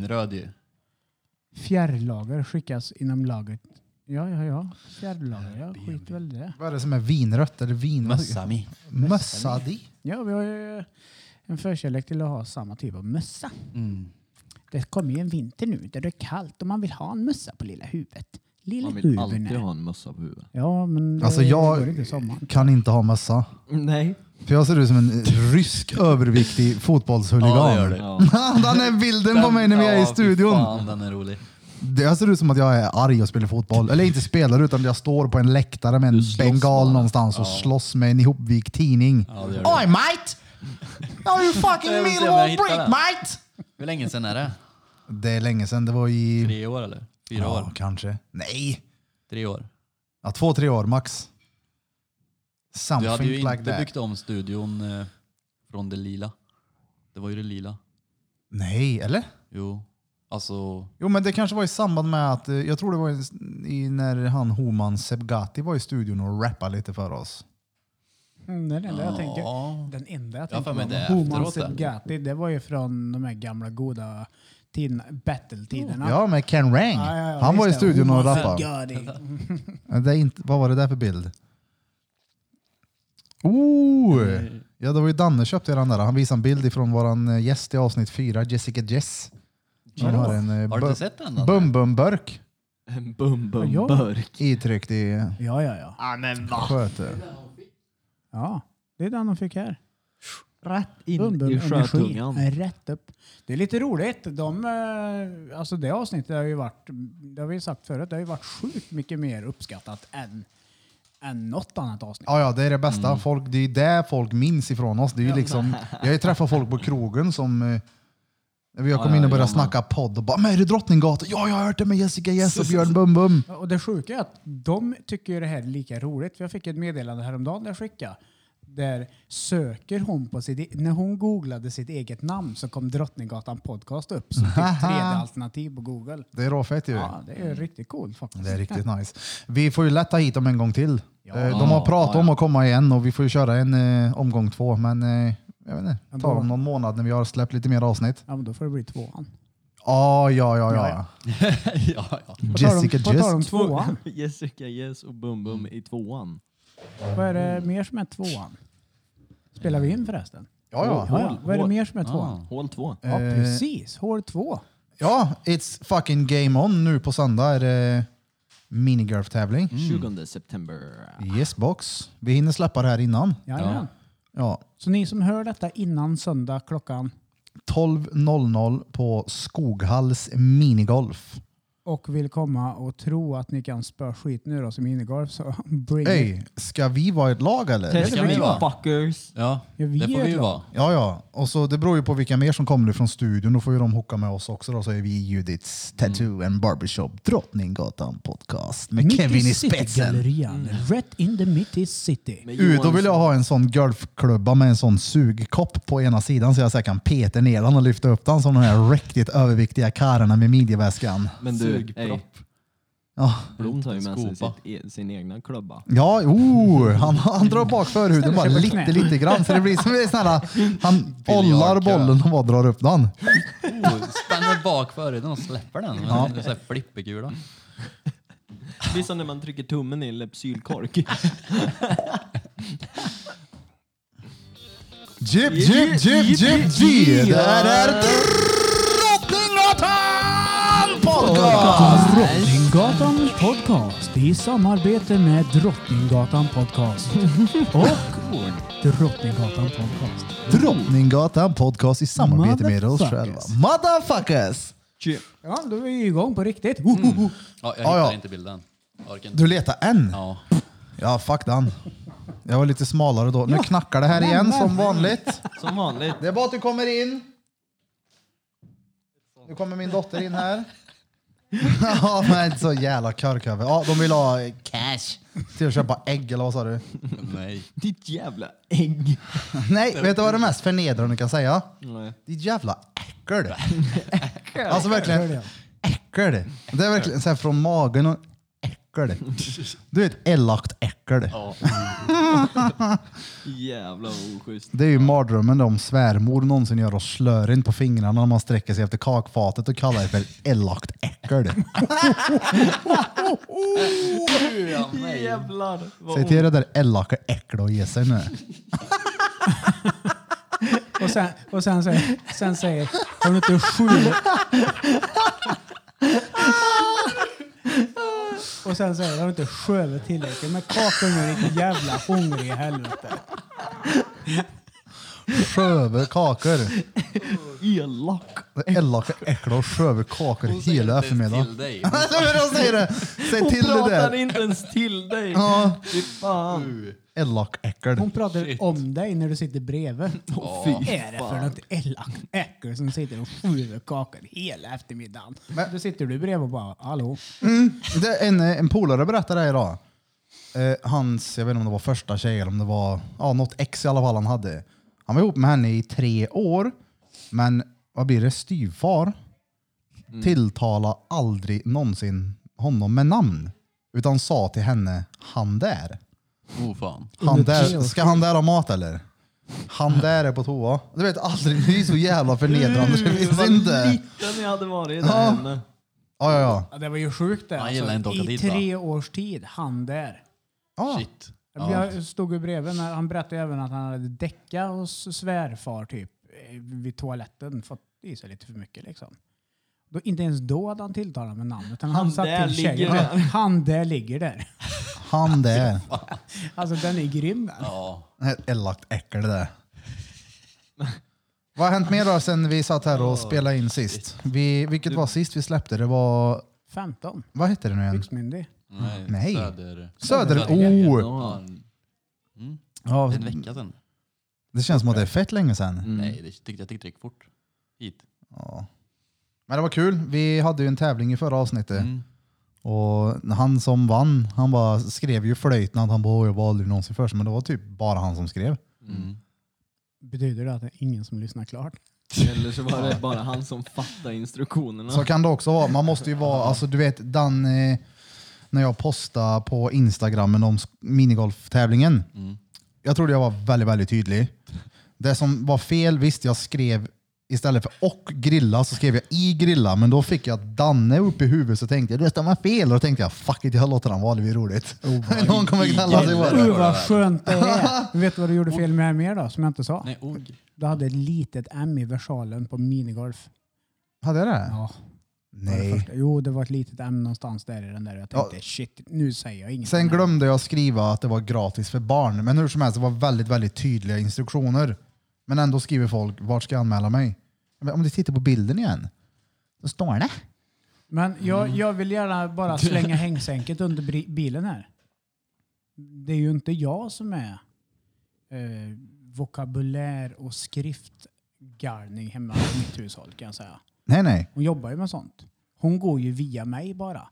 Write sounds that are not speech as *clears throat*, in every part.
röd ju. Fjärrlager skickas inom lagret. Ja, ja, ja. Fjärrlager, ja. Skit väl det. Vad är det som är vinrött eller vin... Mössami. Mössadi? Ja, vi har ju en förkärlek till att ha samma typ av mössa. Mm. Det kommer ju en vinter nu där det är kallt och man vill ha en mössa på lilla huvudet. Lilla Man vill huvudet. alltid ha en mössa på huvudet. Ja, men det Alltså går jag inte i sommaren. kan inte ha mössa. Nej. För jag ser ut som en *laughs* rysk överviktig fotbollshuligan. Ja, det gör *laughs* det. Ja. Den är bilden på mig när vi är i Ja, fy studion. Fan, den är rolig. Det- Jag ser ut som att jag är arg och spelar fotboll. Eller inte spelar, utan jag står på en läktare med en slåss bengal bara. någonstans och slåss med en ihopvikt tidning. Ja, det gör det. Oj mate! Now you fucking Jag vill se middle om jag won't hittar break den. mate! Hur länge sedan är det? Det är länge sedan, det var i... Tre år eller? Fyra Ja, år? kanske. Nej! Tre år. Ja, två, tre år max. Du hade Something ju like inte that. byggt om studion eh, från det lila. Det var ju det lila. Nej, eller? Jo. Alltså, Jo, men det kanske var i samband med att, eh, jag tror det var i, i, när han Homan Sebgati var i studion och rappade lite för oss. Mm, det är den enda jag tänker. ja. Den enda jag Ja, tänker för mig på det är var Homan efteråt där. Sebgati. Det var ju från de här gamla goda tiderna, battle-tiderna. Ja, med Ken Rang. Ja, ja, ja, han var i visst det. studion och Homan rappade. Sebgati. Det är inte, vad var det där för bild? Oh! Ja, det var ju Danne köpte den där. Han visade en bild ifrån våran eh, gäst i avsnitt fyra, Jessica Jess. Hon har en eh, Har du bu- inte sett den? Danne? bum-bum-burk En bum bum Ja. burk. itryckt i Ja, ja, ja. sköte. Ja, det är den de fick här. Rätt Bunden in i energi. sjötungan. Nej, Rätt upp. Det är lite roligt. De, eh, alltså det avsnittet har ju varit, det har vi sagt förut, det har ju varit sjukt mycket mer uppskattat än, än något annat avsnitt. Ja, ja, det är det bästa. Folk, det är det folk minns ifrån oss. Det är ju liksom, jag har ju träffat folk på krogen som... eh, När jag Ja, kom ja, in och började jag med. snacka podd och bara “Men är det Drottninggatan?” “Ja, jag har hört det med Jessica Jess och Björn Bum Bum”. Och det sjuka är att de tycker ju det här är lika roligt. För jag fick ett meddelande häromdagen där jag skickade. Där söker hon på sitt, e- när hon googlade sitt eget namn så kom Drottninggatan podcast upp *laughs* som typ tredje alternativ på Google. Det är råfett ju. Ja, det är riktigt coolt faktiskt. Det är riktigt nice. Vi får ju lätta hit dem en gång till. Ja. Eh, De har pratat Ja, ja. om att komma igen och vi får ju köra en eh, omgång två. Men eh, jag vet inte, Ändå. ta om någon månad när vi har släppt lite mer avsnitt. Ja, men då får det bli tvåan. Ah, ja, ja, Ja, ja. ja. *laughs* ja, ja. Jessica Vad tar de Just. tvåan? *laughs* Jessica Yes och Bum Bum i tvåan. Vad är det mer som är tvåan? Spelar vi in förresten? Ja, ja. Ja, ja. Vad är det mer som är tvåan? Ah. Hål två. Ja, Eh, precis. Hål två. Ja, it's fucking game on nu på söndag. Är det minigolftävling? 20 september. Yes box. Vi hinner släppa det här innan. Ja. Ja. Så ni som hör detta innan söndag klockan 12.00 på Skoghalls minigolf. och vill komma och tro att ni kan spöa skit nu då som innegolf så *laughs* bring it. Hej, ska vi vara ett lag eller? Testa. Ska vi vi vara? fuckers? ja. Ja, vi det är får vi ju ett vara. Ja, ja. Och så det beror ju på vilka mer som kommer nu från studion. Då får ju de hocka med oss också. Då så är vi Judiths Tattoo and Barbershop Drottninggatan Podcast med Mitt Kevin i city, spetsen. Mm. Gallerian. Rätt in the mitt i city. Med Uh, då vill jag Johansson. ha en sån golfklubba med en sån sugkopp på ena sidan så jag så här kan peta ner den och lyfta upp den som de här riktigt överviktiga karlarna med midjeväskan. Men du, ey, Ah, Sugpropp. Ja. Blom tar ju med sig Skopa. sitt, e- sin egna klubba. Ja, oh, han, han drar bak förhuden bara sig på lite, knä. lite grann. Så det blir som en sån här, han Biljardkö. ollar bollen och bara drar upp den. Oh, spänner bak förhuden och släpper den. Ja. Det är så här flipperkula. Det blir som när man trycker tummen i en Lepsylkork. Jip, jip, jip, jip, jip. Det här är Drottninggatan Podcast! Drottninggatan podcast i samarbete med Drottninggatan podcast *laughs* och Drottninggatan podcast. Drottninggatan Podcast i samarbete med oss Motherfuckers. själva. Motherfuckers! Ja, då är vi igång på riktigt. Ho, ho, ho. Ja, jag hittar Ja, ja. inte bilden. Jag orkar inte. Mm. Du letar en? Ja. Ja, fuck den. Jag var lite smalare då. Nu knackar det här men, igen men. som vanligt. Som vanligt. Det är bara att du kommer in. Nu kommer min dotter in här. ja, men så jävla körköver. Ja, de vill ha cash till att köpa ägg eller vad sa du? Nej. Ditt jävla ägg. Nej, vet du vad det mest förnedrande kan säga? Nej. Ditt jävla äckel. Alltså verkligen, Hörde jag. äckel. Det är verkligen så här från magen och äckel. äckel. Du är ett elakt äckel. Ja. Jävla oschysst. Det är ju mardrömmen om svärmor någonsin gör oss slören på fingrarna när man sträcker sig efter kakfatet och kallar det för elakt äckel. Jävlar. vad Säg till det där elaka äcklet och ge sig nu. Och sen, och sen, säger, sen säger har du inte sju... Och sen säger har du inte sjövit tillräckligt med kakungen ditt jävla hungrig helvete. Sköve kakor. Elak. Det elaka äcklet och sköve kakor Hon säger hela inte ens eftermiddagen. *laughs* till dig. Alltså, men Hon säger det! Säg Hon till det pratar där. inte ens till dig. Ja, Mm. Fy fan. elak äckel. Hon pratar Shit. om dig när du sitter bredvid. Åh, fy Vad är det för fan. något elakt äckel som sitter och skjuter kakor hela eftermiddagen? Men- Då sitter du bredvid och bara hallå? Mm. Det, en, en polare berättade det här idag. Eh, hans, jag vet inte om det var första tjej eller om det var ja, något ex i alla fall han hade. Han var ihop med henne i tre år, men vad blir det? Styvfar tilltala aldrig någonsin honom med namn. Utan sa till henne, han där. Oh fan. Han Under tre där års ska han där ha mat eller? Han där är på toa. Du vet aldrig, det är så jävla förnedrande så det finns Vad inte. liten jag hade varit Ja. Mm. där henne. Ja, ja, ja. Ja, det var ju sjukt det. alltså. Han gillar inte att åka I dit, va? tre års tid, han där. ja. Shit. Jag stod ju bredvid när han berättade även att han hade däckat hos svärfar typ eh, vid toaletten. Fått i sig lite för mycket liksom. Då, inte ens då hade han tilltalat med namn. Utan han, Han satt där till tjejen. ligger *laughs* där. Han där ligger där. Han där. Alltså den är grym den. Ja. Ett elakt äckel det där. Vad har hänt mer då sen vi satt här och spelade in sist? Vi, vilket var sist vi släppte? Det var... 15. Vad hette det nu igen? Byxmyndig. Nej. Ah, Nej. Söder. Söder... Södertälje. Oh! Ja, en- Ja, Ah. Mm. En vecka sedan. det känns som att det är fett länge sen. Nej, det tyckte, jag tyckte det gick fort. Hit. Ja. Men det var kul. Vi hade ju en tävling i förra avsnittet. Mm. Och han som vann, han bara skrev ju flöjtnad. Han bara, "Åh, jag var aldrig någonsin först. Men det var typ bara han som skrev. Mm. Betyder det att det är ingen som lyssnar klart? Eller så var det bara han som fattade instruktionerna. Så kan det också vara. Man måste ju vara, alltså du vet den, eh, när jag postade på Instagrammen om sk- minigolftävlingen. Jag trodde jag var väldigt, väldigt tydlig. Det som var fel, visst jag skrev istället för och grilla så skrev jag i grilla, men då fick jag Danne upp i huvudet så tänkte jag det stämmer fel och då tänkte jag fuck it, jag låter han vara, det blir roligt. *laughs* Någon kommer kalla sig det bara. var Uh, vad det. skönt *laughs* det är! Vet du vad du gjorde fel med mer då, som jag inte sa? Nej, og. Du hade ett litet M i versalen på minigolf. Hade jag det? Ja, det var det Nej. första. Jo, det var ett litet M någonstans där i den där. Jag tänkte shit, nu säger jag inget. Sen glömde jag skriva att det var gratis för barn, men hur som helst, det var väldigt, väldigt tydliga instruktioner. Men ändå skriver folk, vart ska jag anmäla mig? Men om du tittar på bilden igen, då står det. Men jag, jag vill gärna bara slänga hängsänket under bri- bilen här. Det är ju inte jag som är eh, vokabulär och skriftgarning hemma i mitt hushåll kan jag säga. Nej, nej. Hon jobbar ju med sånt. Hon går ju via mig bara.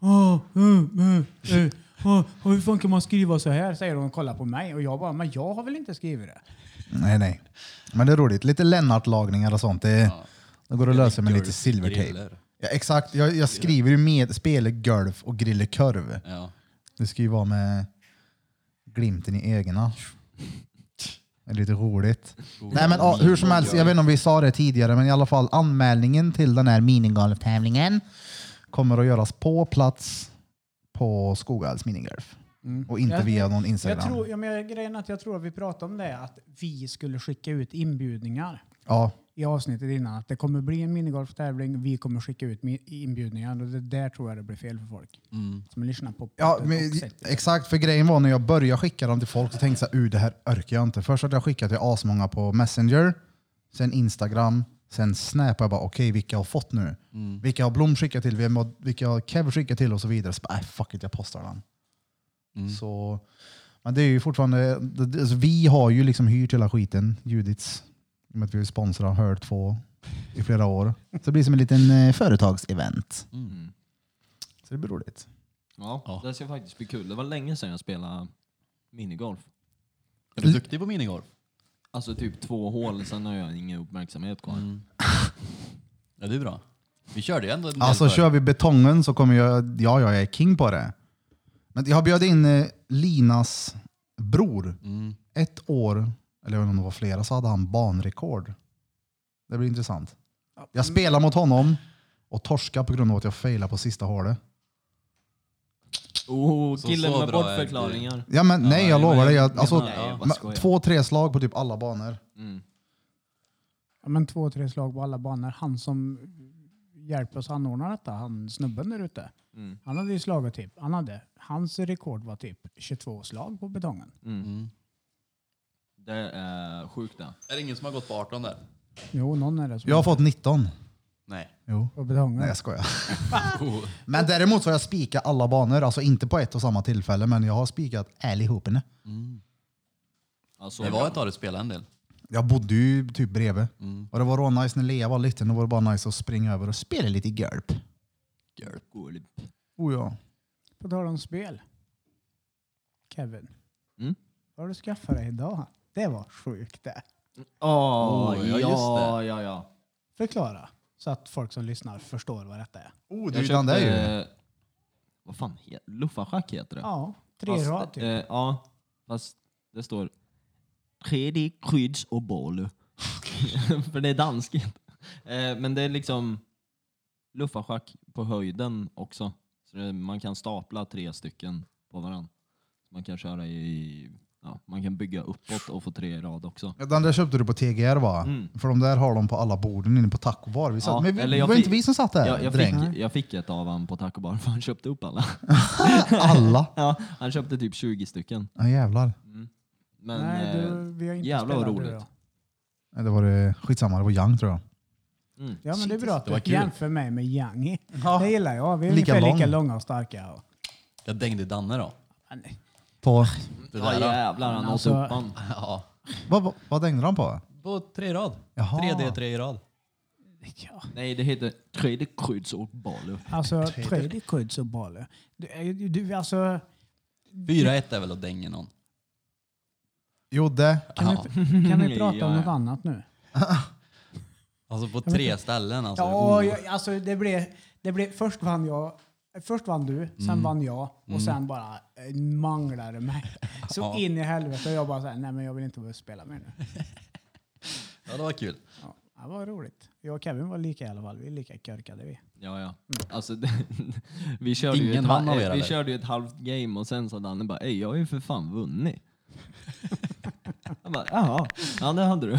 Åh, uh, uh, uh, åh, hur fan kan man skriva så här? Säger hon och kollar på mig. Och jag bara, men jag har väl inte skrivit det? Nej, nej. Men det är roligt. Lite Lennart-lagningar och sånt. Det, det går att lösa med lite Golf, silvertejp. griller. Ja, exakt. Jag, jag skriver ju med spelar golf och griller korv. Ja. Det ska ju vara med glimten i ögonen. Det är lite roligt. Nej, men, ja, hur som helst, jag vet inte om vi sa det tidigare, men i alla fall anmälningen till den här minigolftävlingen kommer att göras på plats på Skoghälls minigolf. Och inte Jag- via någon Mm. Jag Instagram. tror, ja, men jag- grejen är att jag tror att vi pratade om det, att vi skulle skicka ut inbjudningar Ja, i avsnittet innan. Att det kommer bli en minigolftävling, vi kommer skicka ut mi- inbjudningar. Och det där tror jag det blir fel för folk som lyssnar på Mm. ja podden men, och sätter- exakt. För grejen var när jag började skicka dem till folk så tänkte jag så här, "Uh, det här orkar jag inte. Först hade jag skickat till asmånga på Messenger, sen Instagram, sen Snap. Jag bara okej, vilka har fått nu? Mm. Vilka har Blom skickat till? Vem har- Vilka har Kev skickat till? Och så vidare. Så bara, "Äh, fuck it, jag postar den. Mm. Mm. Så, men det är ju fortfarande, det- det- alltså vi har ju liksom hyrt hela skiten, Judits. I och med att vi sponsrar Hör 2 i flera år. Så det blir som en liten eh, företagsevent. Mm. Så det blir roligt. Ja, det ska faktiskt bli kul. Det var länge sedan jag spelade minigolf. Är du duktig på minigolf? Alltså typ två hål, sen har jag ingen uppmärksamhet kvar. Mm. Mm. Ja, det är bra. Vi körde ju ändå en del Alltså förr. kör vi betongen så kommer jag, ja, ja jag är king på det. Men jag bjöd in eh, Linas bror. Mm. Ett år, eller jag vet inte om det var flera, så hade han banrekord. Det blir intressant. Jag spelade mot honom och torska på grund av att jag failade på sista hålet. Oh, Så- killen så med bra är bortförklaringar. Ja, men nej, jag nej, lovar men- dig. Jag, alltså, nej, jag bara skojar. två, tre slag på typ alla banor. Mm. Ja, men två, tre slag på alla banor. Han som hjälper oss anordna detta, han snubben där ute. Mm. Han hade ju slagit typ, han hade, hans rekord var typ 22 slag på betongen. Mm. Det är sjukt det. Är det ingen som har gått på 18 där? Jo, någon är det som Jag har fått 19. Nej. Jo. på betongen. Nej, jag *laughs* skojar. Oh. Men däremot så har jag spikat alla banor. Alltså inte på ett och samma tillfälle, men jag har spikat allihopa. Alltså, Det var ett tag du spelade en del. Jag bodde ju typ bredvid. Mm. Och det var rå nice när Lea var liten. Då var det bara nice att springa över och spela lite GURP. Oh ja. På tal om spel. Kevin. Mm? Vad har du skaffat dig idag? Det var sjukt det. Åh, Oh, ja, ja, just Ah, ja, det. ja, ja. Förklara. Så att folk som lyssnar förstår vad detta är. Oh, du Jag är den där ju. köpte, vad fan, he- luffarschack heter det. Ja, tre Fast, rad typ. eh, ja, fast det står 3D, kryds och boll. *laughs* För det är danskt. Eh, men det är liksom luffarschack på höjden också. Så det, man kan stapla tre stycken på varandra. Man kan köra i... Ja, man kan bygga uppåt och få tre i rad också. Ja, Den där köpte du på TGR va? Mm. För de där har de på alla borden inne på taco bar. Vi satt, Ja, men vi, eller det jag var fick- inte vi som satt där. Jag, jag, dräng. fick, jag fick ett av han på Taco Bar för han köpte upp alla. *laughs* Alla. ja, han köpte typ 20 stycken. Ja, jävlar. Men Nej, eh, du, vi har inte jävlar vad spelat roligt. du då. Nej, Det var det, skitsamma, det var Young tror jag. Mm. Ja, men det är bra att det var du kul. jämför mig med Yangi. Det gillar jag. Vi är Lika lika ungefär lika lång. långa och starka. Och, Jag dängde Danne då. men, nej. På, Det ja, där, då. jävlar han åt Alltså- upp han. ja. vad, vad, vad dängde han på? På tre i rad. Jaha. 3D, tre i rad. ja. Nej, det heter Tredjekrydds och Balu. Alltså, tredje skydds och balle. Du, är ju- du, alltså, 4-1 är väl att dänga någon. Jo, det. kan, Ja. vi, kan vi prata Ja, om ja. något annat nu? Alltså på tre ställen. Alltså. Ja, Oh. jag, alltså det blev, det blev... Först vann jag. Först vann du, sen Mm. vann jag och sen bara eh, manglade det mig. *laughs* Så Ja. in i helvete. Och jag bara såhär, nej men jag vill inte börja spela mer nu. Ja, det var kul. Ja, det var roligt. Jag och Kevin var lika i alla fall. Vi är lika körkade vi. Ja, ja. Alltså, det, *laughs* vi körde ju Ingen ett, vann ha- av er, vi eller? körde ju ett halvt game och sen sa Danne bara Ey, jag har ju för fan *laughs* vunnit. jag bara jaha, ja det hade du.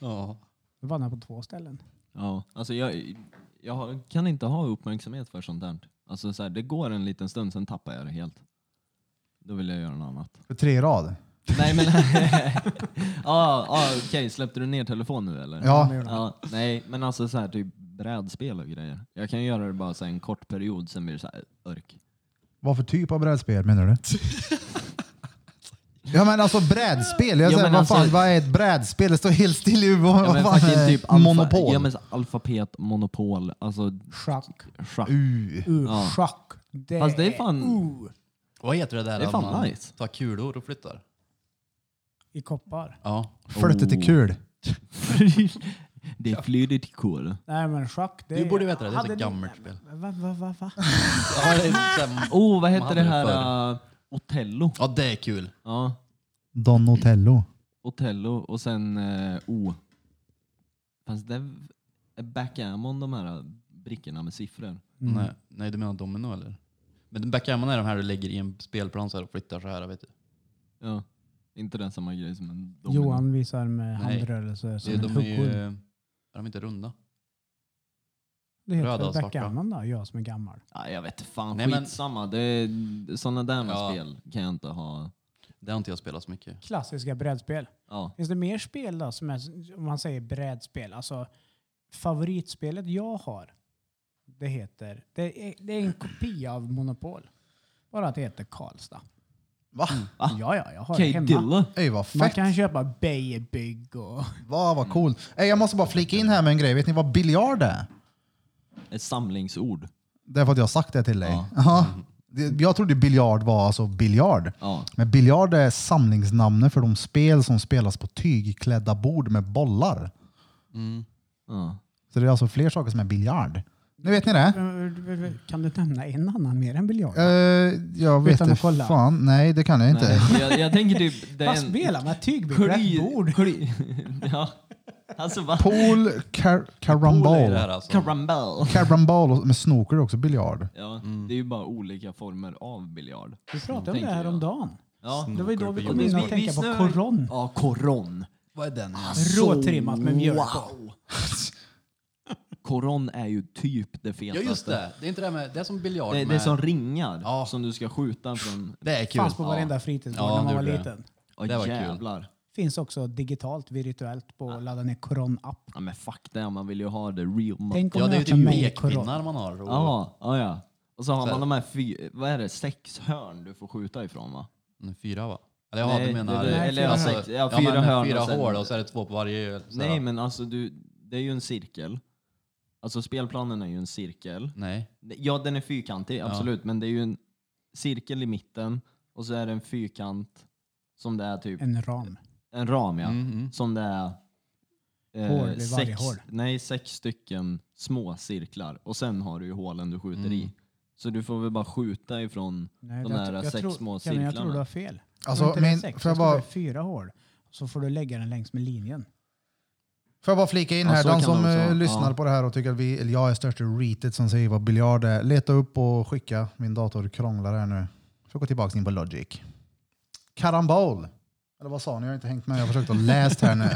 Ja. Vi vann här på två ställen. Ja, alltså jag, jag har- kan inte ha uppmärksamhet för sånt där. Alltså så här, det går en liten stund, sen tappar jag det helt. Då vill jag göra något annat. För tre i rad. Nej men... *laughs* ja, ja, okej, släppte du ner telefon nu eller? Ja, Ja, nej, men alltså så här typ brädspel och grejer. Jag kan göra det bara så här, en kort period, sen blir det så här eh, örk. vad för typ av brädspel menar du? Ja men alltså brädspel, jag Ja, säger, men vad, alltså- fan, vad är ett brädspel? Det står helt still i vad, Ja, *laughs* men vad fan fucking är typ alfa, monopol. Ja men så här, alfabet, monopol, alltså Schack. schack. U. E Uh, Ja. Schack. Det, Fast det är fan- Uh, Vad heter det där? Det är att fan man nice. tar kulor och flyttar. I koppar. Ja. Flyttet till kul. *laughs* det är flydigt till kol. Nej men schack det Du är- borde veta det, det är ett hade ni- gammalt spel. Va, va, va, va? ja, det är liksom- Oh, vad Man hette hade det det här? förr. eh, Otello. ja, det är kul. Ja, Don Otello. Otello och sen eh, O. Fast det är backgammon de här eh, brickorna med siffror. Mm. Nej, nej, du menar domino eller? Men backgammon är de här du lägger i en spelplan så här och flyttar så här. Vet du. Ja, inte den samma grej som en domino. Johan visar med Nej. handrörelser som Det, en de är ju... huggorm. Är de inte runda? Det heter röda väl och svarta. backgammon då, jag som är gammal. Ja, jag vet fan, Nej, men- skitsamma. Det är, såna där med Ja. spel kan jag inte ha. Det har inte jag spelat så mycket. Klassiska brädspel. Ja. Finns det mer spel då som är, om man säger brädspel, alltså favoritspelet jag har, det heter, det är, det är en kopia av Monopol. Bara att det heter Karlstad. Va? Va? Ja, ja, jag har det Okej, hemma. Dille. Ey vad Man fett. kan köpa Beijerbygg och... *laughs* Vad vad cool. Ey, jag måste bara flika in här med en grej. Vet ni vad biljard är? Ett samlingsord. Det är för att jag har sagt det till dig. Ja. Ja. Det- Jag trodde biljard var alltså biljard. Ja. Men biljard är samlingsnamnet för de spel som spelas på tygklädda bord med bollar. Ja. *laughs* Så det är alltså fler saker som är biljard. Nu vet ni det. Kan du nämna en annan mer än biljard? Eh, jag vet Utan att inte kolla. fan. Nej, det kan jag inte. Nej, jag, jag tänker typ... det är en- Vad spelar man? Kry- Tygbyggbord? kry- *laughs* Ja. Alltså vad? Pool, car- Pool är det karambol. här alltså. Karambel. Karambol och- med snooker också, biljard. Ja, Mm. det är ju bara olika former av biljard. Vi pratade om Tänker det här jag. om dagen. Ja. Det var ju då vi kom Vi- in vi att tänka på snör- koron. Ja, koron. Vad är den? Råtrimmat med mjölk på. Wow! Koron är ju typ det Ja fetaste. just det. Det är inte det här med, alltså. det är som biljard Det, med... det är som ringar Ja. som du ska skjuta från. Det är kul. Fanns på varenda fritidsgård Ja, när man det var gjorde liten. Ja, Det var kul. jävlar. Finns också digitalt, virtuellt, på att ladda ner koron-app. Ja, men fuck det, man vill ju ha det real. mo- Tänk om Ja det är ju jag tar typ mig i koron. lekpinnar man har. Och, Ja, ja, ja. Och så har Så här. man de här fy, vad är det, sex hörn du får skjuta ifrån va? Mm, Fyra va? Eller ja, Nej, du menar... det- Nej, alltså, eller ja, sex- ja, fyra men hörn Fyra och sen- hål och så är det två på varje. så här. Nej men alltså du, det är ju en cirkel. Alltså spelplanen är ju en cirkel. Nej. Ja den är fyrkantig, absolut. Men det är ju en cirkel i mitten och så är det en fyrkant som det är typ En ram. en ram ja. Mm, *laughs* mm. Som det är eh, Hål vid varje sex, hål. Nej, sex stycken små cirklar och sen har du ju hålen du skjuter Mm. i. Så du får väl bara skjuta ifrån Nej, de jag där tror- sex tror, små Kevin, Jag tror du cirklarna. har fel. Alltså, jag tror inte det är men sex, får jag jag tror det bara- är fyra hål. Så får du lägga den längs med linjen. Får jag bara flika in Ja, här, så de kan som de också. eh, lyssnar Ja. på det här och tycker att vi, eller jag är största reatet som säger vad biljard är. Leta upp och skicka. Min dator krånglar här nu. Får gå tillbaka in på Logic. Karambol. Eller vad sa ni? Jag har inte hängt med. Jag har försökt att läst här *laughs* nu.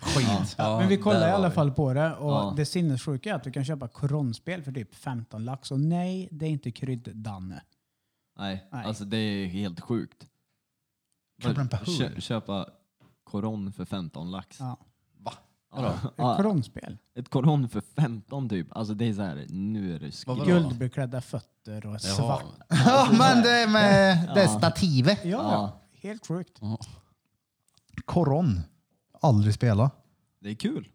Skit. Ja, Men vi kollar där i alla var vi. fall på det och Ja. det sinnessjuka är att du kan köpa koronspel för typ 15 lax och nej, det är inte krydd-Danne. Nej, Nej. alltså det är ju helt sjukt. Karambol. Kö, köpa koron för 15 lax. Ja. Va? Ja. Ett koronspel. Ett koron för 15 typ. Alltså det är så här, nu är det Vad var skri- det? Guldbeklädda fötter och svart. Jaha. Ja, men det är med det stativet. Ja, ja. Ja. helt sjukt. Koron. Aldrig spela. Det är kul.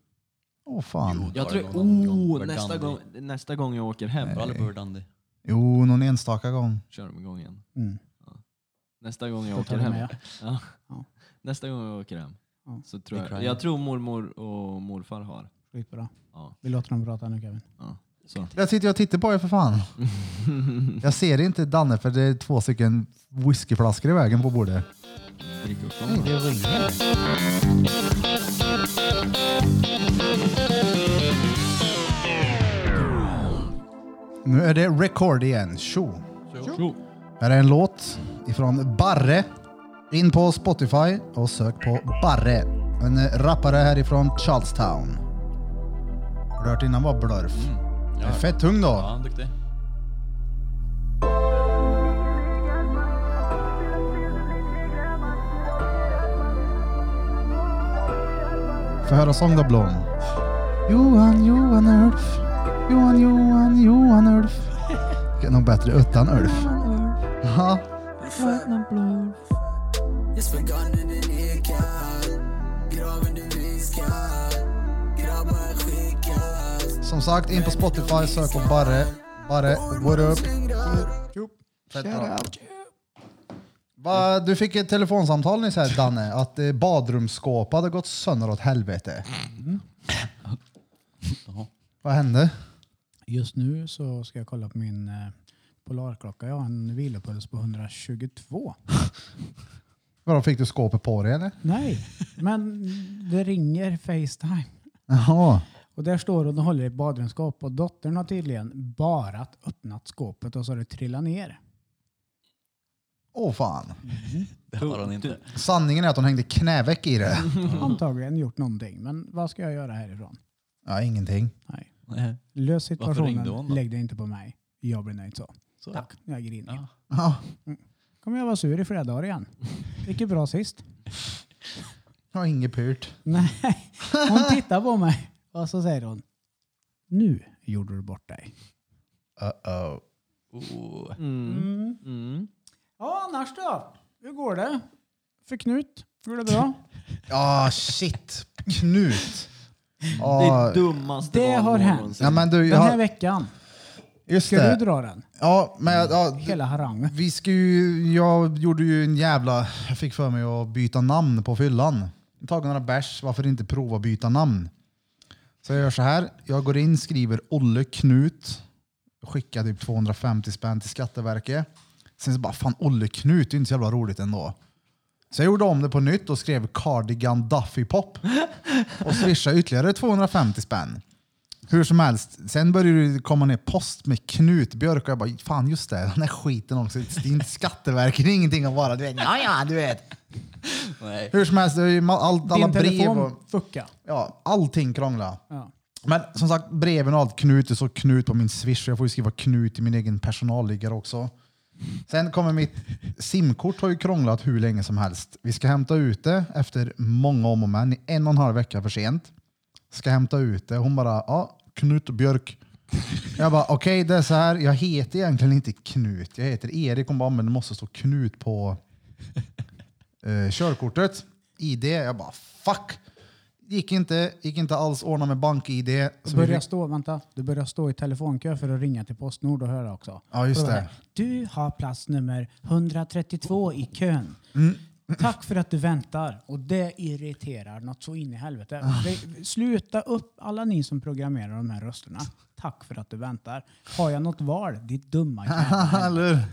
Åh fan. Jag Jag tror- tror, oh, oh, nästa nästa, gång, nästa gång jag åker hem, Bra eller Burdandy? Jo, någon enstaka gång. kör de igång igen. Mm. Nästa gång jag Då tar åker vi hem. med. Ja. Ja. Nästa gång jag åker hem. Ja. Så tror Big jag, Ryan. jag tror mormor och morfar har. Skitbra. Ja. Vi låter dem prata nu Kevin. Ja. Så. Jag sitter och tittar på er för *laughs* fan. Jag ser inte Danne för det är två stycken whiskyflaskor i vägen på bordet. Drick upp Nej, dem. det ringer. Nu är det record igen. Tjo! Här är en låt ifrån Barre. In på Spotify och sök på Barre. En rappare härifrån Charlestown. Har du hört innan var Blurf? Det är fett tung då. Ja, duktig. Få höra sång då Blom. Johan, Johan Ulf. Johan, Johan, Johan Ulf. Det är nog bättre utan Ulf. Ja. Jesper Gallen är nekad Graven du viskar Grabbar skickas Som sagt, in på Spotify, sök på Barre. Barre, what up? Fett bra. Va, du fick ett telefonsamtal nyss här Danne, att eh, badrumsskåp hade gått sönder åt helvete. Jaha. Vad hände? Just nu så ska jag kolla på min eh, Polarklocka. Jag har en vilopuls på 122. Vadå, fick du skåpet på dig eller? Nej, men det ringer Facetime. Jaha. Och där står hon och håller i ett badrumsskåp och dottern har tydligen bara öppnat skåpet och så har det trillat ner. Åh fan. Det har han inte. Sanningen är att hon hängde knäveck i *laughs* det. Mm. Antagligen gjort någonting, men vad ska jag göra härifrån? Ja, ingenting. Nej. Nej. Lös Varför ringde hon situationen, då? lägg det inte på mig. Jag blir nöjd så. Så. Tack, nu är jag grinig. Ja. Ja. Kommer jag vara sur i flera dagar igen. *laughs* Gick ju bra sist. Jag har inget pyrt. Nej, *laughs* hon tittar på mig och så säger hon Nu gjorde du bort dig. Uh-oh. Oh. Mm. Mm. Ja, annars då? Hur går det? För Knut, går det bra? Ah, shit. Knut. Det är Ah, dummaste Det val har hänt. någonsin. *laughs* ja, men du, Den jag, här har- veckan. just Ska du det. dra den? Ja, men jag- ja, Hela harangen. vi ska ju, jag gjorde ju en jävla... Jag fick för mig att byta namn på fyllan. Jag tagit några bärs, varför inte prova att byta namn? Så jag gör så här. Jag går in, skriver Olle Knut. Skickar typ 250 spänn till Skatteverket. Sen så bara, fan Olle Knut, det är inte så jävla roligt ändå. Så jag gjorde om det på nytt och skrev Cardigan Duffy Pop. Och swishade ytterligare 250 spänn. Hur som helst, sen började det komma ner post med Knut Björk och jag bara, fan just det, den här skiten också. Det är inte Skatteverket, det är ingenting att vara, du vet. Ja, ja, du vet. Nej. Hur som helst, det är ju ma- allt, alla Din brev telefon och... fucka. Ja, allting krånglar. Ja. Men som sagt, breven och allt Knut, det står Knut på min swish så jag får ju skriva Knut i min egen personalliggare också. Sen kommer mitt simkort har ju krånglat hur länge som helst. Vi ska hämta ut det efter många om och men, i en och en halv vecka för sent. Ska hämta ut det. Hon bara, ja, Knut Björk. Jag bara, okej det är så här, jag heter egentligen inte Knut, jag heter Erik. Hon bara, men det måste stå Knut på eh, körkortet, ID. Jag bara fuck. Gick inte, gick inte alls ordna med bank-ID. Du Så vi börjar, fick, stå, vänta, du börjar stå i telefonkö för att ringa till Postnord och höra också. Ja, just Och då det. bara, Du har plats nummer 132 i kön. Mm. Tack för att du väntar. Och det irriterar något så in i helvete. Ah. Det- Sluta upp alla ni som programmerar de här rösterna. Tack för att du väntar. Har jag något val? Ditt dumma *laughs* jävla eller hur?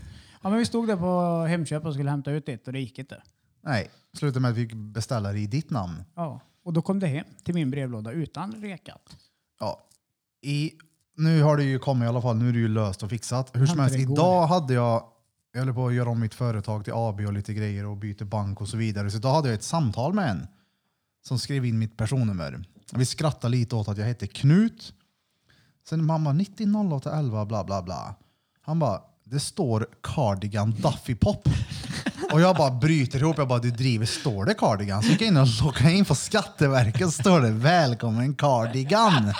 Ja, men vi stod där på Hemköp och skulle hämta ut det och det gick inte. Nej, slutade med att vi beställde det i ditt namn. Ja. Och då kom det hem till min brevlåda utan rekat. Ja. I, nu har det ju kommit i alla fall, nu är det ju löst och fixat. Hur som Hämtade helst, det igår. idag hade jag, jag höll på att göra om mitt företag till AB och lite grejer och byter bank och så vidare. Så idag hade jag ett samtal med en som skrev in mitt personnummer. Vi skrattade lite åt att jag hette Knut. Sen mamma 900811 bla bla bla. Han bara, det står Cardigan Duffy Pop. Och jag bara bryter ihop. Jag bara, du driver. Står det Cardigan? Så gick jag in och loggade in på Skatteverket och står det Välkommen Cardigan.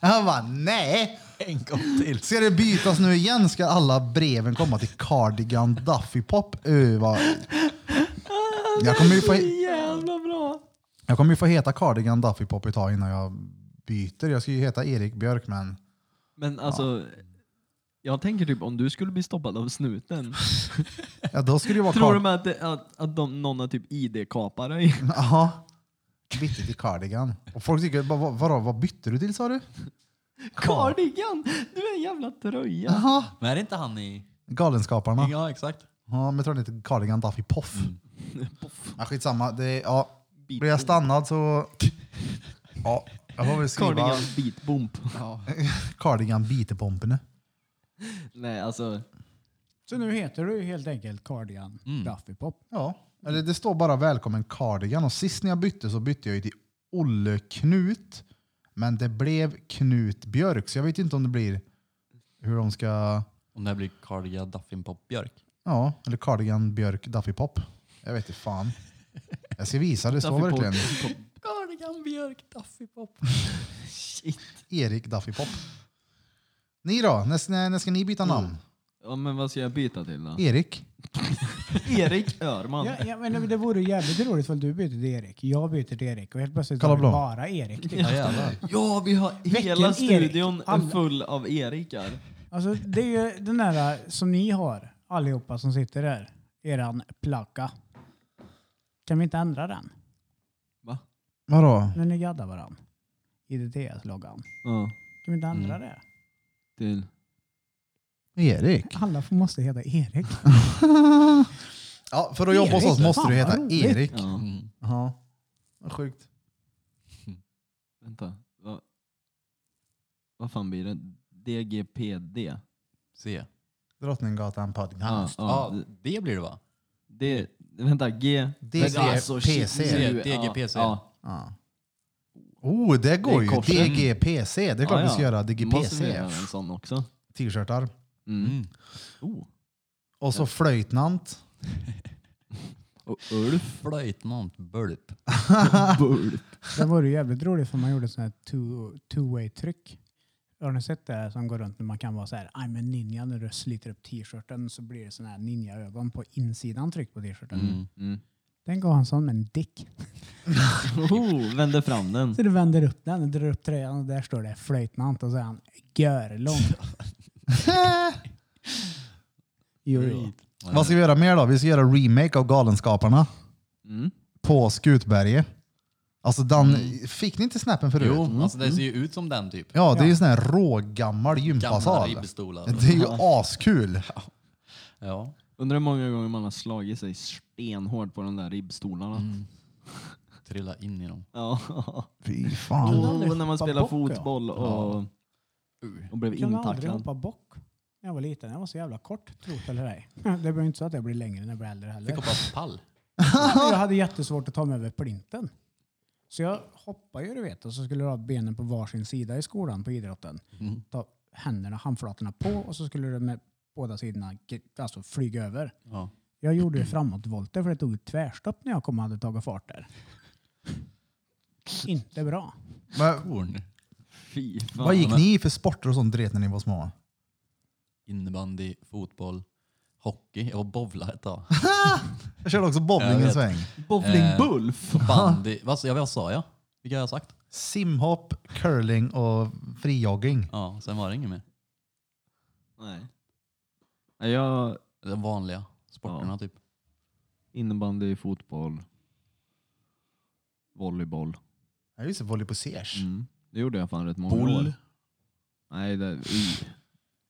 Jag bara, nej. En gång till. Ska det bytas nu igen? Ska alla breven komma till Cardigan Duffy Pop? Uh, vad... Jag kommer ju få... Jävla bra! Jag kommer ju få heta Cardigan Duffy Pop ett tag innan jag byter. Jag ska ju heta Erik Björk, men Men alltså, jag tänker typ om du skulle bli stoppad av snuten. ja, då skulle det vara Tror Car- de att, det- att, att de, någon har typ ID-kapat dig? Ja. Bytte till Cardigan. Och folk tycker, "Va- va- vadå, vad bytte du till sa du? Cardigan! Du är en jävla tröja! Jaha. Men är det inte han i... Galenskaparna. Ja, exakt. Ja, men jag tror den heter Cardigan Duffy Poff. Mm. Poff. Ja, skitsamma. Det är, ja. Blir jag stannad så... Ja, jag får väl skriva... Cardigan Cardigan, beatbomb. Cardigan Bitepompene. *laughs* Nej alltså, Så nu heter du helt enkelt Cardigan Mm. Duffy Pop. Ja, eller det står bara välkommen Cardigan och sist när jag bytte så bytte jag ju till Olle Knut. Men det blev Knut Björk så jag vet inte om det blir hur de ska... Om det här blir Cardia Duffin Pop Björk. Ja, eller Cardigan Björk Duffy Pop. Jag vet inte fan. Jag ska visa, det står Duffy Pop. verkligen Cardigan Björk Duffy Pop. shit. Erik Duffy Pop. Ni då? När, när, när ska ni byta namn? *laughs* Ja, men vad ska jag byta till då? Erik? Erik Öhrman. Ja, ja, men det vore jävligt roligt om du byter till Erik. Jag byter till Erik och helt plötsligt Kolla är det blå. bara Erik. typ. Ja, jävlar. Ja, vi har hela Erik. studion Alla. full av Erikar. Alltså, det är ju den där eh, som ni har allihopa som sitter där. Eran plaka. Kan vi inte ändra den? Va? Vadå? När ni gaddar varann. IDTS-loggan. Ja, Kan vi inte ändra det? till. Erik? *laughs* Alla får- måste heta Erik. Ja, för att jobba hos Erik? oss måste du Fan, heta vad roligt. Erik. Ja, Mm. Ja. Vad Sjukt. vänta. Va, vad fan blir det? DGPD? Se. Drottninggatan Ja, podcast. Ja, ja. det blir det va? Det, vänta, G... DGPC. Men shit, C, nu- DGPC. Ja, Ja. Oh, det går Det är ju. korset. DGPC. Det är klart Ja, vi ska ja. göra. ja. Måste vi DGPC. göra alltså. en sån också? T-shirtar. Mm. Mm. Oh. Och så flöjtnant. Och Ulf *laughs* Flöjtnant Bulp. Bulp. Det vore ju jävligt roligt om man gjorde sån här two- two-way-tryck. Har ni sett det som går runt när man kan vara så här, I'm a ninja, när du sliter upp t-shirten så blir det sån här ninja-ögon på insidan tryck på t-shirten. Mm. Den går han som en dick. Oh, vände fram den. Så du vänder upp den och drar upp tröjan och där står det flöjtnant och så är han *laughs* görlång. Eh. Jo, Mm. jo. Vad ska vi göra mer då? Vi ska göra remake av Galenskaparna Mm. på Skutberget. Alltså den, fick ni inte snappen förut? Mm. Jo, alltså det ser ju ut som den typ. Mm, Ja, det är ju sån här rågammal Gamla gympasal. ribbstolar. Det är ju askul. Ja. Undrar hur många gånger man har slagit sig stenhårt på de där ribbstolarna. Trilla in i dem. Ja. Fy fan. Och när man hoppa spelar bock, ja. fotboll och, och blev Jag kunde aldrig intacklad. hoppa bock när jag var liten. Jag var så jävla kort, tro't eller ej. Det blir inte så att jag blir längre när jag blir äldre heller. Fick hoppa pall. *laughs* Jag hade jättesvårt att ta mig över plinten. Så jag hoppade ju du vet och så skulle jag ha benen på varsin sida i skolan på idrotten. Ta händerna, handflatorna på och så skulle det med båda sidorna ge- alltså, flyga över. Ja. Jag gjorde ju framåtvolter för det tog ett tvärstopp när jag kom och hade tagit fart där. Inte bra. Men, Korn. Fy fan. vad gick ni i för sporter och sånt dret när ni var små? Innebandy, fotboll, hockey. Jag var bowla ett *laughs* tag. Jag körde också bowling Jag en vet. sväng. Bowling Eh, Bulf? Bandy. Vad, sa- ja, vad sa jag? Vilka har jag sagt? Simhopp, curling och frijogging. Ja, sen var det inget mer. Nej. Nej, Jag De vanliga sporterna Ja. typ. innebandy, fotboll, volleyboll. Ja, just det, volley på Sers. Mm. Det gjorde jag fan rätt många år. Boll. Nej, det... i.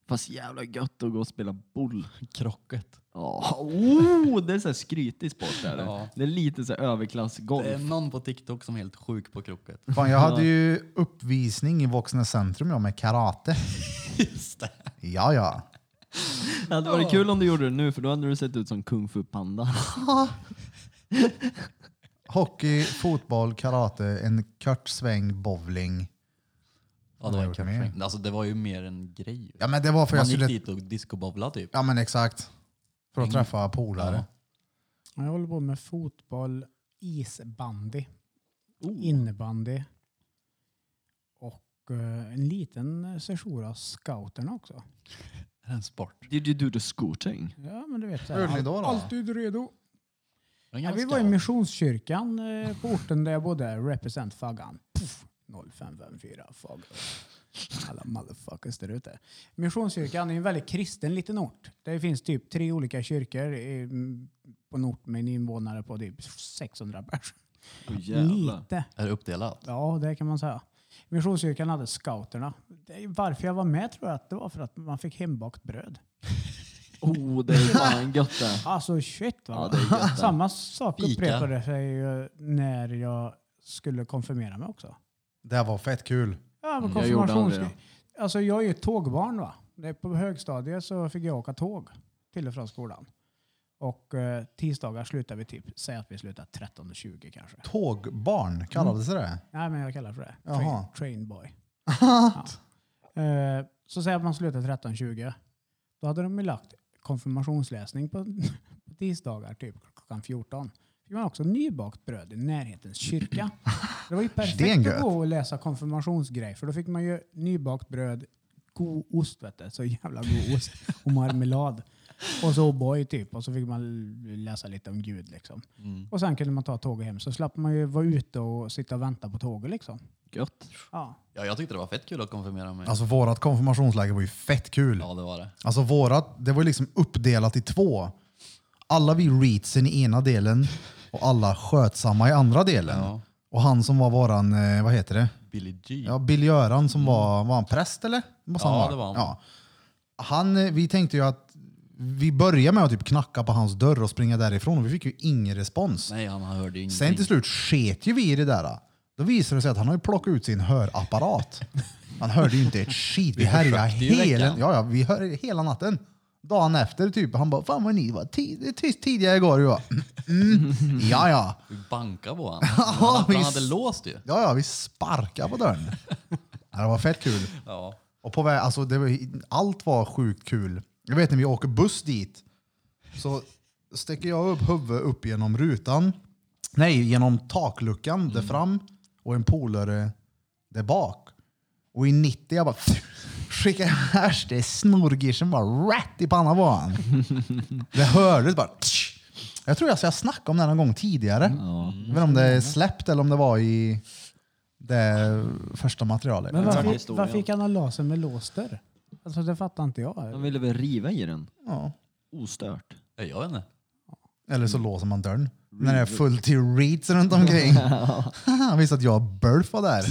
Fast jävla gött att gå och spela boll. Krocket. Ja, Oh, det är så här skrytig sport. Där. Ja. Det är lite så här överklassgolf. Det är någon på TikTok som är helt sjuk på krocket. Fan, jag hade ju uppvisning i Vuxna Centrum jag med karate. *laughs* Just det. Ja, ja. Det hade varit kul om du gjorde det nu för då hade du sett ut som Kung Fu Panda. Hockey, fotboll, karate, en kort sväng, bowling. Ja, det var en Vad har jag gjort catching. Alltså det var ju mer en grej. Ja, men det var för Man jag gick skulle... dit och discobobblade typ. Ja, men exakt. För att träffa polare. Jag håller på med fotboll, isbandy, Oh. innebandy och eh, en liten session av scouterna också. Är det en sport? Did you do the scooting? Ja, men du vet. så här, Hur gjorde ni då, då? Alltid redo. Det är en Ja, gammal vi var i scout. Missionskyrkan eh, på orten där jag bodde. Represent Faggan. Puff, 0554 Faggan. Alla motherfuckers där ute. Missionskyrkan är en väldigt kristen liten ort. Det finns typ tre olika kyrkor i, på en ort med en invånare på typ 600 pers. Åh, jävlar. Lite. Är det uppdelat? Ja, det kan man säga. Missionskyrkan hade scouterna. Det är Varför jag var med tror jag att det var för att man fick hembakt bröd. Oh, det är fan gött det. Alltså shit Ja, vad det är gött det. Samma sak Fika. upprepade sig ju när jag skulle konfirmera mig också. Det här var fett kul. Ja, men Mm. Jag gjorde aldrig konfirmations... Alltså jag är ju ett tågbarn va. Det är På högstadiet så fick jag åka tåg till och från skolan. Och eh, tisdagar slutar vi typ, säg att vi slutar 13.20 kanske. Mm. Tågbarn, kallades det Nej men jag kallar det för det. Jaha. Train, train *laughs* boy. ja. eh, så säg att man slutar 13.20. Då hade de ju lagt konfirmationsläsning på *laughs* på tisdagar typ klockan 14. Fick man också nybakt bröd i närhetens kyrka. Det var ju perfekt Stengött. att gå och läsa konfirmationsgrej för då fick man ju nybakt bröd, god ost vet du, så jävla god ost och marmelad. Och så O'boy typ och så fick man läsa lite om Gud liksom. Och sen kunde man ta tåget hem så slapp man ju vara ute och sitta och vänta på tåget liksom. Gött. Ja. Ja, jag tyckte det var fett kul att konfirmera mig. Alltså vårat konfirmationsläger var ju fett kul. Ja, det var det. Alltså vårat, det var ju liksom uppdelat i två. Alla vi reetsen i ena delen och alla skötsamma i andra delen. Ja. Och han som var våran, eh, vad heter det? Billy G. Ja, Bill Göran som var, var han präst eller? Måste Mm. Ja, ha varit. det var han. Ja. han. eh, Vi tänkte ju att vi började med att typ knacka på hans dörr och springa därifrån och vi fick ju ingen respons. Nej, han hörde ju Sen ingenting. till slut sket ju vi i det där. Då visade det sig att han har ju plockat ut sin hörapparat. Han hörde ju inte ett skit. Vi härjade försökte ju hela, väcka ja, ja, vi hörde hela natten. Dagen efter typ, han bara “Fan vad ni var tid, tyst tidigare igår”. Jag bara, mm, ja, ja. Vi bankade på *laughs* honom. Han, han hade visst. låst ju. Ja, ja, vi sparkade på dörren. Ja, det var fett kul. Ja. Och på väg, alltså, det var, allt var sjukt kul. Jag vet när vi åker buss dit så sticker jag upp huvudet upp genom rutan. Nej, genom takluckan där fram och en polare där bak. Och i 90 jag bara skickar iväg det snorgirsen bara rätt i pannan på han. Det hördes bara. tsch. Jag tror alltså jag snackade om det här någon gång tidigare. Jag vet inte om det är släppt eller om det var i det första materialet. Men Exakt varför, historien. varför gick han och la sig med låster? Alltså det fattar inte jag. Han ville väl riva i den? Ja. Ostört. Nej, Jag vet inte. Mm. Eller så låser man dörren. När det är fullt till reeds *laughs* runt omkring. Han visste att jag Burf var där.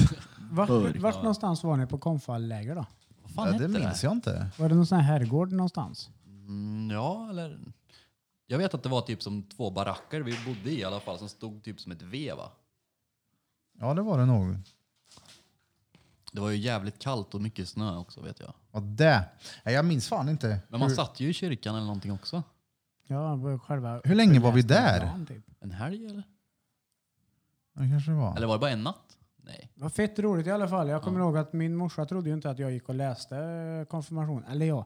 Vart, Burk. vart någonstans var ni på konfallläger då? Vad Ja, fan det hette minns jag inte. Var det någon sån här herrgård någonstans? Mm, ja, eller... Jag vet att det var typ som två baracker vi bodde i i alla fall som stod typ som ett V va? Ja, det var det nog. Det var ju jävligt kallt och mycket snö också vet jag. Och det. Nej, Jag minns fan inte. Men man hur, satt ju i kyrkan eller någonting också. Ja, var själva hur länge var vi där? föreläsningsdagen, typ. En helg eller? Det kanske det var. Eller var det bara en natt? Nej. Det var fett roligt i alla fall. Jag kommer ihåg att min morsa trodde ju inte att jag gick och läste eh, konfirmation. Eller jag.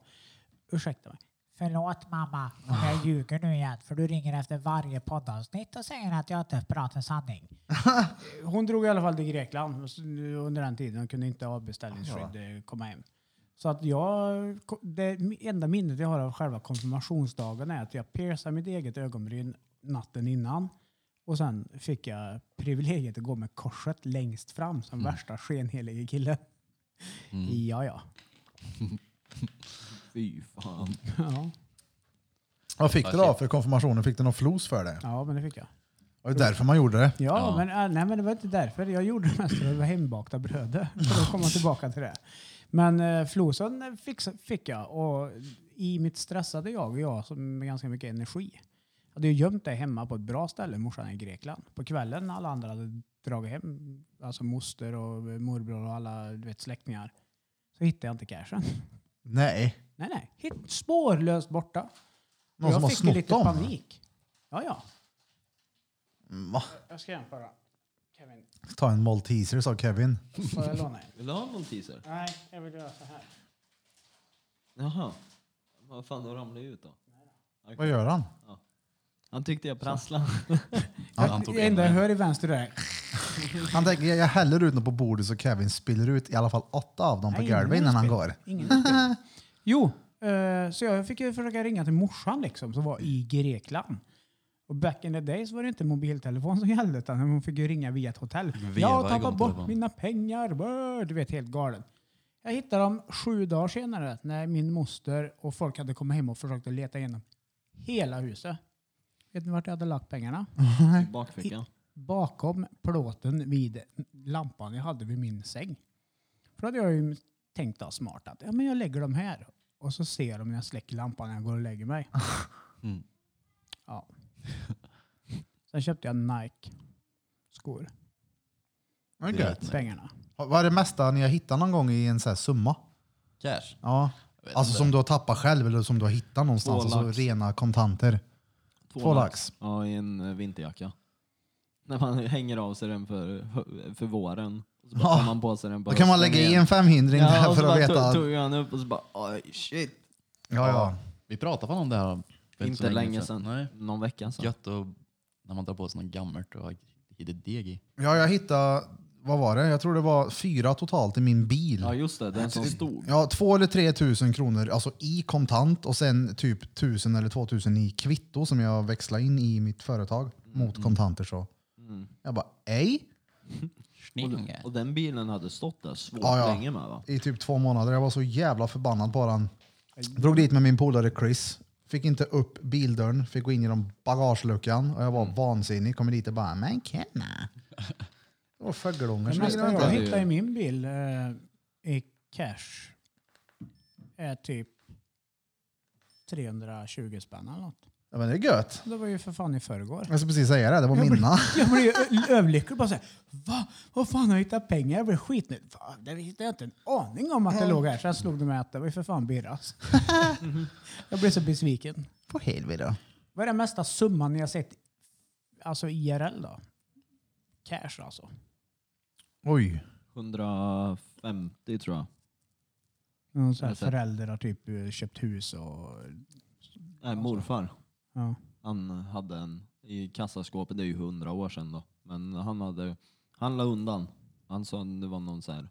Ursäkta mig. Förlåt mamma om jag ljuger nu igen för du ringer efter varje poddavsnitt och säger att jag inte pratar sanning. *laughs* Hon drog i alla fall till Grekland och s- under den tiden. Hon kunde inte ha beställningsskydd eh, komma hem. Så att jag, ko- det enda minnet jag har av själva konfirmationsdagen är att jag piercade mitt eget ögonbryn natten innan. Och sen fick jag privilegiet att gå med korset längst fram som värsta skenhelige killen. Ja, ja. Fy fan. ja. Vad fick du då för konfirmationen? Fick du någon flos för det? Ja, men det fick jag. Det Mm. var därför man gjorde det. Ja, Ja. Men, äh, nej, men det var inte därför. Jag gjorde det mest för att det var hembakta bröder. För att komma tillbaka till det. Men eh, flosen fick, fick jag och i mitt stressade jag, och jag som med ganska mycket energi, hade ju gömt det hemma på ett bra ställe, morsan i Grekland. På kvällen när alla andra hade dragit hem, alltså moster och morbror och alla du vet, släktingar, så hittade jag inte cashen. Nej. Nej, nej. Hitt, spårlöst borta. Någon jag som har fick ju snott lite dem? panik. Ja, ja. Va? Jag ska jämföra. Kevin, Ta en Malteser sa Kevin. får jag låna en? Vill du ha någon teaser? Nej, jag vill göra så här. Jaha. Vad fan, då ramlade jag ut då. Vad gör han? Han tyckte jag prasslade. Han, han tog det en. enda jag hör i vänster är Han tänker jag jag häller ut dem på bordet så Kevin spiller ut i alla fall åtta av dem på Nej, golvet ingen innan han spill. går. ingen utbildning. *laughs* Jo, eh, så jag fick ju försöka ringa till morsan liksom, som var i Grekland. Och back in the days var det inte mobiltelefon som gällde utan hon fick ju ringa via ett hotell. Veva Jag har igång tappat bort telefonen. mina pengar. Brr, Du vet, helt galen. Jag hittade dem sju dagar senare när min moster och folk hade kommit hem och försökt att leta igenom hela huset. Vet ni vart jag hade lagt pengarna? I bakfickan. bakom plåten vid lampan jag hade vid min säng. För då hade jag ju tänkt då smart att ja, men jag lägger dem här och så ser de när jag släcker lampan när jag går och lägger mig. Mm. Ja. *laughs* Sen köpte jag Nike-skor Men Det är gött. rätt. Nej. pengarna. Vad är det mesta ni har hittat någon gång i en sån här summa? Cash? Ja. Jag vet Alltså inte. som du har tappat själv eller som du har hittat någonstans. Två Alltså lax. rena kontanter. Två lax. Ja, i en eh, vinterjacka. När man *laughs* hänger av sig den för, för våren. Och så bara Ja. tar man på sig den på Då kan man hösten lägga i igen. en femhindring Ja, där och så för att veta. bara tog, att- tog han upp och så bara oj shit. Ja, ja. Vi pratade fan om det här för Inte så länge sedan. Nej. Någon vecka sedan. Gött och när man drar på sig något gammalt och har hittat deg i. ja, jag hittade, vad var det? Jag tror det var fyra totalt i min bil. Ja just det, den som stod. Ja, två eller tre tusen kronor alltså i kontant och sen typ tusen eller två tusen i kvitto som jag växlar in i mitt företag mot Mm. kontanter. så. Jag bara, ej? Och, och den bilen hade stått där svårt Ja, ja. länge med va? I typ två månader. Jag var så jävla förbannad på den. Drog dit med min polare Chris. Fick inte upp bildörren, fick gå in genom bagageluckan och jag var vansinnig. Kommer dit och bara, men Kenna. Det var fågelungar Det som mesta ligger alltså, jag där. hittade i min bil eh, i cash är typ 320 spänn eller något. Ja, men det är gött. Det var ju för fan i förrgår. Jag ska precis säga det, det var mina. Jag blev ju överlycklig. Bara så här, Va? Vad fan har jag hittat pengar? Jag blev skitnödig. Fan, Det visste jag inte en aning om att det låg här. Sen slog det mig att det var ju för fan Birras. jag blev så besviken. På helvete. Vad är den mesta summan ni har sett alltså IRL då? Cash alltså. Oj. 150 tror jag. Någon så här Jag har sett. förälder har typ eh, köpt hus och... Nej, morfar. Ja. Han hade en i kassaskåpet, det är ju hundra år sedan då. Men han hade, han la undan. Han sa det var någon så här,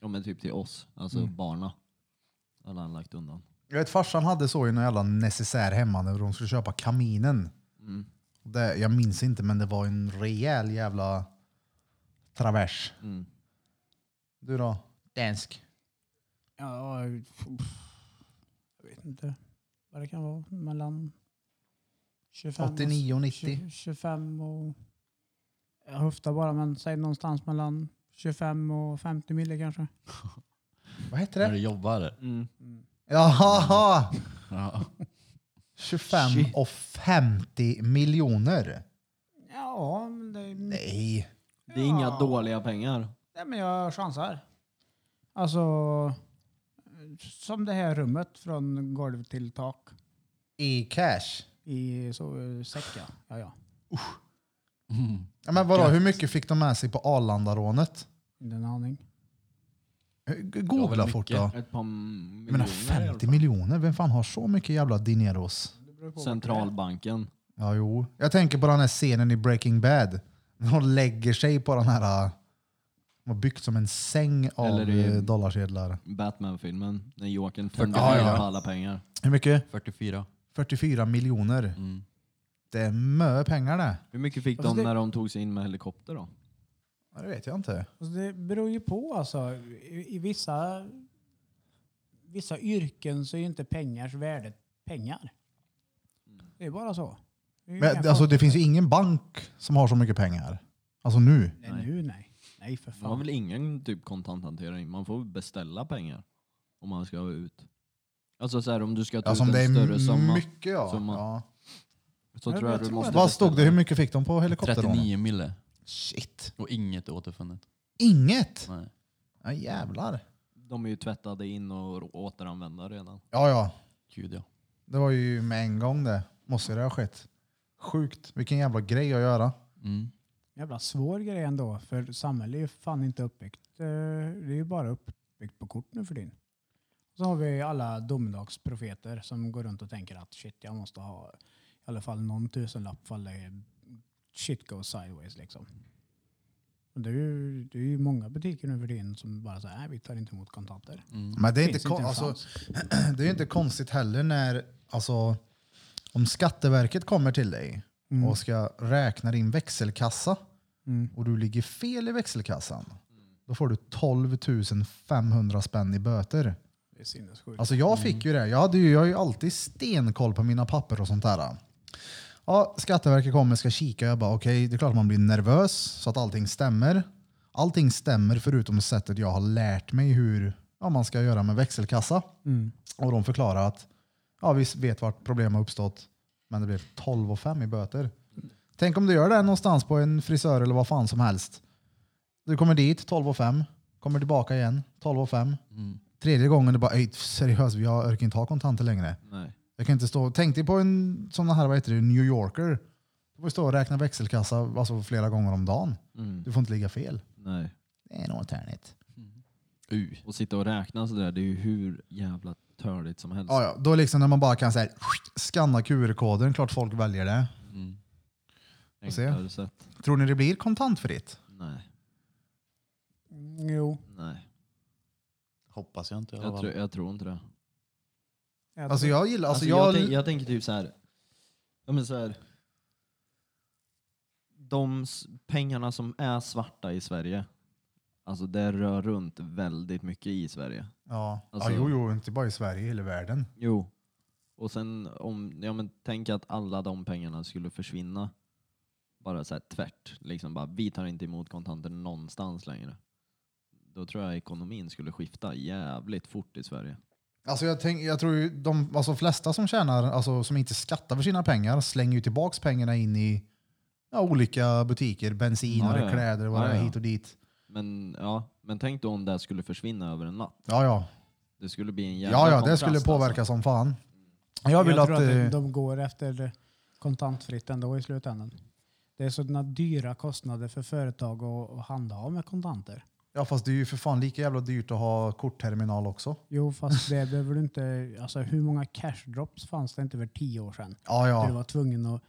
ja men typ till oss, alltså barna. Hade han lagt undan. Jag vet farsan hade så i någon jävla necessär hemma när de skulle köpa kaminen. Mm, Det, jag minns inte men det var en rejäl jävla travers. Mm. Du då? Dansk. ja och- jag vet inte vad det kan vara. Mellan 25 89 och 90. 20, 25 och... Jag höftar bara, men säg någonstans mellan 25 och 50 mille kanske. Vad heter När det? du jobbar. Mm. Jaha! Ja. 25 Shit. och 50 miljoner. Ja, men det är... Nej. Nej. Det är inga Ja. dåliga pengar. men jag chansar. Alltså... Som det här rummet från golv till tak I cash. i så, säcka. Ja, ja. Mm. Ja, men vadå, hur mycket fick de med sig på Arlandarånet? Inte en aning. Det var Googla väl fort mycket. då. Ett par Jag menar miljoner. 50 miljoner? Vem fan har så mycket jävla dineros? Centralbanken. Ja, jo. Jag tänker på den här scenen i Breaking Bad. När hon lägger sig på den här... äh, De har byggt som en säng av Eller i- eh, dollarsedlar. Batman-filmen. När Jokern Fyrtio- tömde Ja, ja, ja. alla pengar. Hur mycket? 44. 44 miljoner. Mm. Det är mycket pengar det. Hur mycket fick Alltså de det- när de tog sig in med helikopter då? Ja, det vet jag inte. Alltså det beror ju på alltså. I, i vissa, vissa yrken så är ju inte pengars värde pengar. Det är bara så. Det är ju Men, inga alltså, det konstigheter. finns ju ingen bank som har så mycket pengar. Alltså nu. Nej, nu nej. Nej för Man har fan. väl ingen typ kontanthantering? Man får beställa pengar om man ska ha ut. Alltså så här, om du ska ta Alltså, om ut det en större är summa mycket ja. Summa. ja. så Ja, tror jag jag du tror måste det. Vad stod det? beställa. Hur mycket fick de på helikopterrånet? 39 mille. Shit. Och inget återfunnet. Inget? Nej. Ja, jävlar. De är ju tvättade in och återanvända redan. Ja, ja. Gud ja. Det var ju med en gång det. Måste det ha skett. Sjukt. Vilken jävla grej att göra. Mm. Jävla svår grej ändå. För samhället är ju fan inte uppbyggt. eh, Det är ju bara uppbyggt på kort nu för din. Så har vi alla domedagsprofeter som går runt och tänker att shit, jag måste ha i alla fall någon tusenlapp fall det- shit goes sideways liksom. Och Det är, ju, det är ju många butiker nu för din som bara säger nej, vi tar inte emot kontanter. Men det är, inte Finns inte kon- en alltså, chans. *clears throat* det är ju inte konstigt heller när, alltså, om Skatteverket kommer till dig Mm. och ska räkna din växelkassa och du ligger fel i växelkassan. Då får du 12 500 spänn i böter. Det är sinnessjukt. Alltså jag fick ju det. Jag, hade ju, jag har ju alltid stenkoll på mina papper och sånt där. Ja, Skatteverket kommer ska kika. Jag bara okej, det är klart man blir nervös så att allting stämmer. Allting stämmer förutom sättet jag har lärt mig hur ja, man ska göra med växelkassa. Mm. Och de förklarar att ja, vi vet vart problem har uppstått, men det blev 12 och 5 i böter. Tänk om du gör det här någonstans på en frisör eller vad fan som helst. Du kommer dit 12 och 5, kommer tillbaka igen 12 och 5. Mm. Tredje gången du bara, "Ey, seriöst, jag orkar inte ha kontanter längre. Nej. Jag kan inte stå. Tänk dig på en sån här, vad heter det, New Yorker. Du får stå och räkna växelkassa alltså, flera gånger om dagen. Mm. Du får inte ligga fel. Nej. Det är nog tärnigt. Uh. Och sitta och räkna sådär, det är ju hur jävla törligt som helst. Ja, ja. Då liksom när man bara kan så här, skanna QR-koden, klart folk väljer det. Mm. får se. Enklare sätt. Tror ni det blir kontantfritt? Nej. Mm, jo, Nej. Hoppas jag inte i alla Jag, fall. tror- jag tror inte det. jag Alltså tror- jag gillar, alltså, Alltså, jag, jag, tänk, jag tänker typ så här. Ja, men så här. De s- pengarna som är svarta i Sverige, alltså det rör runt väldigt mycket i Sverige. Ja, Alltså- ja jo, jo, inte bara i Sverige, hela världen. Jo. Och sen om, ja men tänk att alla de pengarna skulle försvinna. Bara så här tvärt. Liksom bara, vi tar inte emot kontanter någonstans längre. Då tror jag ekonomin skulle skifta jävligt fort i Sverige. Alltså jag, tänk, jag tror ju de alltså flesta som tjänar, alltså som inte skattar för sina pengar, slänger ju tillbaks pengarna in i ja, olika butiker, bensin, Ja, och det ja. kläder och vad Ja, det är ja. hit och dit. Men, ja, men tänk då om det här skulle försvinna över en natt. Ja, ja. Det skulle bli en jävla Ja, ja, det kontrast, skulle påverka Alltså. som fan. Jag vill tror att... att, de- eh, de går efter kontantfritt ändå i slutändan. Det är sådana dyra kostnader för företag att att handha med kontanter. Ja, fast det är ju för fan lika jävla dyrt att ha kortterminal också. Jo, fast det *laughs* behöver du inte... Alltså hur många cash drops fanns det inte för tio år sedan? Ja, Där Du ja. var tvungen att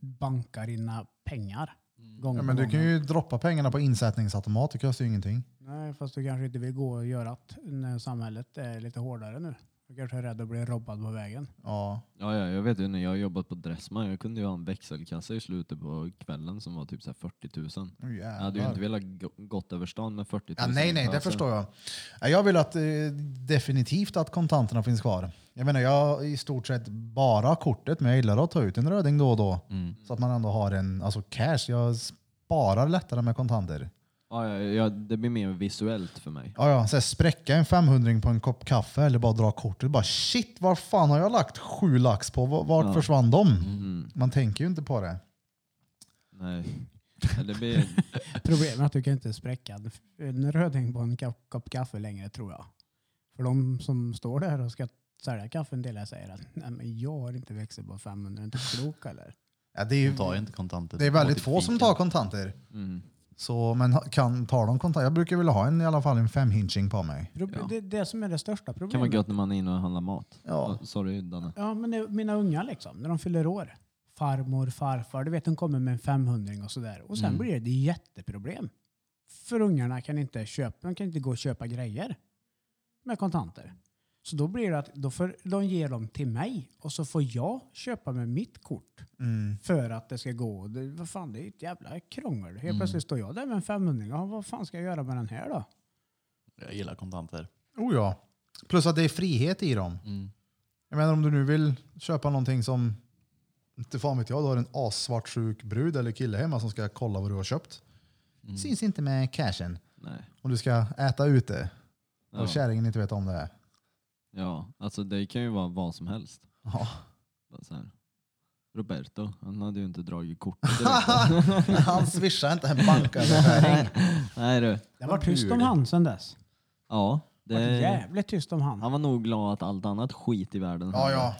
banka dina pengar. Gång ja på men du gång. kan ju droppa pengarna på insättningsautomat, det kostar ju ingenting. Nej, fast du kanske inte vill gå och göra det när samhället är lite hårdare nu. Du kanske är rädd att bli robbad på vägen. Ja. Ja, ja, jag vet ju när jag har jobbat på Dressman, jag kunde ju ha en växelkassa i slutet på kvällen som var typ så här 40 000. Oh, Jag hade ju inte velat gå- gått över stan med 40 000 Ja, nej, i nej, det påsen. förstår jag. Nej, Jag vill att, eh, definitivt att kontanterna finns kvar. Jag menar, jag har i stort sett bara kortet, men jag gillar att ta ut en röding då och då. Mm. Så att man ändå har en, alltså cash. Jag sparar lättare med kontanter. Ja, ja, ja, det blir mer visuellt för mig. Ja, ja, så här, spräcka en 500 på en kopp kaffe eller bara dra kortet. Bara shit, var fan har jag lagt sju lax på? Var- Vart Ja. försvann de? Mm, Man tänker ju inte på det. nej. *laughs* Ja, Det blir, Problemet är att du kan inte spräcka en- en röding på en ka- kopp kaffe längre tror jag. För de som står där och ska sälja kaffe en del säger att Nej, men jag har inte växel på 500, är inte klok eller? Ja, det, är ju, De tar ju inte kontanter. det är Gå väldigt till få som fika. tar kontanter. mm. Så, men ha- kan, tar de kontanter? Jag brukar vilja ha en, i alla fall en femhinching på mig. Proble- Ja. Det är det som är det största kan vara problemet. gött när man är inne och handlar mat. Ja. Oh, sorry Danne. Ja, men det, mina unga liksom, när de fyller år. Farmor, farfar, du vet de kommer med en 500 och sådär. Och sen Mm. blir det ett jätteproblem. För ungarna kan inte köpa, de kan inte gå och köpa grejer med kontanter. Så då blir det att då får, de ger dem till mig och så får jag köpa med mitt kort Mm. för att det ska gå. Och Det, vad fan, det är ett jävla krångel. Helt plötsligt står jag där med en 500. Ja, vad fan ska jag göra med den här då? Jag gillar kontanter. Oh ja. Plus att det är frihet i dem. Mm. Jag menar om du nu vill köpa någonting som, inte fan vet jag, du har en assvartsjuk brud eller kille hemma som ska kolla vad du har köpt. Mm. Syns inte med cashen. Nej. Om du ska äta ute och Ja. kärringen inte vet om det. är. ja, alltså det kan ju vara vad som helst. Ja. Bara Så här. Roberto, han hade ju inte *laughs* dragit kortet direkt. *laughs* Han swishar inte en banköverföring. Nej du. Det var Vad tyst blir om det? han sen dess. Ja, Det var det, jävligt tyst om han. han var nog glad att allt annat skit i världen Ja, ja.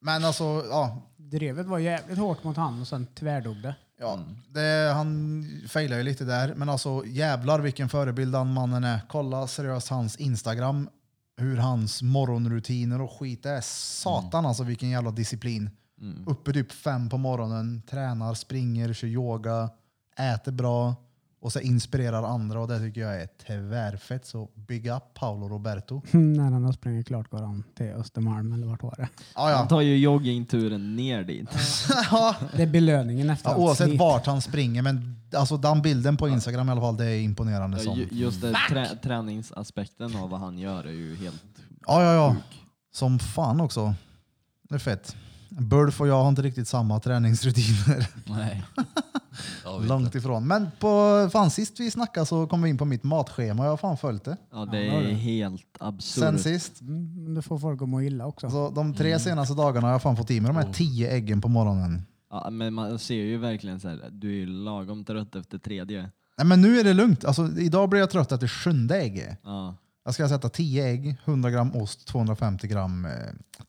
Men alltså, ja. Drevet var jävligt hårt mot han och sen tvärdog det. ja. Det, han failar ju lite där. Men alltså jävlar vilken förebild han mannen är. Kolla seriöst hans Instagram. Hur hans morgonrutiner och skit är. Satan alltså vilken jävla disciplin. Uppe typ fem på morgonen, tränar, springer, kör yoga, äter bra och så inspirerar andra och det tycker jag är tvärfett. Så big up Paolo Roberto. *laughs* När han har sprungit klart går han till Östermalm eller vart *laughs* var det? Ja, Han ja. tar ju joggingturen ner dit. *laughs* Det är belöningen efter Ja, allt oavsett slit. vart han springer, men alltså den bilden på Instagram i alla fall, det är imponerande. Ja, Som. ju- Just det, trä, träningsaspekten av vad han gör är ju helt... Ja, ja, ja. Som fan också. Det är fett. Bulf och jag har inte riktigt samma träningsrutiner. Nej. Ja, vet Långt du. ifrån. Men på, fan, sist vi snackade så kom vi in på mitt matschema. Jag har fan följt det. Ja, det Ja, det har är du. helt absurt. Sen sist. Mm, men det får folk att må illa också. Så de tre senaste dagarna har jag fan fått i mig de här tio äggen på morgonen. Ja, men man ser ju verkligen så här, du är ju lagom trött efter tredje. Nej, men nu är det lugnt. Alltså, idag blir jag trött efter sjunde ägget. Ja, Jag ska sätta 10 ägg, 100 gram ost, 250 gram eh,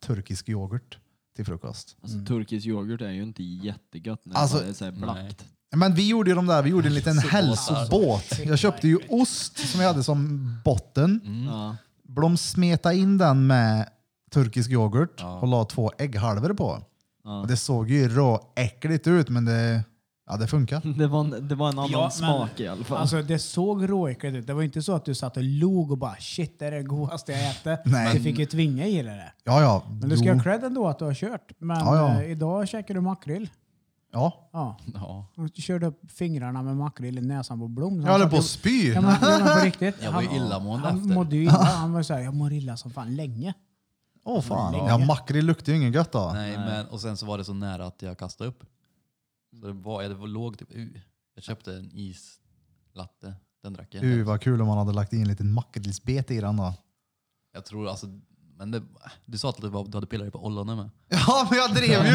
turkisk yoghurt till frukost. alltså turkisk yoghurt är ju inte jättegött när Mm. Alltså, det är så här blakt. Men vi gjorde ju de där, vi gjorde en liten Hälsobåtar. hälsobåt. Jag köpte ju ost som jag hade som Mm. botten. Ja, De smeta in den med turkisk yoghurt Ja. och la två ägghalvor på. ja. Och det såg ju råäckligt ut men det, ja, det funkar. *laughs* Det, var en, det var en annan Ja, men- smak i alla fall. Alltså det såg råäckligt ut. Det var inte så att du satt och log och bara shit det är det godaste jag ätit. *laughs* Nej. Du fick ju tvinga i dig det. Ja, ja. Men du ska Jo. ha cred ändå att du har kört. Men Ja, ja. eh, idag käkar du makrill. ja. Ja. Ja. Och Du körde upp fingrarna med makrill i näsan på Blom. Jag håller på att att spy. ja, men, ja, men på riktigt. *laughs* Jag var ju Han- illamående Han efter. mådde ju *laughs* illa. Han var ju såhär, jag mår illa som fan länge. Åh fan. Ja, makrill luktar ju inget gött då. Nej, men, och sen så var det så nära att jag kastade upp. Så det var, jag var låg typ, uh, jag köpte en islatte. Den drack jag Uh, inte. vad kul om man hade lagt in en liten makrillsbet i den då. *laughs* Jag tror alltså, men det, du sa att det var, du hade pillat dig på ollonen med. Ja, men jag drev ju!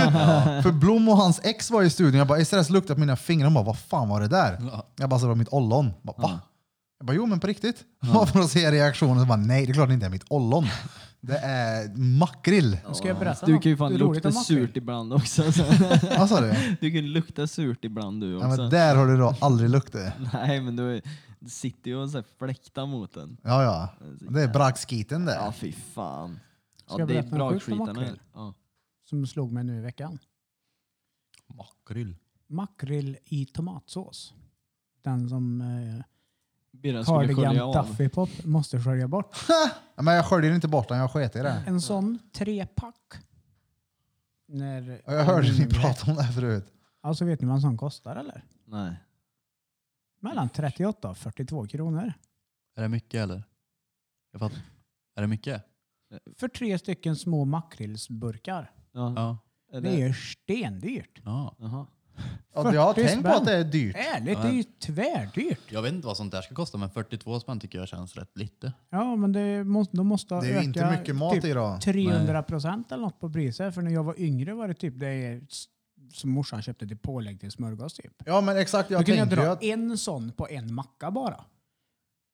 För Blom och hans ex var i studion. Jag bara, istället luktat på mina fingrar. De bara, vad fan var det där? Ja. Jag bara, så det var mitt ollon. Jag Bara, Va? Jag bara, jo men på riktigt. Bara *laughs* för att se reaktionen. Så bara, nej det är klart det inte är mitt ollon. Det är makrill. Nu ska jag berätta Du kan ju något fan roligt om lukta makrill. surt ibland också. *laughs* Så. Vad sa du? Du kan lukta surt ibland du Ja, också. men där har du då aldrig luktat. Nej men du sitter ju och så här fläktar mot den. Ja, ja. Det är brakskiten det. Ja fy fan. Ja, jag det är berätta något sjukt om brakskitarna. makrill? Ja. som slog mig nu i veckan. Makrill. Makrill i tomatsås. Den som eh, Birren skulle skölja Cardigan av. Duffy Pop måste skölja *laughs* bort. Ja, Men jag sköljer inte bort den, jag sket i det. En sån trepack. När Ja, Jag hörde Mm. ni prata om det här förut. Alltså vet ni vad en sån kostar eller? Nej. Mellan 38 och 42 kronor. Är det mycket eller? Jag fattar. Är det mycket? För tre stycken små makrillsburkar. Ja. Ja. Är Det är stendyrt. ja. Jaha. Ja, jag har 40 tänkt på att spänn. det är dyrt. Ärligt, det är ju tvärdyrt. Jag vet inte vad sånt där ska kosta men 42 spänn tycker jag känns rätt lite. Ja, men det måste, de måste ha Det är ju inte ökat mycket mat typ i då. 300 procent eller något på priset. För när jag var yngre var det typ det som morsan köpte till pålägg till smörgås typ. Ja men exakt, Då jag kunde jag tänker ju dra att... en sån på en macka bara.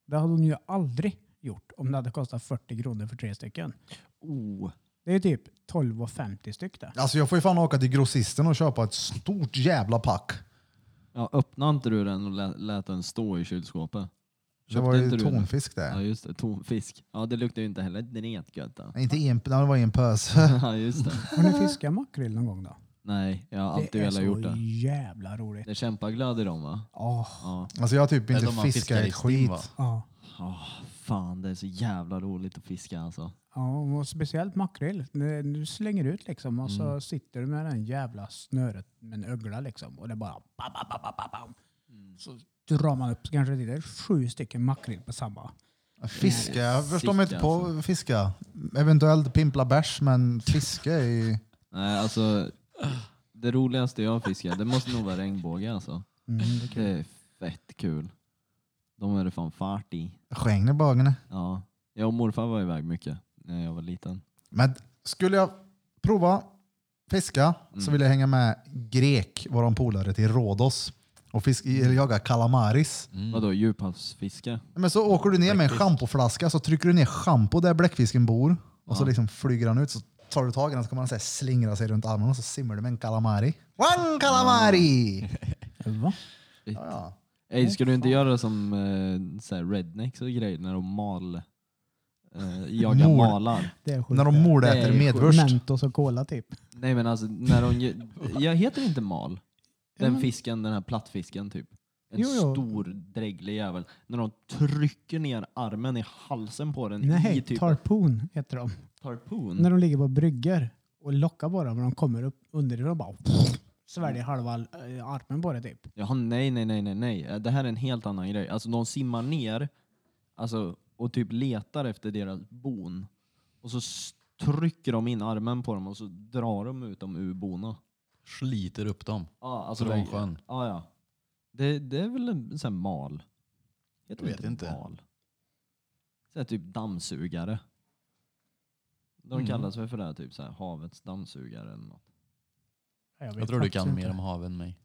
Det hade hon ju aldrig gjort om det hade kostat 40 kronor för tre stycken. Oh. Det är typ 12,50 styck det. Alltså jag får ju fan åka till grossisten och köpa ett stort jävla pack. Ja, öppnade inte du den och lät, lät den stå i kylskåpet? Det var inte ju du den? tonfisk Ja det. just det, tonfisk. Ja det luktar ju inte heller direkt gött. då. Nej, Inte i en, nej, det var i en pös. *laughs* *laughs* Ja just det. Har ni fiskat makrill någon gång då? Nej, jag har alltid det är velat så gjort det. jävla roligt. Det är kämpaglöd i dem va? Åh, Ja. Alltså jag har typ Det är inte de man fiskar fiskat i ett stim, skit. va? ja. Åh, fan det är så jävla roligt att fiska alltså. Ja, och speciellt makrill. Det- Du slänger ut liksom och så sitter du med den jävla snöret med en ögla liksom och det bara bam, bam, bam, bam, bam, bam. Så drar man upp så kanske det är sju stycken makrill på samma. Fiska, jag förstår mig inte Fiska, på fiska. Eventuellt pimpla bärs men fiske är ju... Nej alltså, det roligaste jag fiskar det måste nog vara regnbåge alltså. det är fett kul. De är det fan fart i. Skäng i bögarna. Ja. Jag och morfar var iväg mycket när jag var liten. Men skulle jag prova fiska så vill jag hänga med grek, våran polare till Rhodos och fisk, eller jaga kalamaris. Vadå djuphavsfiske? Men så åker du ner med en schampoflaska så trycker du ner schampo där bläckfisken bor och så liksom flyger han ut så tar du tag i den så kommer han så här slingra sig runt armarna och så simmar du med en kalamari. Wang kalamari! Va? Shit. Ja. Ey, ska du inte göra som eh, så här rednecks och grejer när de mal, eh, jagar Mord. malar? Det är sjukt. När de mordäter Nej, medvurst. Mentos och cola typ. Nej men alltså, när *laughs* de, ge- jag heter inte mal. Den fisken, den här plattfisken typ. En Jo, jo. stor dräglig jävel. När de trycker ner armen i halsen på den i Nej, typ tarpon heter de. tarpon. När de ligger på brygger och lockar på dem och de kommer upp underifrån och bara sväljer halva eh, armen på det typ. Jaha, nej, nej, nej, nej, nej. Eh, Det här är en helt annan grej. Alltså de simmar ner alltså, och typ letar efter deras bon. Och så s- trycker de in armen på dem och så drar de ut dem ur bona. Sliter upp dem. Ja, alltså Från det- sjön. Ja, ja. Det, det är väl en sån här mal? Heter Jag det vet inte. Mal. Så här, typ dammsugare. De Mm. kallas väl för det här, typ så här, havets dammsugare eller något. vet Jag tror du faktiskt kan inte. mer om hav än mig.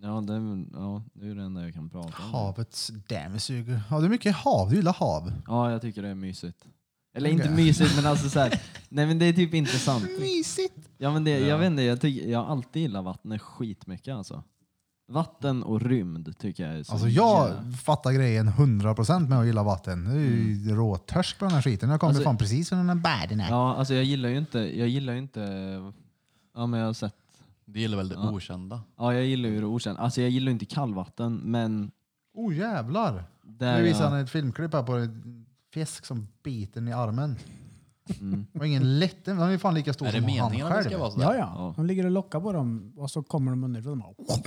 Ja, det, är väl- ja, det är det enda jag kan prata om. Havets dammsuger. Ja, det är mycket hav. Du gillar hav. Ja, jag tycker det är mysigt. Eller Okej. inte mysigt, men alltså så här, nej men det är typ intressant. Mysigt. Ja, men det, jag vet inte, jag, tycker, jag har alltid gillat vattnet skitmycket alltså. Vatten och rymd tycker jag är så Alltså jag jävla- fattar grejen 100% med att gilla vatten. Det är ju råtörsk på den här skiten. Jag kommer Alltså- fan precis från den här världen. här. Ja, alltså jag gillar ju inte, jag gillar ju inte, ja men jag har sett, Det gäller väl det Ja. okända. ja jag gillar ju det okänt. Alltså jag gillar ju inte kallvatten, men Oh jävlar. där nu visar han jag, ett filmklipp här på en fisk som biter den i armen. Mm, Och ingen lätten, han är ju fan lika stor Är det som han meningen att det själv. ska vara sådär? Ja, Ja. ja. De ligger och lockar på dem och så kommer de underifrån och bara,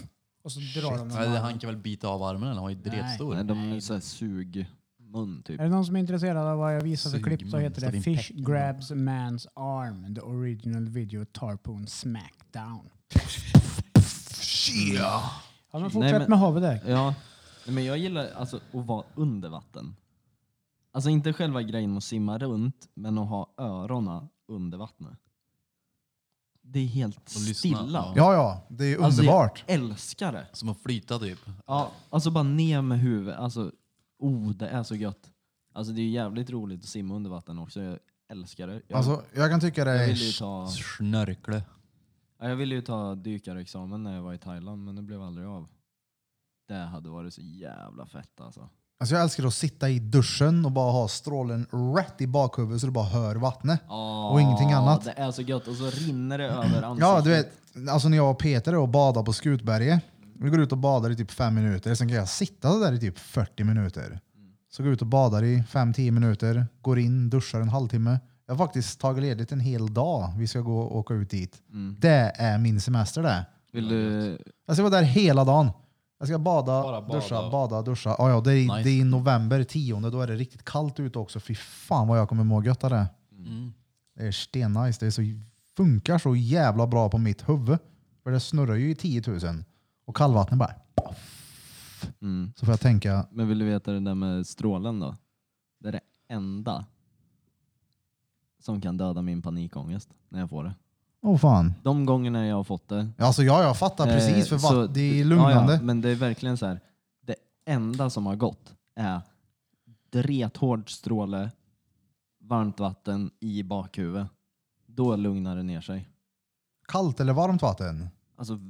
och så drar de dem. Nej, det- han kan väl bita av armen eller? Han är ju dretstor. nej, de är såhär sugmun typ. Är det någon som är intresserad av vad jag visar för klipp så Sugman, heter så det din Fish peck- grabs man's arm, the original video tarpon smackdown. Ja, men fortsätt Nej, men- med havet där. Ja, Nej, men jag gillar alltså att vara under vatten. Alltså inte själva grejen med att simma runt, men att ha öronen under vattnet. Det är helt Och lyssna, stilla. ja. Ja, ja. Det är ju Alltså, underbart. jag älskar det. Som att flyta typ. Ja, alltså bara ner med huvudet. Alltså, oh, det är så gött. Alltså det är jävligt roligt att simma under vatten också. Jag älskar det. Jag, Alltså, jag kan tycka det jag, är... ville ju ta, Snörkle. ja, jag ville ju ta dykarexamen när jag var i Thailand, men det blev aldrig av. Det hade varit så jävla fett alltså. Alltså, jag älskar att sitta i duschen och bara ha strålen rätt i bakhuvudet så du bara hör vattnet. Ja, Och ingenting annat. Det *clears throat* är så gött. Och så rinner det över ansiktet. Ja, du vet, alltså när jag och Peter och badade på Skutberget, Vi går ut och badar i typ fem minuter, sen kan jag sitta där i typ 40 minuter. Så går jag ut och badar i fem 10 minuter, går in, duschar en halvtimme. Jag har faktiskt tagit ledigt en hel dag. Vi ska gå och åka ut dit. Mm. Det är min semester det. Vill du... Alltså, Jag ska vara där hela dagen. Jag ska bada, Bara bada. duscha, bada, duscha. Ja, ja, det, är, Nice. det är i november 10, då är det riktigt kallt ute också. Fy fan vad jag kommer må gött av det. Mm. Det är stennice. Det är så, funkar så jävla bra på mitt huvud. För det snurrar ju i 10 000. Och kallvattnet bara... Mm. Så får jag tänka, Men vill du veta det där med strålen då? Det är det enda som kan döda min panikångest när jag får det. åh fan. De gångerna jag har fått det. Alltså ja, jag fattar eh, precis. För så- vatt, det är Ja, lugnande. ja, men det är verkligen så här. Det enda som har gått är drethård stråle, varmt vatten i bakhuvudet. Då lugnar det ner sig. Kallt eller varmt vatten? Alltså v-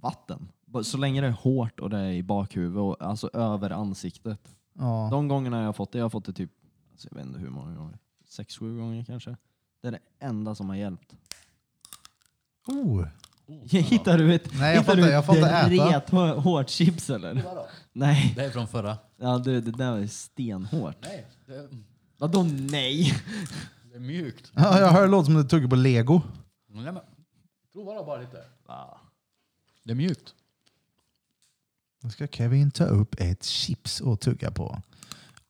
vatten. Bara Så länge det är hårt och det är i bakhuvudet, och, alltså över ansiktet. Ja. De gångerna jag har fått det, jag har fått det typ, alltså jag vet inte hur många gånger, sex, sju gånger kanske. Det är det enda som har hjälpt. *laughs* Oh. *laughs* Hittar du ett, Nej, jag hittar får inte- jag får inte ett äta. rethå- hårt chips eller? Nej, Det är från förra. ja, du, det där var ju stenhårt. Nej, det är, Vadå nej? det är mjukt. Ja, jag hör det låter som att du tuggar på lego. Nej, men, prova då bara lite. Det är mjukt. Nu ska Kevin ta upp ett chips och tugga på.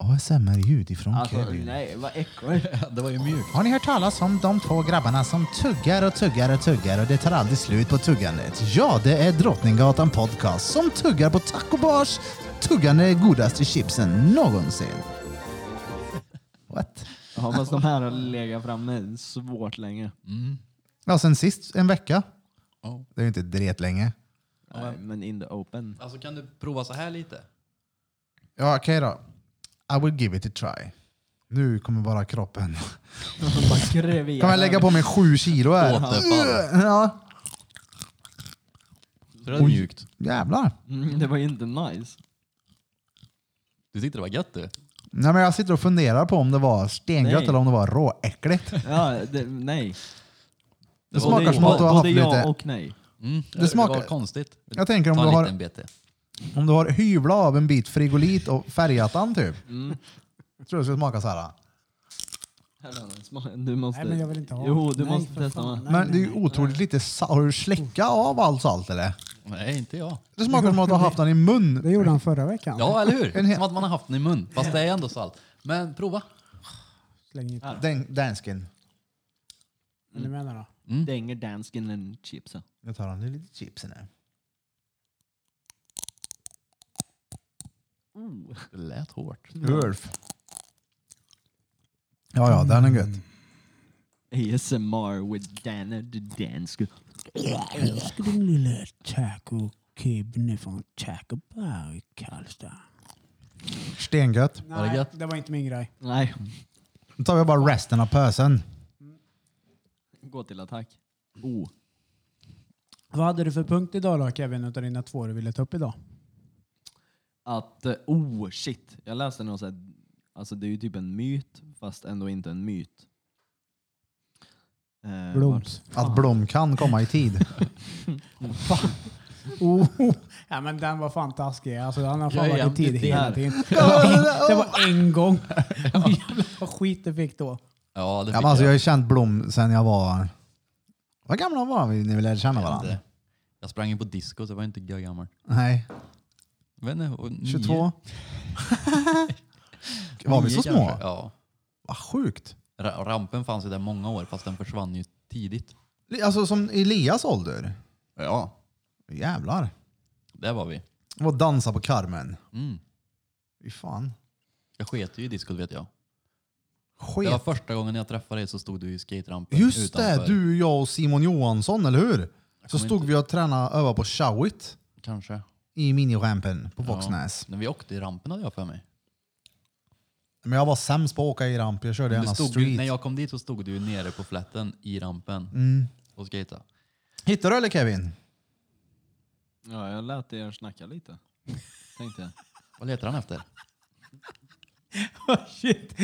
ASMR-ljud ifrån Alltså Kevin. nej, vad äckligt. Det var ju mjukt. Har ni hört talas om de två grabbarna som tuggar och tuggar och tuggar och det tar aldrig slut på tuggandet? Ja, det är Drottninggatan Podcast som tuggar på tacobars tuggande godaste chipsen någonsin. What? Ja, fast de här har legat framme svårt länge. Ja, sen sist en vecka. Ja. Det är ju inte dret länge. Nej, men in *laughs* the open. Alltså kan du prova så här lite? Ja, okej då. I will give it a try. Nu kommer bara kroppen. Kan jag lägga på mig sju kilo här? Återfall. Ja, Det är mjukt. jävlar. Mm, det var ju inte nice. Du tyckte det var gött du? Nej, men jag sitter och funderar på om det var stengött Nej. eller om det var råäckligt. Ja, det, nej. Det var smakar det. som att du har haft Både ja lite... och nej. Mm. Det, smakar- var konstigt. Jag tänker om Ta du en har- liten bete. Om du har hyvlat av en bit frigolit och färgat den typ. Jag tror det skulle smaka så här. Du måste... Nej, men jag vill inte ha. Jo, du Nej, måste för testa. fan. Nej, med. Men nej, det är ju nej. otroligt lite salt. Har du släckat av allt salt eller? Nej, inte jag. Det smakar som att du har haft den i mun. Det gjorde han förra veckan. Ja, eller En hel- hur? Som att man har haft den i mun. Fast det är ändå salt. Men prova. Släng hit. Den, dansken. Vad du menar då? Dänger dansken en chipsen. Jag tar den lite chipsen här. Det lät hårt. Ulf. Ja, ja, den är gött. ASMR with Danne the Danske. Älskar din lilla taco kibne från Taco Bar i Karlstad. Stengött. Var det Nej, gött? det var inte min grej. Nej, Nu tar vi bara resten av pösen. gå till attack. Oh. Vad hade du för punkt idag då Kevin, utav dina två du ville ta upp idag? Att, eh, oh shit. Jag läste någon sån här, alltså det är ju typ en myt, fast ändå inte en myt. Eh, Bloms. Att Blom kan komma i tid. Oh, *laughs* ja, men den var fantastisk. Alltså, han har fan Jag är varit i jämnt tid i hela tid. tiden. Det var, det var en gång. Och jävlar vad skit det fick då. Ja, det fick Ja, men alltså, jag jag. har ju känt Blom sen jag var... Vad gamla var vi när vi lärde känna Jag, varandra? inte. jag sprang in på disco så jag var inte jag gammal. Nej, Jag vet inte, och nio- *laughs* 22. var vi nio så små? kanske. Ja. Vad sjukt. Ra- Rampen fanns ju där många år fast den försvann ju tidigt. Alltså som Elias ålder. Ja. Jävlar. Där var vi. Och dansa på Carmen. Mm. Fy fan. Jag sket ju i discot vet jag. Det var Sket. första gången jag träffade dig så stod du i skaterampen Just utanför. det, du, jag och Simon Johansson, eller hur? Så kommer stod inte- vi och tränade och övade på showit Kanske. i minirampen på Ja. Våxnäs. När vi åkte i rampen hade jag för mig. Men jag var sämst på att åka i ramp. Jag körde Du gärna stod ju, street. när jag kom dit så stod du ju nere på flätten i rampen Mm. och skejtade. Hittade du eller Kevin? Ja, jag lät er *laughs* snacka lite. Tänkte jag. Vad letar han efter? Oh, shit. *laughs*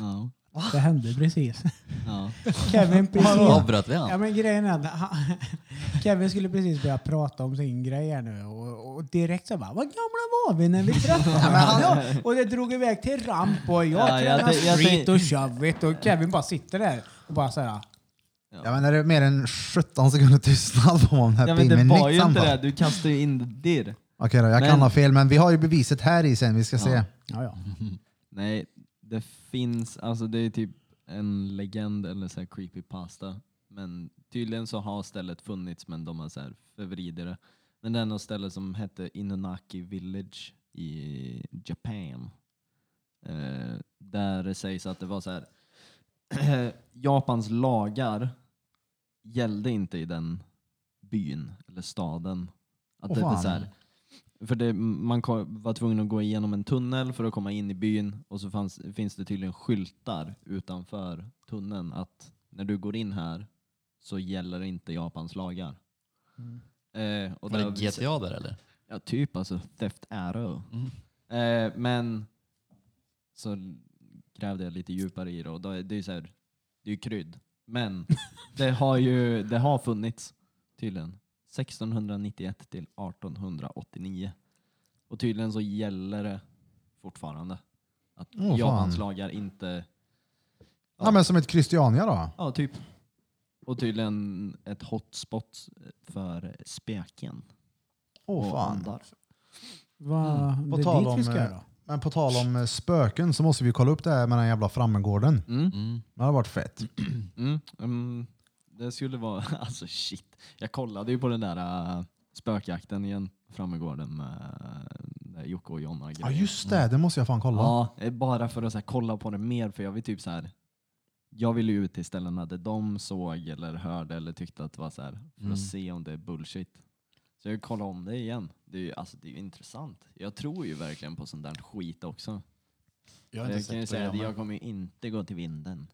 Oh. Ja. Det hände precis. Ja. Kevin precis... Avbröt vi Ja, han? men grejen är att han- *laughs* Kevin skulle precis börja prata om sin grej här nu och, och direkt så bara, vad gamla var vi när vi träffades? ja, och det drog iväg till ramp och jag Ja, jag tränade tän- jag street tän- och shovit och Kevin bara sitter där och bara såhär, Ja, men är det mer än 17 sekunder tystnad på om den här Ja, men pinnen? det var Nytt ju inte samtal. det, du kastade ju in det. Okej då, jag kan Men- ha fel, men vi har ju beviset här i sen. Vi ska se. Ja. ja ja. Nej, det finns, alltså det är typ en legend eller så här creepypasta. Men tydligen så har stället funnits men de har så här förvridit det. Men det är något ställe som hette Inunaki Village i Japan. Eh, där det sägs att det var så här *clears throat* Japans lagar gällde inte i den byn eller staden. Att Åh, det var fan. så här, för det, man ko- var tvungen att gå igenom en tunnel för att komma in i byn och så fanns, finns det tydligen skyltar utanför tunneln att när du går in här så gäller inte Japans lagar. Mm. Eh, och Var där det har vi GTA där eller? Ja, typ alltså. Theft arrow. Mm. Eh, men så grävde jag lite djupare i det och då, är- det är ju så här, det är ju krydd. *laughs* Men det har ju det har funnits tydligen. 1691 till 1889. Och tydligen så gäller det fortfarande. Att Åh, fan. Japans lagar inte... Ja, men som ett Christiania då. Ja, typ. Och tydligen ett hotspot för spöken. Åh och fan. andar. Vad, På det tal är dit vi om, ska eh, då? Men på tal om eh, spöken så måste vi kolla upp det här med den jävla Frammegården. Mm. Det har varit fett. Mm, mm, det skulle vara... *laughs* Alltså shit. Jag kollade ju på den där äh, spökjakten igen framme i gården med äh, Jocke och Jonna. Ja just det, det måste jag fan kolla. Ja, eh, bara för att så här, kolla på det mer för jag vill typ så här. Jag vill ju ut till ställena där de såg eller hörde eller tyckte att det var så här för Mm. att se om det är bullshit. Så jag vill kolla om det igen. Det är ju alltså, det är ju intressant. Jag tror ju verkligen på sånt där skit också. Jag Jag, kan ju säga att jag kommer ju inte gå till vinden.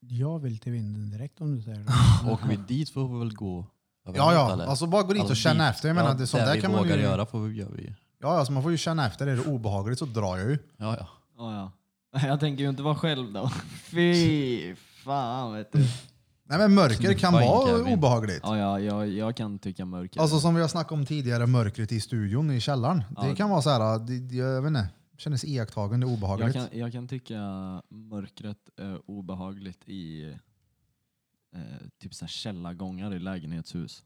Jag vill till vinden direkt om du säger det. Åker vi dit får vi väl gå Ja, överallt, ja. Alltså bara gå dit Alltså, och känna dit- efter. Jag menar, ja, det, sånt där där vi kan vågar man ju... göra får vi, gör vi ju. Ja, alltså man får ju känna efter. Är det obehagligt så drar jag ju. Ja, ja. Ja, ja. *laughs* Jag tänker ju inte vara själv då. *laughs* Fy fan vet du. Nej men mörker kan Fine, vara Kevin. obehagligt. Ja, ja, jag, jag kan tycka mörker. Alltså som vi har snackat om tidigare, mörkret i studion i källaren. Det Ja. kan vara så här, det, det- jag vet inte, kändes iakttagande jag, obehagligt. kan, jag kan tycka mörkret är obehagligt i eh, typ så här källargångar i lägenhetshus.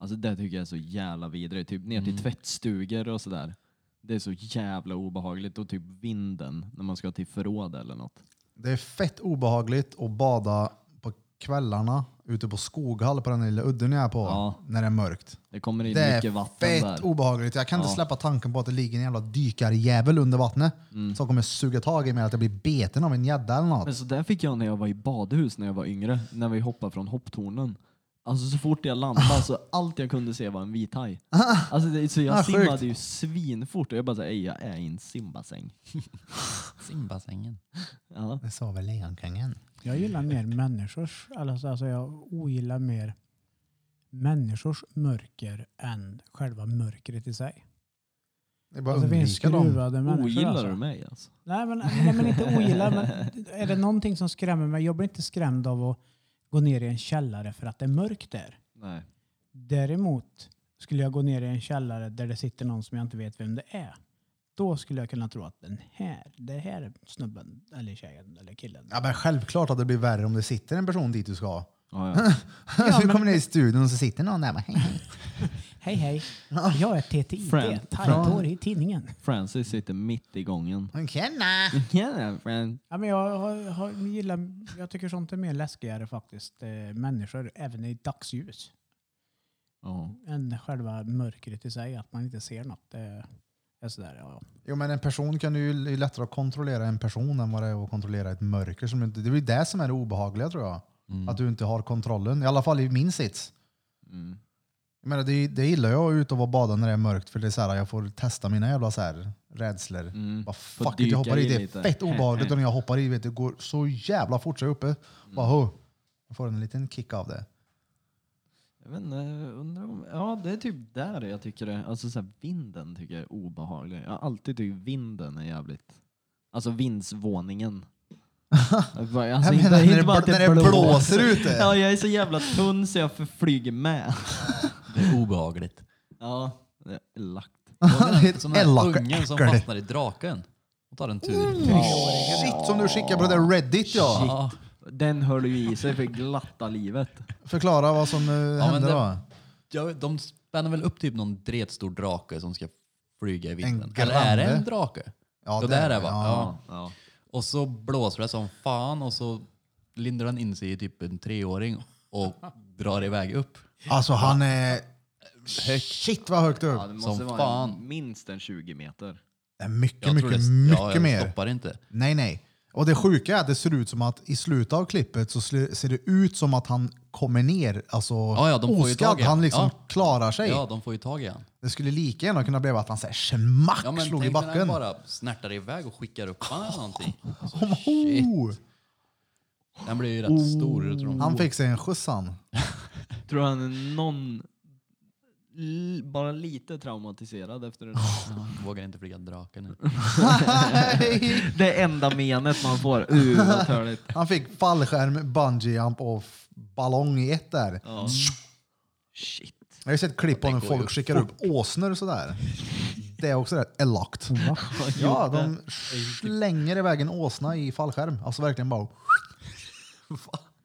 Alltså det tycker jag är så jävla vidrigt. Typ ner till Mm. tvättstugor och sådär. Det är så jävla obehagligt. Och typ vinden när man ska till förråd eller något. Det är fett obehagligt att bada på kvällarna ute på Skoghall på den lilla udden jag är på Ja. när det är mörkt. Det kommer in Det är mycket vatten fett där. obehagligt. Jag kan inte Ja. släppa tanken på att det ligger en jävla dykarjävel under vattnet Mm. som kommer suga tag i mig att jag blir beten av en gädda eller något. Men så där fick jag när jag var i badhus när jag var yngre, när vi hoppade från hopptornen. Alltså så fort jag landade så allt jag kunde se var en vit haj. Alltså det, så jag Ah, sjukt. simmade ju svinfort och jag bara såhär, "Ey, jag är i en simbassäng. Simbassängen. Ja. *laughs* Det sa väl Lejonkungen? Jag gillar *laughs* mer människors, alltså, alltså jag ogillar mer människors mörker än själva mörkret i sig. Det är bara Alltså, det finns undvika dem. skruvade människor. Ogillar alltså. du mig alltså? Nej men, nej, men inte ogillar. Men är det någonting som skrämmer mig? Jag blir inte skrämd av att gå ner i en källare för att det är mörkt där. Nej. Däremot skulle jag gå ner i en källare där det sitter någon som jag inte vet vem det är. Då skulle jag kunna tro att den här, det här är snubben eller tjejen eller killen. Ja, men självklart att det blir värre om det sitter en person dit du ska. Ja, ja. du kommer ner i studion och så sitter någon där och bara, "Hej, hej." Hej hej, jag är Friend. TTIT, tajthår i tidningen. Francis sitter mitt i gången. Tjena! Tjena Fran. Ja, men jag, har, har, gillar, jag tycker sånt är mer läskigare faktiskt. Eh, människor, även i dagsljus. Ja. än själva mörkret i sig, att man inte ser något. Det är sådär, ja. Jo men en person kan ju det är lättare att kontrollera en person än vad det är att kontrollera ett mörker. Som inte, det är ju det som är det obehagliga tror jag. Mm. Att du inte har kontrollen. I alla fall i min sits. Mm. Jag menar, det, det gillar jag ut och vara bada när det är mörkt för det är så här, jag får testa mina jävla så här, rädslor. Mm. Bara, Får fuck it, jag dyka hoppar i. in Det är lite. fett *laughs* obehagligt och när jag hoppar i vet du, det går så jävla fort så jag är uppe. Bara, ho. Jag får en liten kick av det. Jag vet inte, undrar om... Ja, det är typ där jag tycker det. Alltså så här, vinden tycker jag *laughs* är obehaglig. Jag har alltid tyckt vinden är jävligt... Alltså vindsvåningen. Alltså, men inte, när inte det bara bl- att det, när det blåser. blåser ute. Ja, jag är så jävla tunn så jag förflyger med. Det är obehagligt. Ja, det är elakt. *laughs* Det är ett Som den här elak ungen som äckel. fastnar i draken och tar en tur. Shit som du skickar på det där Reddit ja. Ja, Den höll ju i sig för glatta livet. Förklara vad som eh, hände det- då. jag vet, de spänner väl upp typ någon dretstor drake som ska flyga i vinden. En Eller är det granne. en drake? Ja, det det är där är det, va? ja. Ja. Ja. Och så blåser det som fan och så lindar den in sig i typ en treåring och drar iväg upp. Alltså han är... Shit vad högt upp. Ja, det måste Som vara fan. minst en 20 meter. Det är mycket, Jag tror mycket, det- ja, mycket jag mer. stoppar inte. Nej, nej. Och det sjuka är att det ser ut som att i slutet av klippet så sl- ser det ut som att han kommer ner alltså, Ja, ja, de får ju tag oskadd. i han. Han liksom Ja. klarar sig. Ja, de får ju tag i han. Det skulle lika gärna kunna bli att han såhär schmack Ja, men slog i tänk när backen. den bara snärtar iväg och skickar upp han eller *laughs* någonting. Alltså, shit. Oh, Den blir ju rätt stor. Jag tror de. han fick sig en skjuts han. *laughs* Tror han någon l- bara lite traumatiserad *laughs* efter det Han vågar inte flyga draken nu. *laughs* Det enda menet man får. Uh, vad törligt. han fick fallskärm, bungee jump och f- ballong i ett där. Ja. Shit. Jag har ju sett klipp på när går ju folk skickar upp åsnor sådär. Det är också rätt elakt. Ja, de slänger iväg en åsna i fallskärm. Alltså verkligen bara...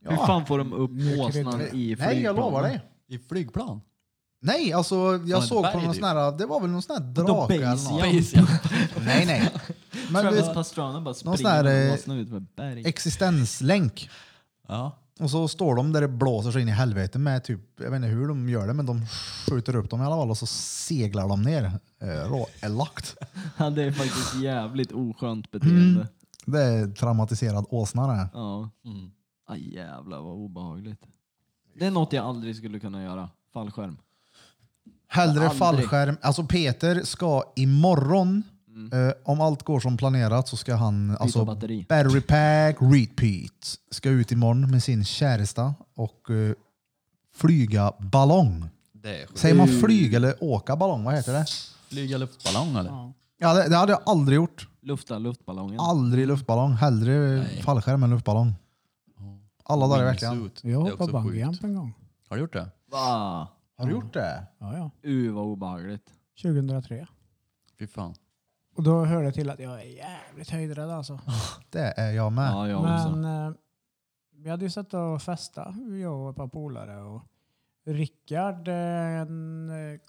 Hur Ja. fan får de upp åsnan i flygplanet? Nej, jag lovar dig. I flygplan? Nej, alltså jag ett såg på berg, någon typ. sån här, det var väl någon sån här De drake eller något. basic. Nej, nej. Men du Travis vet, Pastrana bara Någon sån här, springer med eh, åsnan ut med berg. existenslänk. Ja. Och så står de där det blåser så in i helvete med typ, jag vet inte hur de gör det, men de skjuter upp dem i alla fall och så seglar de ner. Eh, Rå elakt. Ja, det är faktiskt jävligt oskönt Mm. beteende. Det är traumatiserad åsna det. Ja. Mm. Ah, jävlar vad obehagligt. Det är något jag aldrig skulle kunna göra. Fallskärm. Hellre Aldrig. fallskärm. Alltså Peter ska imorgon, eh, om allt går som planerat, så ska han... Alltså, batteri. battery pack, repeat. Ska ut imorgon med sin käresta och eh, flyga ballong. Det är sjukt. Säger man flyga eller åka ballong? Vad heter det? Flyga luftballong eller? Ja, det, det hade jag aldrig gjort. Lufta luftballongen. Aldrig luftballong. Hellre fallskärm än luftballong. Alla dagar i veckan. Wingsuit. Jag Det är hoppade också sjukt. bungyjump en gång. Har du gjort det? Ah, Har du gjort det? Ja, ja. uh, vad obehagligt. 2003. Fy fan. Och då hörde jag till att jag är jävligt höjdrädd alltså. Det är jag med. Ja, jag också. Men eh, vi hade ju suttit och festa, jag och ett par polare. Och Rickard, eh, en eh,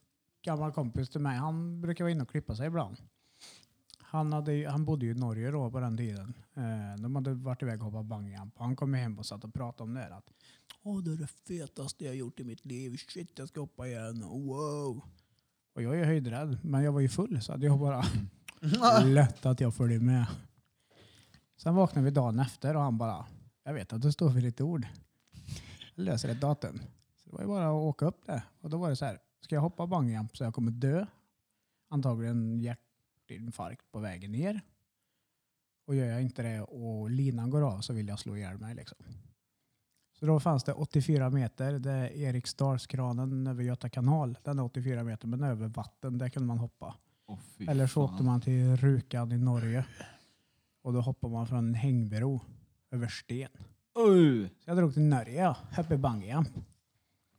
gammal kompis till mig, han brukar vara inne och klippa sig ibland. Han, hade, ju- han bodde ju i Norge då på den tiden. Eh, de hade varit iväg och hoppat bungyjump. Han kom hem och satt och pratade om det. här, Att, Åh, det är det fetaste jag gjort i mitt liv. Shit, jag ska hoppa igen. Wow! Och jag är ju höjdrädd, men jag var ju full så att jag *laughs* bara... Lätt att jag följer med. Sen vaknade vi dagen efter och han bara, jag vet att du står för ditt ord. Jag löser ett datum. Så det var ju bara att åka upp det. Och då var det så här, ska jag hoppa bungyjump så jag kommer dö? Antagligen hjärtinfarkt på vägen ner. Och gör jag inte det och linan går av så vill jag slå ihjäl mig. Liksom. Så då fanns det 84 meter, det är Eriksdalskranen över Göta kanal. Den är 84 meter men över vatten, där kunde man hoppa. Åh, fy Eller så fan. åkte man till Rukan i Norge. Och då hoppar man från en hängbro över sten. Uh, Så jag drog till Norge, ja. Happy Bungyjump.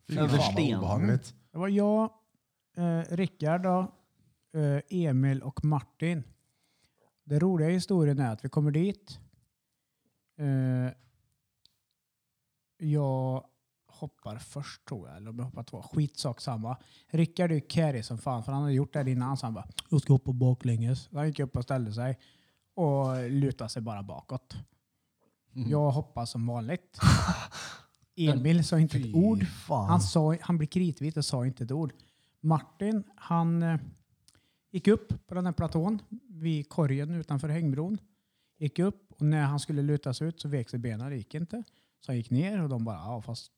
Fy Över fan vad sten. obehagligt. Det var jag, eh, Rickard, då, eh, Emil och Martin. Det roliga i historien är att vi kommer dit. Eh, jag hoppar först tror jag, eller om jag hoppar två. Skitsak samma. Rickard är ju carry som fan, för han har gjort det här innan. Så han bara, jag ska hoppa baklänges. Så Han gick upp och ställde sig och lutade sig bara bakåt. Jag hoppar som *laughs* vanligt. Emil sa inte ett ord. Fy fan. Han, sa, han blev kritvit och sa inte ett ord. Martin, han eh, gick upp på den här platån vid korgen utanför hängbron. Gick upp och när han skulle luta sig ut så vek sig benen, det gick inte. Så han gick ner och de bara, ja fast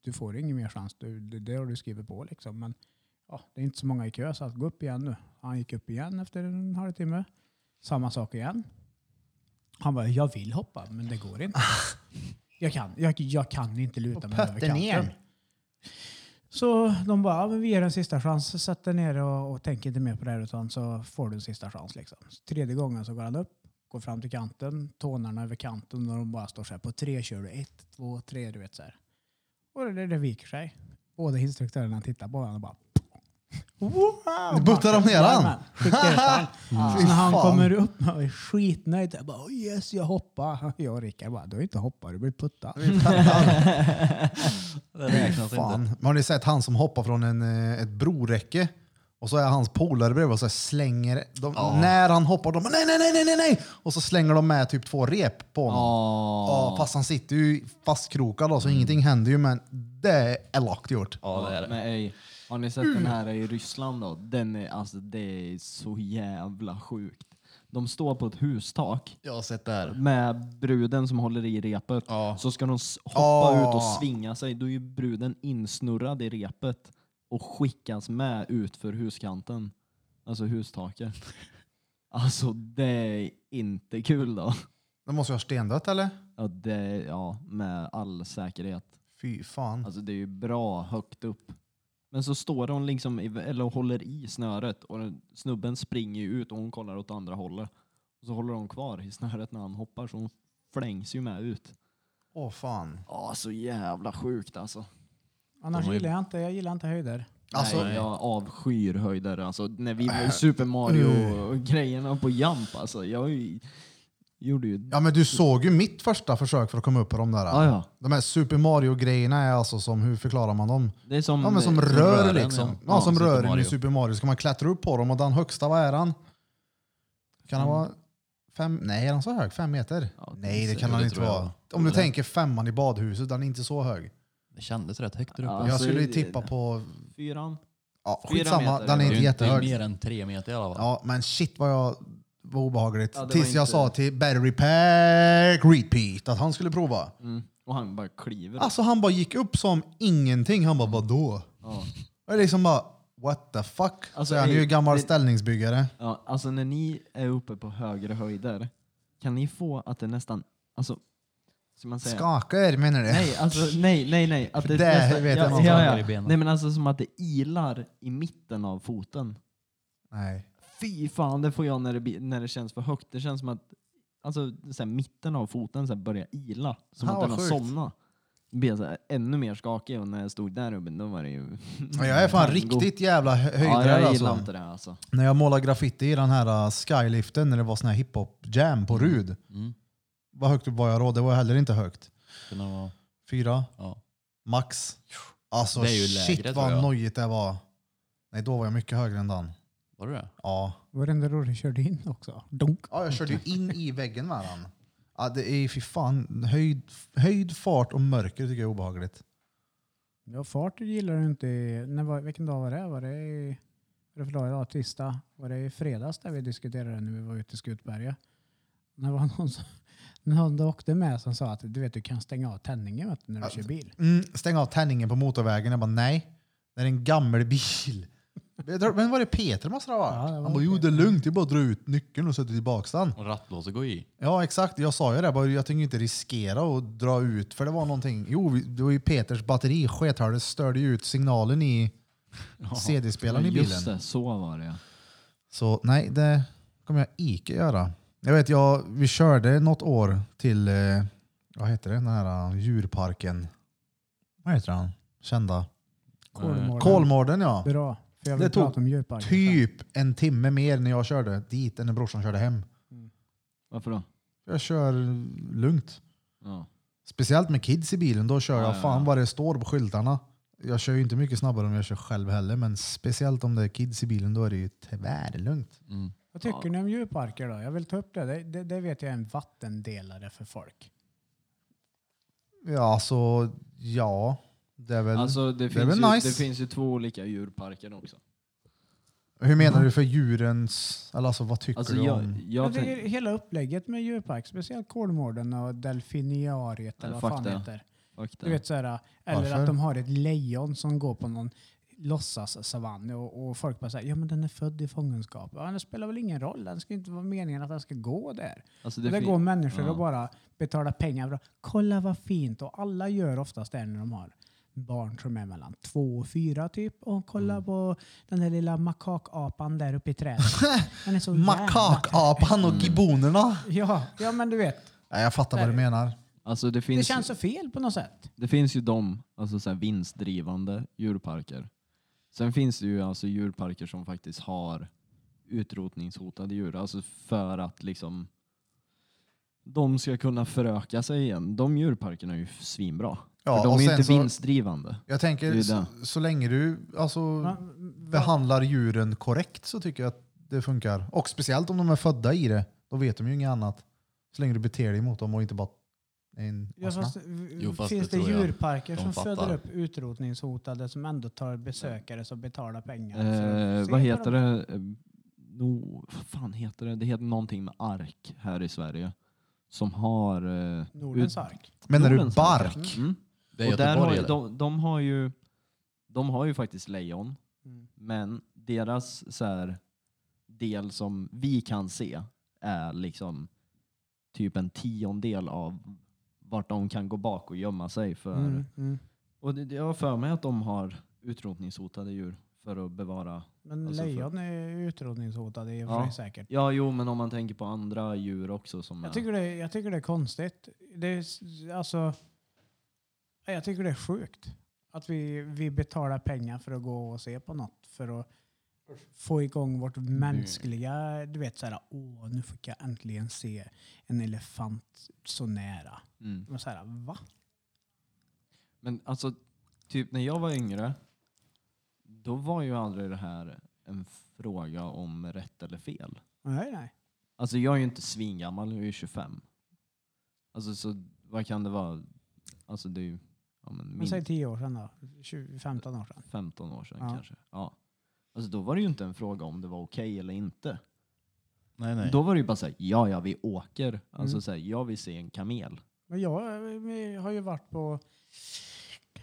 du får ingen mer chans, du, det, det har du skrivit på liksom. Men ja, det är inte så många i kö så att gå upp igen nu. Han gick upp igen efter en halvtimme. Samma sak igen. Han bara, jag vill hoppa men det går *laughs* inte. Jag kan, jag, jag kan inte luta mig över Pötte kanten. ner. Så de bara, ja, men vi ger en sista chans. Sätt dig ner och, och tänk inte mer på det här utan så får du en sista chans. Liksom. Så tredje gången så går han upp, går går fram till kanten, tånarna över kanten och de bara står så här. På tre kör du ett, två, tre, du vet så här. Och det, det, det viker sig. Båda instruktörerna tittar på varandra och bara Wow! Nu buttar de ner han. Jajamän, skickar ut han. Så när han Fy fan. kommer upp, han är skitnöjd. Jag bara, oh yes, jag hoppar. *laughs* Jag och Rickard bara, du har inte hoppat, du blir puttad. Det räknas Fan. inte. Men har ni sett han som hoppar från en, eh, ett broräcke? Och så är hans polare bredvid och så här slänger de, När han hoppar, de bara, nej, nej, nej, nej, nej, nej! Och så slänger de med typ två rep på honom. Ja, fast han sitter ju fastkrokad då, så ingenting händer ju. Men det är elakt gjort. Ja, det är det. Men ej, har ni sett den här i Ryssland då? Den är, alltså, det är så jävla sjukt. De står på ett hustak Jag har sett det här. med bruden som håller i repet. Ja. Så ska de s- hoppa Ja. ut och svinga sig. Då är ju bruden insnurrad i repet och skickas med ut för huskanten. Alltså hustaket. Alltså det är inte kul då. Det måste ju ha stendött eller? Ja, det, ja med all säkerhet. Fy fan. Alltså det är ju bra högt upp. Men så står hon liksom, i, eller håller i snöret och den- snubben springer ju ut och hon kollar åt andra hållet. Och så håller hon kvar i snöret när han hoppar så hon flängs ju med ut. Åh fan. Ja, så jävla sjukt alltså. Annars De har ju- gillar jag inte, jag gillar inte höjder. Alltså, Nej, jag avskyr höjder. Alltså, när vi var i Super Mm. Mario-grejerna på Jump alltså. Jag ju- gjorde ju... Ja men du såg ju mitt första försök för att komma upp på de där. Ja, ja. De här Super Mario-grejerna är alltså som, hur förklarar man dem? Det är som... eh, Ja men som som rör rören, liksom. ja. Ja, Ja, som Super rör Mario. i Super Mario. Ska man klättra upp på dem och den högsta, vad är han? Kan han vara fem? Nej, är han så hög? Fem meter? Ja, Nej, det det kan han tror inte jag. vara. Om du tänker femman i badhuset, den är inte så hög. Det kändes rätt högt där uppe. Ja. Jag Alltså, skulle ju det- tippa på... Fyran. Ja, Fyra skitsamma, meter. den är Det är inte ju inte det är jättehög. mer än tre meter i alla fall. Ja, men shit vad jag... Vad obehagligt. Ja, det var Tills jag inte- sa till Barry Pack Repeat att han skulle prova. Mm. Och han bara kliver. Alltså han bara gick upp som ingenting. Han bara vadå? Ja. Jag är liksom bara what the fuck? Alltså, så han är ju ey, gammal det- ställningsbyggare. Ja, alltså när ni är uppe på högre höjder, kan ni få att det nästan, alltså, ska man säga? Skakar menar du? Nej, alltså nej, nej, nej. Att det Det nästan, vet jag ja, någon som ja, hackar i ja. benen. Nej men alltså som att det ilar i mitten av foten. Nej. Fy fan, det får jag när det, blir- när det känns för högt. Det känns som att alltså, så här, mitten av foten så här, börjar ila. Som Ja, att den har vad sjukt. somnat. Då blir jag så här, ännu mer skakig och när jag stod där uppe då var det ju... Men jag är fan Tango. riktigt jävla hö- Ja, höjdrädd jag gillar alltså. inte det alltså. När jag målade graffiti i den här uh, skyliften när det var sån här hiphop-jam på Rud. Mm. Vad högt upp var jag då? Det var heller inte högt. Kunde vara, Fyra, ja. max. Alltså Det är ju shit lägre, tror vad jag. nojigt det var. Nej, då var jag mycket högre än den. Var det det? Ja. Varenda rolig körde in också. Dunk. Ja, jag körde ju in i väggen med den. Ja, det är fy fan. Höjd, höjd, fart och mörker tycker jag är obehagligt. Ja, fart gillar du inte. i- När, var- vilken dag var det? Var det, i- var det för dag idag? Tisdag? Var det i fredags där vi diskuterade det när vi var ute i Skutberga? När var någon som, någon du åkte med som sa att du vet du kan stänga av tändningen vet du, när du kör bil. Mm, stäng av tändningen på motorvägen. Jag bara nej, det är en gammal bil. Jag tror- Men var det Peter måste det ha Ja, varit? det var Han bara jo det är lugnt, det är bara att dra ut nyckeln och sätta tillbaka den. Och rattlåset går i. Ja exakt, jag sa ju det. Jag bara, Jag tänker inte riskera att dra ut för det var någonting. Jo, vi- det var ju Peters batteri, skethålet störde ju ut signalen i CD-spelaren i bilen. Just det, så var det ja. Så nej, det kommer jag icke göra. Jag vet, jag, vi körde något år till, eh, vad heter det, den här eh, djurparken. Vad heter han? Kända. Kolmården. Kolmården ja. Bra. För jag vill Det tog prata om djurparken. Typ en timme mer när jag körde dit än när brorsan körde hem. Varför då? Jag kör lugnt. Ja. Speciellt med kids i bilen, då kör Ja, jag ja, fan ja. vad det står på skyltarna. Jag kör ju inte mycket snabbare om jag kör själv heller, men speciellt om det är kids i bilen, då är det ju tvärlugnt. Mm. Vad tycker ni om djurparker då? Jag vill ta upp det. Det, det. det vet jag är en vattendelare för folk. Ja, alltså, ja. Det är väl... Alltså det, är finns väl ju, nice. det finns ju två olika djurparker också. Hur menar du för djurens... Eller alltså vad tycker Alltså du jag, om... jag Jag tänk, tycker hela upplägget med djurpark, speciellt Kolmården och delfiniariet eller Nej, vad fuck fan det. heter. fuck Du det. vet, såhär, eller Varför? att de har ett lejon som går på någon låtsas-savann och, och folk bara säger ja men den är född i fångenskap. Ja, men det spelar väl ingen roll, det ska ju inte vara meningen att den ska gå där. Alltså, Det, det det fin- går människor ja. och bara betalar pengar för att kolla vad fint och alla gör oftast det när de har. barn som är mellan två och fyra typ och kolla på den där lilla makakapan där uppe i trädet. Den är så jävla- Makakapan Mm. och gibonerna. Ja, ja, men du vet. Ja, jag fattar vad du menar. Alltså det Det finns, känns så fel på något sätt. det finns ju de alltså så här vinstdrivande djurparker. Sen finns det ju alltså djurparker som faktiskt har utrotningshotade djur. Alltså för att liksom de ska kunna föröka sig igen. De djurparkerna är ju svinbra. Ja, för och de är sen inte så- vinstdrivande. Jag Det tänker, är så, så länge du alltså, behandlar djuren korrekt så tycker jag att det funkar. Och speciellt om de är födda i det. Då vet de ju inget annat. Så länge du beter dig mot dem och inte bara är en Ja, asna. fast, eh, Jo, fast finns det, det tror jag djurparker de som fattar. föder upp utrotningshotade som ändå tar besökare som betalar pengar? för Eh, att vad se på heter dem? det? Eh, No, vad fan heter det? Det heter någonting med ark här i Sverige. Som har... Eh, Nordens ut- ark. Men när du Nordens ark, bark? Mm. Det är Och där har, Göteborg ju- eller? de, de, har ju, de har ju faktiskt lejon, Mm. men deras så här, del som vi kan se är liksom typ en tiondel av vart de kan gå bak och gömma sig. För. Mm, mm. Och det, jag har för mig att de har utrotningshotade djur för att bevara. Men Alltså, för- lejon är ju utrotningshotade i och Ja. för sig säkert. Ja, jo, men om man tänker på andra djur också. Som Jag är- tycker, det, jag tycker det är konstigt. Det är, s- alltså, nej, jag tycker det är sjukt att vi, vi betalar pengar för att gå och se på något för att få igång vårt mänskliga, du vet såhär, åh nu fick jag äntligen se en elefant så nära. mm. Men såhär, va? Men alltså, typ när jag var yngre, då var ju aldrig det här en fråga om rätt eller fel. Nej, nej. Alltså jag är ju inte svingammal, jag är ju 25. Alltså så vad kan det vara? Alltså det är ju ja, men Men säg minst 10 år sedan då, 20, 15 år sedan. 15 år sedan Ja. kanske. Ja. Alltså då var det ju inte en fråga om det var okej eller inte. Nej, nej. Då var det ju bara såhär, ja ja vi åker. Alltså Mm. så här, jag vill se en kamel. Men jag eh, vi har ju varit på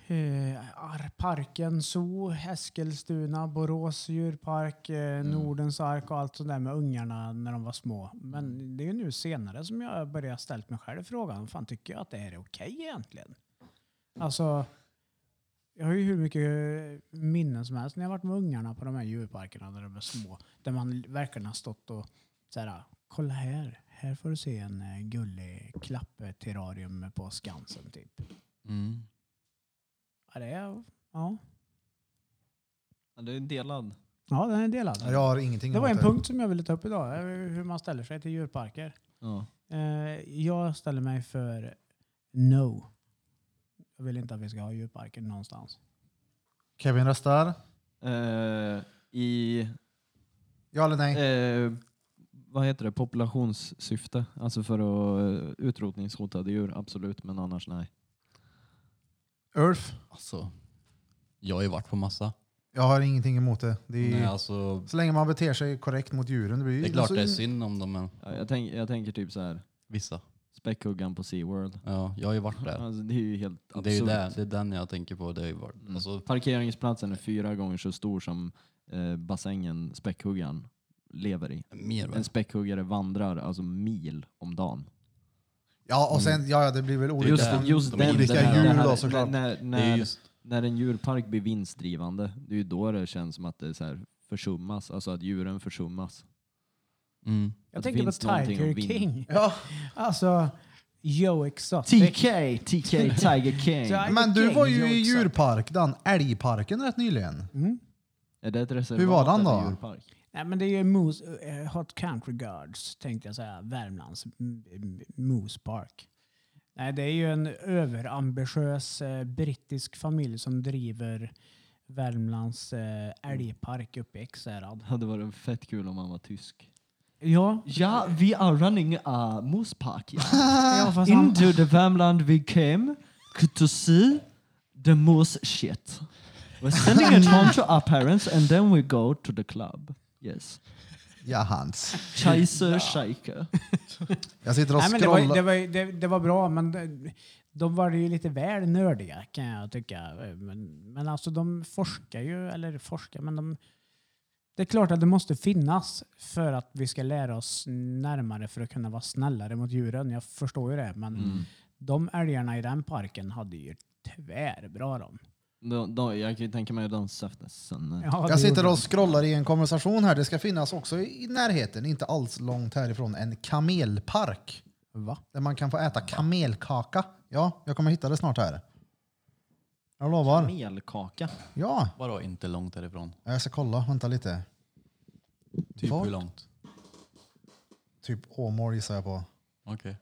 eh, Ar- Parken Zoo, Eskilstuna, Borås djurpark, eh, Nordens ark och allt sånt där med ungarna när de var små. Men det är ju nu senare som jag börjar ställa mig själv frågan, fan tycker jag att det här är okej egentligen? Alltså, jag har ju hur mycket minnen som helst när jag har varit med ungarna på de här djurparkerna när de var små. Där man verkligen har stått och så här, kolla här, här får du se en eh, gullig klappterrarium på Skansen typ. Mm. Ja, det är, ja. Ja, Det är delad. ja den är delad. Jag har ingenting Det var en emot punkt som jag ville ta upp idag, eh, hur man ställer sig till djurparker. Ja. Eh, Jag ställer mig för no. Jag vill inte att vi ska ha djurparker någonstans. Kevin röstar. Eh, I Ja eller nej? Eh, vad heter det? Populationssyfte. Alltså för att eh, utrotningshotade djur, absolut. Men annars nej. Ulf? Alltså, jag har ju varit på massa. Jag har ingenting emot det. det är, Nej, alltså, Så länge man beter sig korrekt mot djuren. Det, blir, ju- det är klart alltså, det är synd om dem, men Ja, Jag, tänk, jag tänker typ så här. vissa. späckhuggan på SeaWorld. Ja, jag har ju varit där. Alltså, det är ju helt absurt. Det är ju där, det är den jag tänker på. Det har ju varit, Mm. alltså, Parkeringsplatsen är fyra gånger så stor som eh, bassängen späckhuggan lever i. mer va? En späckhuggare vandrar alltså mil om dagen. Ja, och sen, ja, ja, det blir väl olika, Just, där- just de den, olika den här- djur den här- då såklart. När, när, Det är ju just, när en djurpark blir vinstdrivande, det är ju då det känns som att det är så här försummas. Alltså att djuren försummas. mm. Jag Att det tänker på finns någonting Tiger att vinna. King. *laughs* Ja, Alltså, Joe Exotic. TK, TK, Tiger King. Ja. men du Okej, var ju jag i också. djurpark, den älgparken rätt nyligen. Mm. Är det ett reservat Hur var den eller då? djurpark? Nej, men det är ju Moose, eh, Hot Country Guards, tänkte jag säga. Värmlands m- m- Moose Park. Nej, det är ju en överambitiös eh, brittisk familj som driver Värmlands eh, älgpark uppe i Ekshärad. Det hade varit fett kul om han var tysk. Ja, Ja, vi är running a moose park. Ja. *laughs* ja fast han, Into the Värmland we came to see the moose shit. We're sending it home to our parents and then we go to the club. Yes. Ja, hans. Kaiser Scheike. Jag sitter och nej, men det, var, ju- scrollar. det, var, ju- det, det var bra, men de, de var ju lite väl nördiga kan jag tycka. Eh, Men, men alltså de forskar ju, eller forskar, men de... Det är klart att det måste finnas för att vi ska lära oss närmare för att kunna vara snällare mot djuren. Jag förstår ju det, men de älgarna i den parken hade ju tvärbra de. De, de, jag kan ju tänka mig att de saftas sen. Ja, det Jag sitter gjorde och scrollar i en konversation här. Det ska finnas också i närheten, inte alls långt härifrån, en kamelpark. de. Va? Där man kan få äta kamelkaka. Ja, jag kommer hitta det snart här. Jag lovar. Melkaka. Ja, Vadå inte långt härifrån? jag ska kolla. Vänta lite. Typ Vart? hur långt? Typ Åmål gissar jag på. Okej.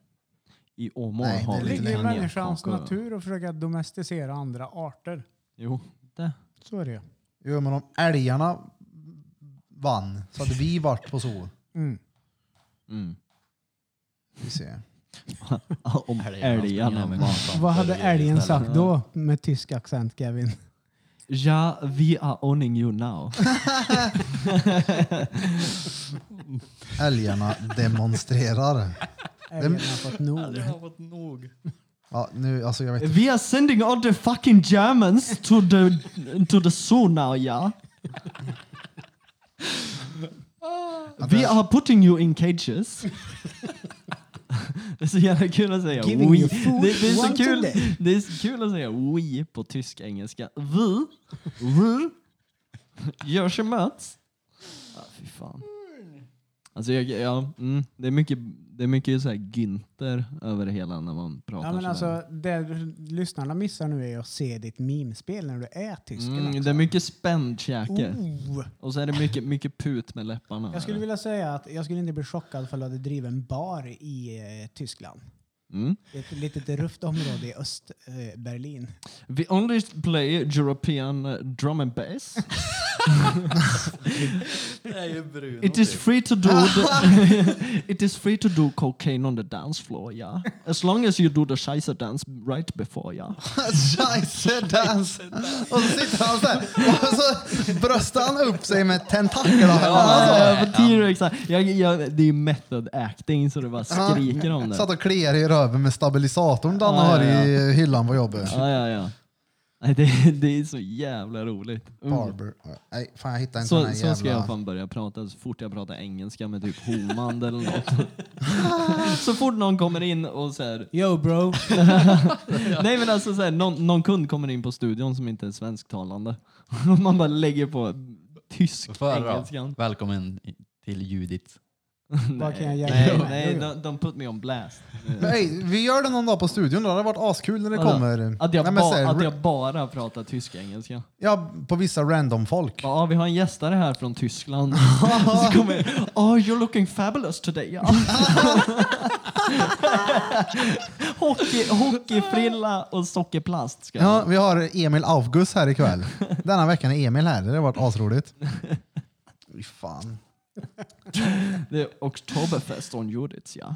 I Åmål Nej, har det Det vi ligger ligger i längre kamelkaka. människans natur att försöka domesticera andra arter. Jo, det. Så är det ju. Jo, men om älgarna vann så hade vi varit på zoo. Mm. Mm. Vi ser. Om älgarna springer var... med Vad hade kontanter i älgen istället. sagt då med tysk accent, Kevin? Ja, vi are owning you now. Älgarna demonstrerar. Älgen har fått *laughs* nog. Jag har fått nog. Ja, nu, alltså jag vet We are sending all the fucking Germans to the, to the zoo now, ja. We are putting you in cages. Det är så jävla kul att säga Giving we. you food Det, det, är så once a kul, day. det är så kul att säga we på tysk-engelska. Vi, vi, gör sig möts. Ah, fy fan. Alltså jag, ja, mm, det är mycket, det är mycket så här Günther över det hela när man pratar Ja, men sådär. alltså, det lyssnarna missar nu är att se ditt mimspel när du är tysken. Mm, också. det är mycket spänd käke. Oh. Och så är det mycket, mycket put med läpparna. Jag skulle vilja säga att jag skulle inte bli chockad för att du hade drivit en bar i eh, Tyskland. mm. Det är Ett litet rufft område i Östberlin. Eh, *laughs* Berlin. We only play European eh, drum and bass. Det är ju Bruno. typ. It is free to do the, *laughs* It is free to do cocaine on the dance floor, yeah. As long as you do the scheisse dance right before, yeah. Scheisse dance. Och så sitter han sådär och så bröstar han upp sig med tentaklarna. Alltså, på T-Rex, jag, jag, det är method acting så det bara skriker om det. Satt och kliar i röven med stabilisatorn Danne Ja, ja, har ja. i hyllan på jobbet. Ja, ja, ja. Nej, Det, det är så jävla roligt. Mm. Barber. Nej, fan jag hittar inte den Så, här så ska jag jävla... fan börja prata så fort jag pratar engelska med typ homan eller något. så fort någon kommer in och så här, Yo bro! Nej men alltså så här, någon, någon kund kommer in på studion som inte är svensktalande. *laughs* Och Man bara lägger på tysk engelskan. Välkommen i- till Judit. Vad kan jag hjälpa dig Nej, med? nej Jo, jo. de, de put me on blast. Nej, vi gör det någon dag på studion då. Det har varit askul när det Vadå? kommer... Att jag, Nej, men ba, så här, att jag bara pratar tysk engelska. Ja, på vissa random folk. Ja, vi har en gästare här från *laughs* Tyskland. Så kommer Oh, you're looking fabulous today. Ja. *laughs* Hockey, hockeyfrilla och sockerplast. Ska jag Ja, ha. vi har Emil Aufgus här *laughs* ikväll. Denna veckan är Emil här. Det har varit asroligt. Fy fan. Det är Oktoberfest on Judits, ja.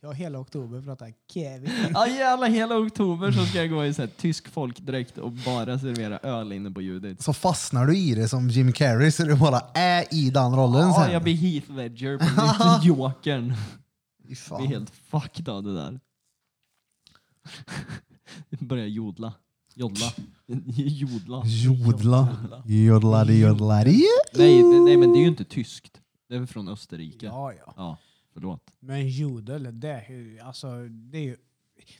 Jag har hela oktober pratat Kevin. Ja jävlar, hela oktober så ska jag gå i så här, tysk folkdräkt och bara servera öl inne på Judits. Så fastnar du i det som Jim Carrey så du bara är i den rollen Ja, sen. jag blir Heath Ledger på *laughs* nytt Jokern. Fy Det är fan. helt fucked av det där. *laughs* Börjar jodla. *laughs* Jodla. Jodla. Jodla. Jodladi jodladi. Nej, det- nej men det är ju inte tyskt. Det är väl från Österrike. Ja, Ja, ja. förlåt. Men jodel, det är ju... Alltså, det är ju...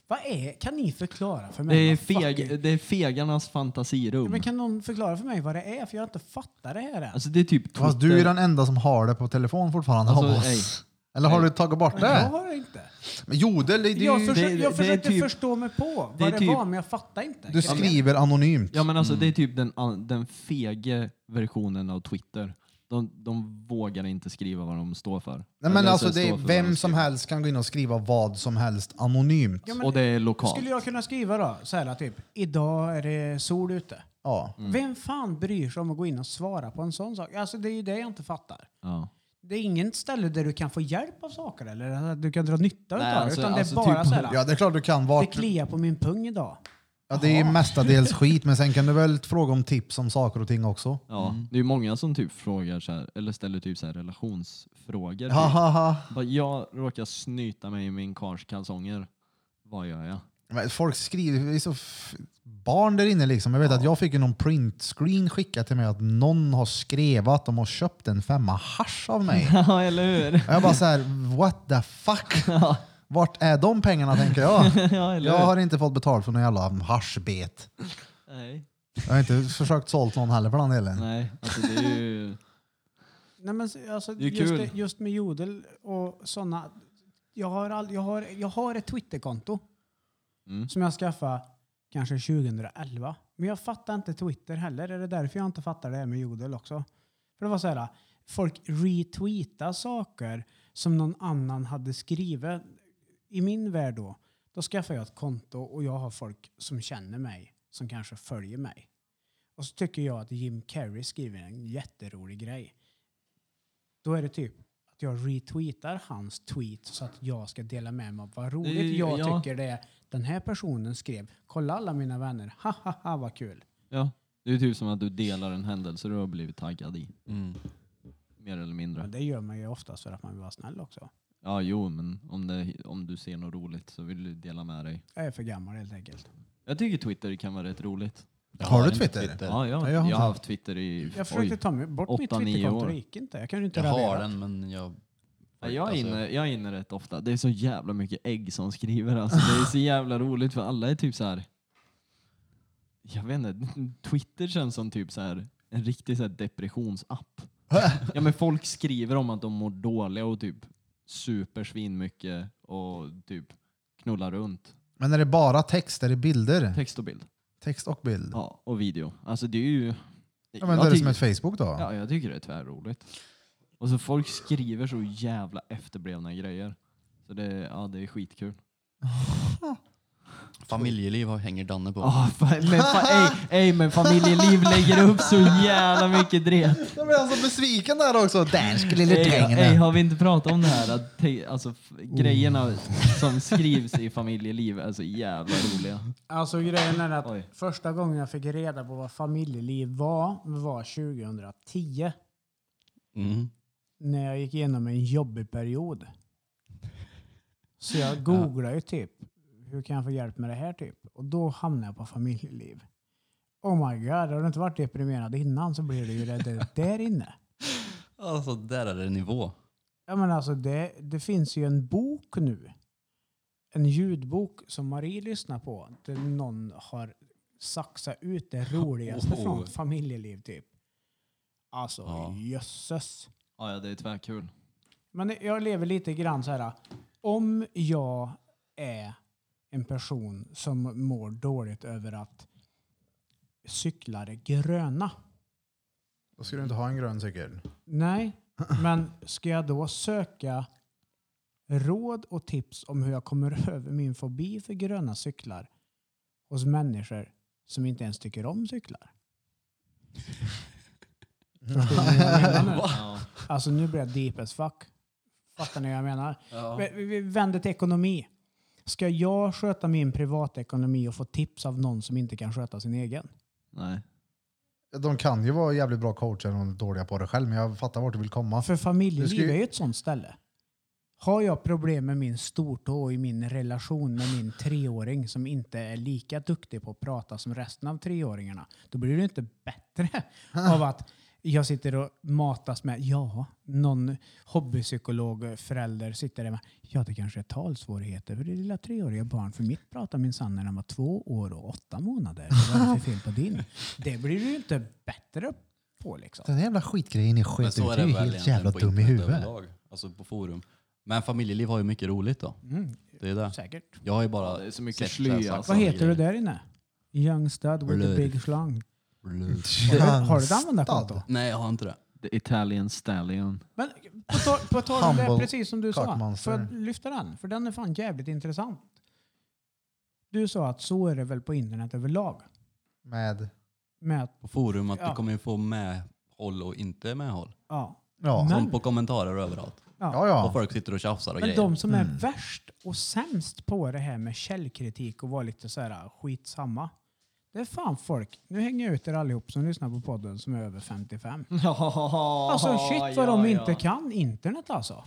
Vad är... Kan ni förklara för Det mig? är, vad fucking- feg, det är fegarnas Ja, fantasirum. Men kan någon förklara för mig vad det är? För jag har inte fattat det här än. Alltså det är typ Twitter. Fast du är den enda som har det på telefon fortfarande Alltså, av oss. ej. Eller har du tagit bort Jag det? har det inte. Men jodel, det, det, är jag, ju- försö- Äh. det- det jag är försökte typ- förstå mig på det är vad det, typ- var, men jag fattar inte. du skriver anonymt. Ja men alltså Mm. det är typ den, an- den fege versionen av Twitter. De, de vågar inte skriva vad de står för. Nej, men Eller så alltså, det är står för vad de vem som skriver. helst kan gå in och skriva vad som helst anonymt. Ja, men Och det är lokalt. Skulle jag kunna skriva då, så här typ, idag är det sol ute. Ja. Mm. Vem fan bryr sig om att gå in och svara på en sån sak? Alltså det är ju det jag inte fattar. Ja. Det är ingen ställe där du kan få hjälp av saker eller att du kan dra nytta av Nej, det. alltså- utan alltså det är bara typ- så här, ja, det är klart du kan. det Vart, kliar på min pung idag. ja, det är ju mestadels skit, men sen kan du väl fråga om tips om saker och ting också. Ja, det är ju många som typ frågar så här, eller ställer typ så här relationsfrågor. Ha, Typ. ha, ha. Bara, Jag råkar snyta mig i min kars kalsonger. Vad gör *laughs* jag? Men folk skriver, det är så f- barn där inne liksom. Jag vet att jag fick ju någon printscreen skickad till mig att någon har skrivit att de har köpt en femma hasch av *laughs* mig. Ja, eller hur? Och jag bara så här, what the *laughs* fuck? Vart är de pengarna tänker jag? ja, *laughs* eller Jag hur? har inte fått betalt för någon jävla haschbet. Nej. Jag har inte försökt sålt någon heller för den delen. Nej, alltså det är ju... *laughs* Nej, men, s- alltså, Det är just, kul. det, just med jodel och sådana. Jag har, all, jag, har, jag har ett Twitterkonto Mm. som jag skaffade kanske 2011. Men jag fattar inte Twitter heller. Är det därför jag inte fattar det här med jodel också? För det var så här, folk retweetar saker som någon annan hade skrivit. I min värld då, då skaffar jag ett konto och jag har folk som känner mig, som kanske följer mig. Och så tycker jag att Jim Carrey skriver en jätterolig grej. Då är det typ att jag retweetar hans tweet så att jag ska dela med mig av vad roligt jag ja. tycker det är. Den här personen skrev, kolla alla mina vänner, ha ha ha vad kul. Ja, det är typ som att du delar en händelse du har blivit taggad i. Mm. Mer eller Men mindre. det gör man ju oftast för att man vill vara snäll också. Ja, jo, men om, det, om du ser något roligt så vill du dela med dig. Jag är för gammal helt enkelt. Jag tycker Twitter kan vara rätt roligt. Jag Har du en Twitter? Ja, ja. jag Jag har har inte. haft Twitter i... Jag försökte ta mig bort mitt åtta, nio Twitterkonto, år. det gick inte. Jag kunde inte Jag har radera. den men jag... Ja, Jag är, alltså, inne, jag är inne rätt ofta. Det är så jävla mycket ägg som skriver. Alltså. Det är så jävla roligt för alla är typ så här. Jag vet inte, Twitter känns som typ så här, en riktig så här depressionsapp. ja, men folk skriver om att de mår dåliga och typ super svinmycket och typ knullar runt. Men är det bara text? Är det bilder? Text och bild. Text och bild? Ja, och video. Alltså det är ju... Ja, men jag det är det som tycker- ett Facebook då? Ja, jag tycker det är tvärroligt. Och så folk skriver så jävla efterblivna grejer. Så det, ja, det är skitkul. Familjeliv har- hänger Danne på. Ah, fa- men, fa- ey, ey, men familjeliv lägger upp så jävla mycket dret. Jag blir alltså besviken där också. Dansk lille Ey, ey, drängen. har vi inte pratat om det här? Att te- alltså, f- Oh. grejerna som skrivs i familjeliv är så jävla roliga. Alltså grejen är att Oj. första gången jag fick reda på vad familjeliv var, var 2010. Mm. När jag gick igenom en jobbig period. Så jag googlade ju typ, hur kan jag få hjälp med det här typ? Och då hamnade jag på familjeliv. Oh my god, har du inte varit deprimerad innan så blir du ju det där inne. Alltså där är det nivå. Ja, men alltså det, det finns ju en bok nu. En ljudbok som Marie lyssnar på. Där någon har saxat ut det roligaste Oh. från ett familjeliv typ. Alltså Ja. jösses. Ja, ja, det är tvärkul. Men jag lever lite grann så här. Om jag är en person som mår dåligt över att cyklar är gröna. Då ska du inte ha en grön cykel. Nej, men ska jag då söka råd och tips om hur jag kommer *laughs* över min fobi för gröna cyklar hos människor som inte ens tycker om cyklar? Förstår ni vad jag menar nu? Ja. Alltså nu blir jag deep as fuck. Fattar ni vad jag menar? Vi, vi- vi vänder till ekonomi. Ska jag sköta min privatekonomi och få tips av någon som inte kan sköta sin egen? Nej. De kan ju vara jävligt bra coacher om de är dåliga på det själv, men jag fattar vart du vill komma. För Du ska familjeliv ju- är ju ett sånt ställe. Har jag problem med min stortå och i min relation med min treåring som inte är lika duktig på att prata som resten av treåringarna, då blir det inte *laughs* bättre av att jag sitter och matas med, ja, någon hobbypsykolog, förälder sitter där med, ja det kanske är talsvårigheter för det lilla treåriga barn, för mitt pratar min sann när han var två år och åtta månader. Vad är det för fel på *laughs* din? Det blir du ju inte bättre på liksom. Den jävla skitgrejen ni Men sköt så ut, är du är det ju väl helt egentligen jävla på dum i internet huvudet. överlag, Alltså på forum. Men familjeliv har ju mycket roligt då. Mm, Det är det. säkert. Jag har ju Ja, bara det är så mycket sett sly, så här alltså. Vad saker. heter du där inne? Young stud with a Blöd. big schlong. Blöd. Har, har du ett användarkonto? Nej, jag har inte det. The Italian Stallion. Men på tal- på tal om det, Humble precis som du sa. cockmonster. Får jag lyfta den? För den är fan jävligt intressant. Du sa att så är det väl på internet överlag. Med, Med att, På forum att Ja. du kommer ju få medhåll och inte medhåll. ja. ja. Men- Som på kommentarer och överallt. ja, Och ja. folk sitter och tjafsar och Men grejer. de som är värst och sämst på det här med källkritik och vara lite så här ah, skitsamma. Det är fan folk. Nu hänger jag ut er allihop som lyssnar på podden som är över 55. Alltså shit vad de inte kan internet alltså.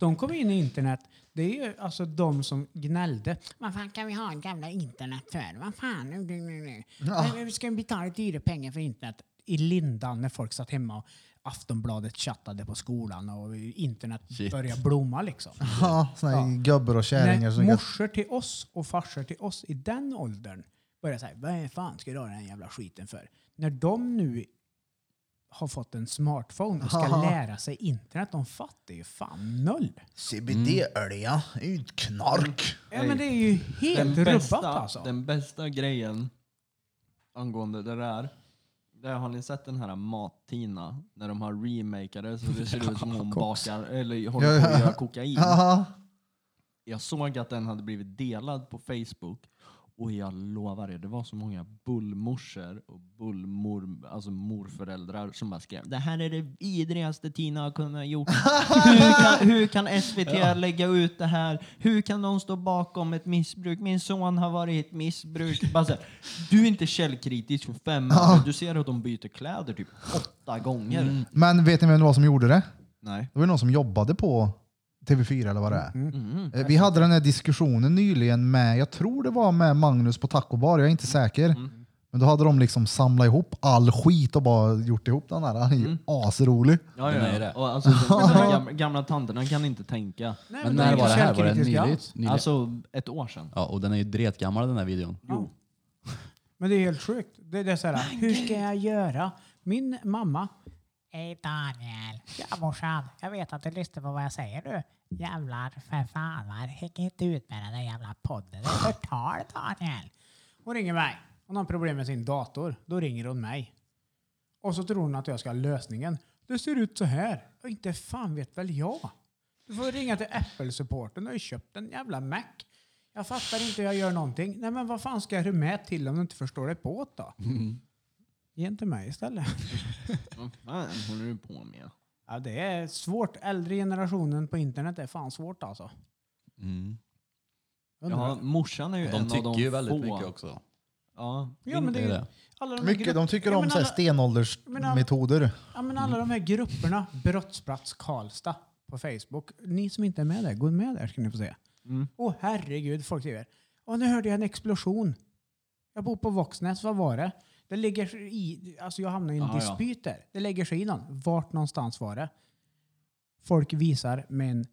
De kom in i internet. Det är ju alltså de som gnällde. Vad fan kan vi ha en gamla internet för? Vad fan? Nu, nu, nu, nu. Men Vi ska betala dyra pengar för internet. I lindan när folk satt hemma och Aftonbladet chattade på skolan och internet Shit. började blomma liksom. ja såna här gubbar och kärringar som När morsor till oss och farsor till oss i den åldern börjar säga, vad fan ska du ha den här jävla skiten för? När de nu har fått en smartphone och ska lära sig internet, de fattar ju fan noll. CBD-olja, det är ju ett knark. Ja, men det är ju helt rubbat alltså. Den bästa grejen angående det där, där har ni sett den här Mat-Tina? När de har remakade så det ser *laughs* ut som hon bakar, eller håller på att göra kokain. Haha. Jag såg att den hade blivit delad på Facebook och jag lovar er, det var så många bullmorsor och bullmor, alltså morföräldrar som bara skrev Det här är det vidrigaste Tina har kunnat gjort. hur, kan, hur kan SVT lägga ut det här? Hur kan de stå bakom ett missbruk? Min son har varit i ett missbruk. Bara så här, du är inte källkritisk för fem år. Du ser att de byter kläder typ åtta gånger. Men vet ni vem det var som gjorde det? Nej. Det var ju någon som jobbade på TV4 eller vad det är. Mm, Eh, Vi hade den här diskussionen nyligen med, jag tror det var med Magnus på Taco Bar, jag är inte säker. Men då hade de liksom samlat ihop all skit och bara gjort ihop den här. Han är ju asrolig. Ja, Den ja, är ja. det. Och alltså, de, de gamla, gamla tanterna kan inte tänka. Nej, Men när är var det här? Var det källkritisk nyligt? alls. nyligt? Alltså ett år sedan. Ja, och den är ju dretgammal den här videon. Mm. Ja. Men det är helt sjukt. Det, det är så här, hur ska jag göra? Min mamma, Hej Daniel. Ja morsan, jag vet att du lyssnar på vad jag säger nu. Jävlar för fan, va? häng inte ut med den där jävla podden. Det är förtal Daniel. hon ringer mig. Hon har problem med sin dator. Då ringer hon mig. Och så tror hon att jag ska ha lösningen. Det ser ut så här. Och inte fan vet väl jag. Du får ringa till Apple-supporten. Jag har ju köpt en jävla Mac. Jag fattar inte hur jag gör någonting. Nej men vad fan ska du med till om du inte förstår det på åt då? Mm. Ge inte mig istället. Vad fan håller du på med? Ja, det är svårt. Äldre generationen på internet är fan svårt alltså. Mm. Undrar. Ja, morsan är ju De en av tycker de ju väldigt få. mycket också. Ja, Ja, men det Det är är ju det. alla de här Mycket, de tycker ja, om men så här alla, men alla- stenåldersmetoder. ja, men alla de här grupperna, Brottsplats Karlstad på Facebook. Ni som inte är med där, gå med där ska ni få se. Mm. Åh herregud, folk skriver. Åh, nu hörde jag en explosion. Jag bor på Våxnäs, vad var det? Det ligger sig i, alltså jag hamnade i en Ja, ja. dispyt där. Det lägger sig i någon. Vart någonstans var det? Folk visar med en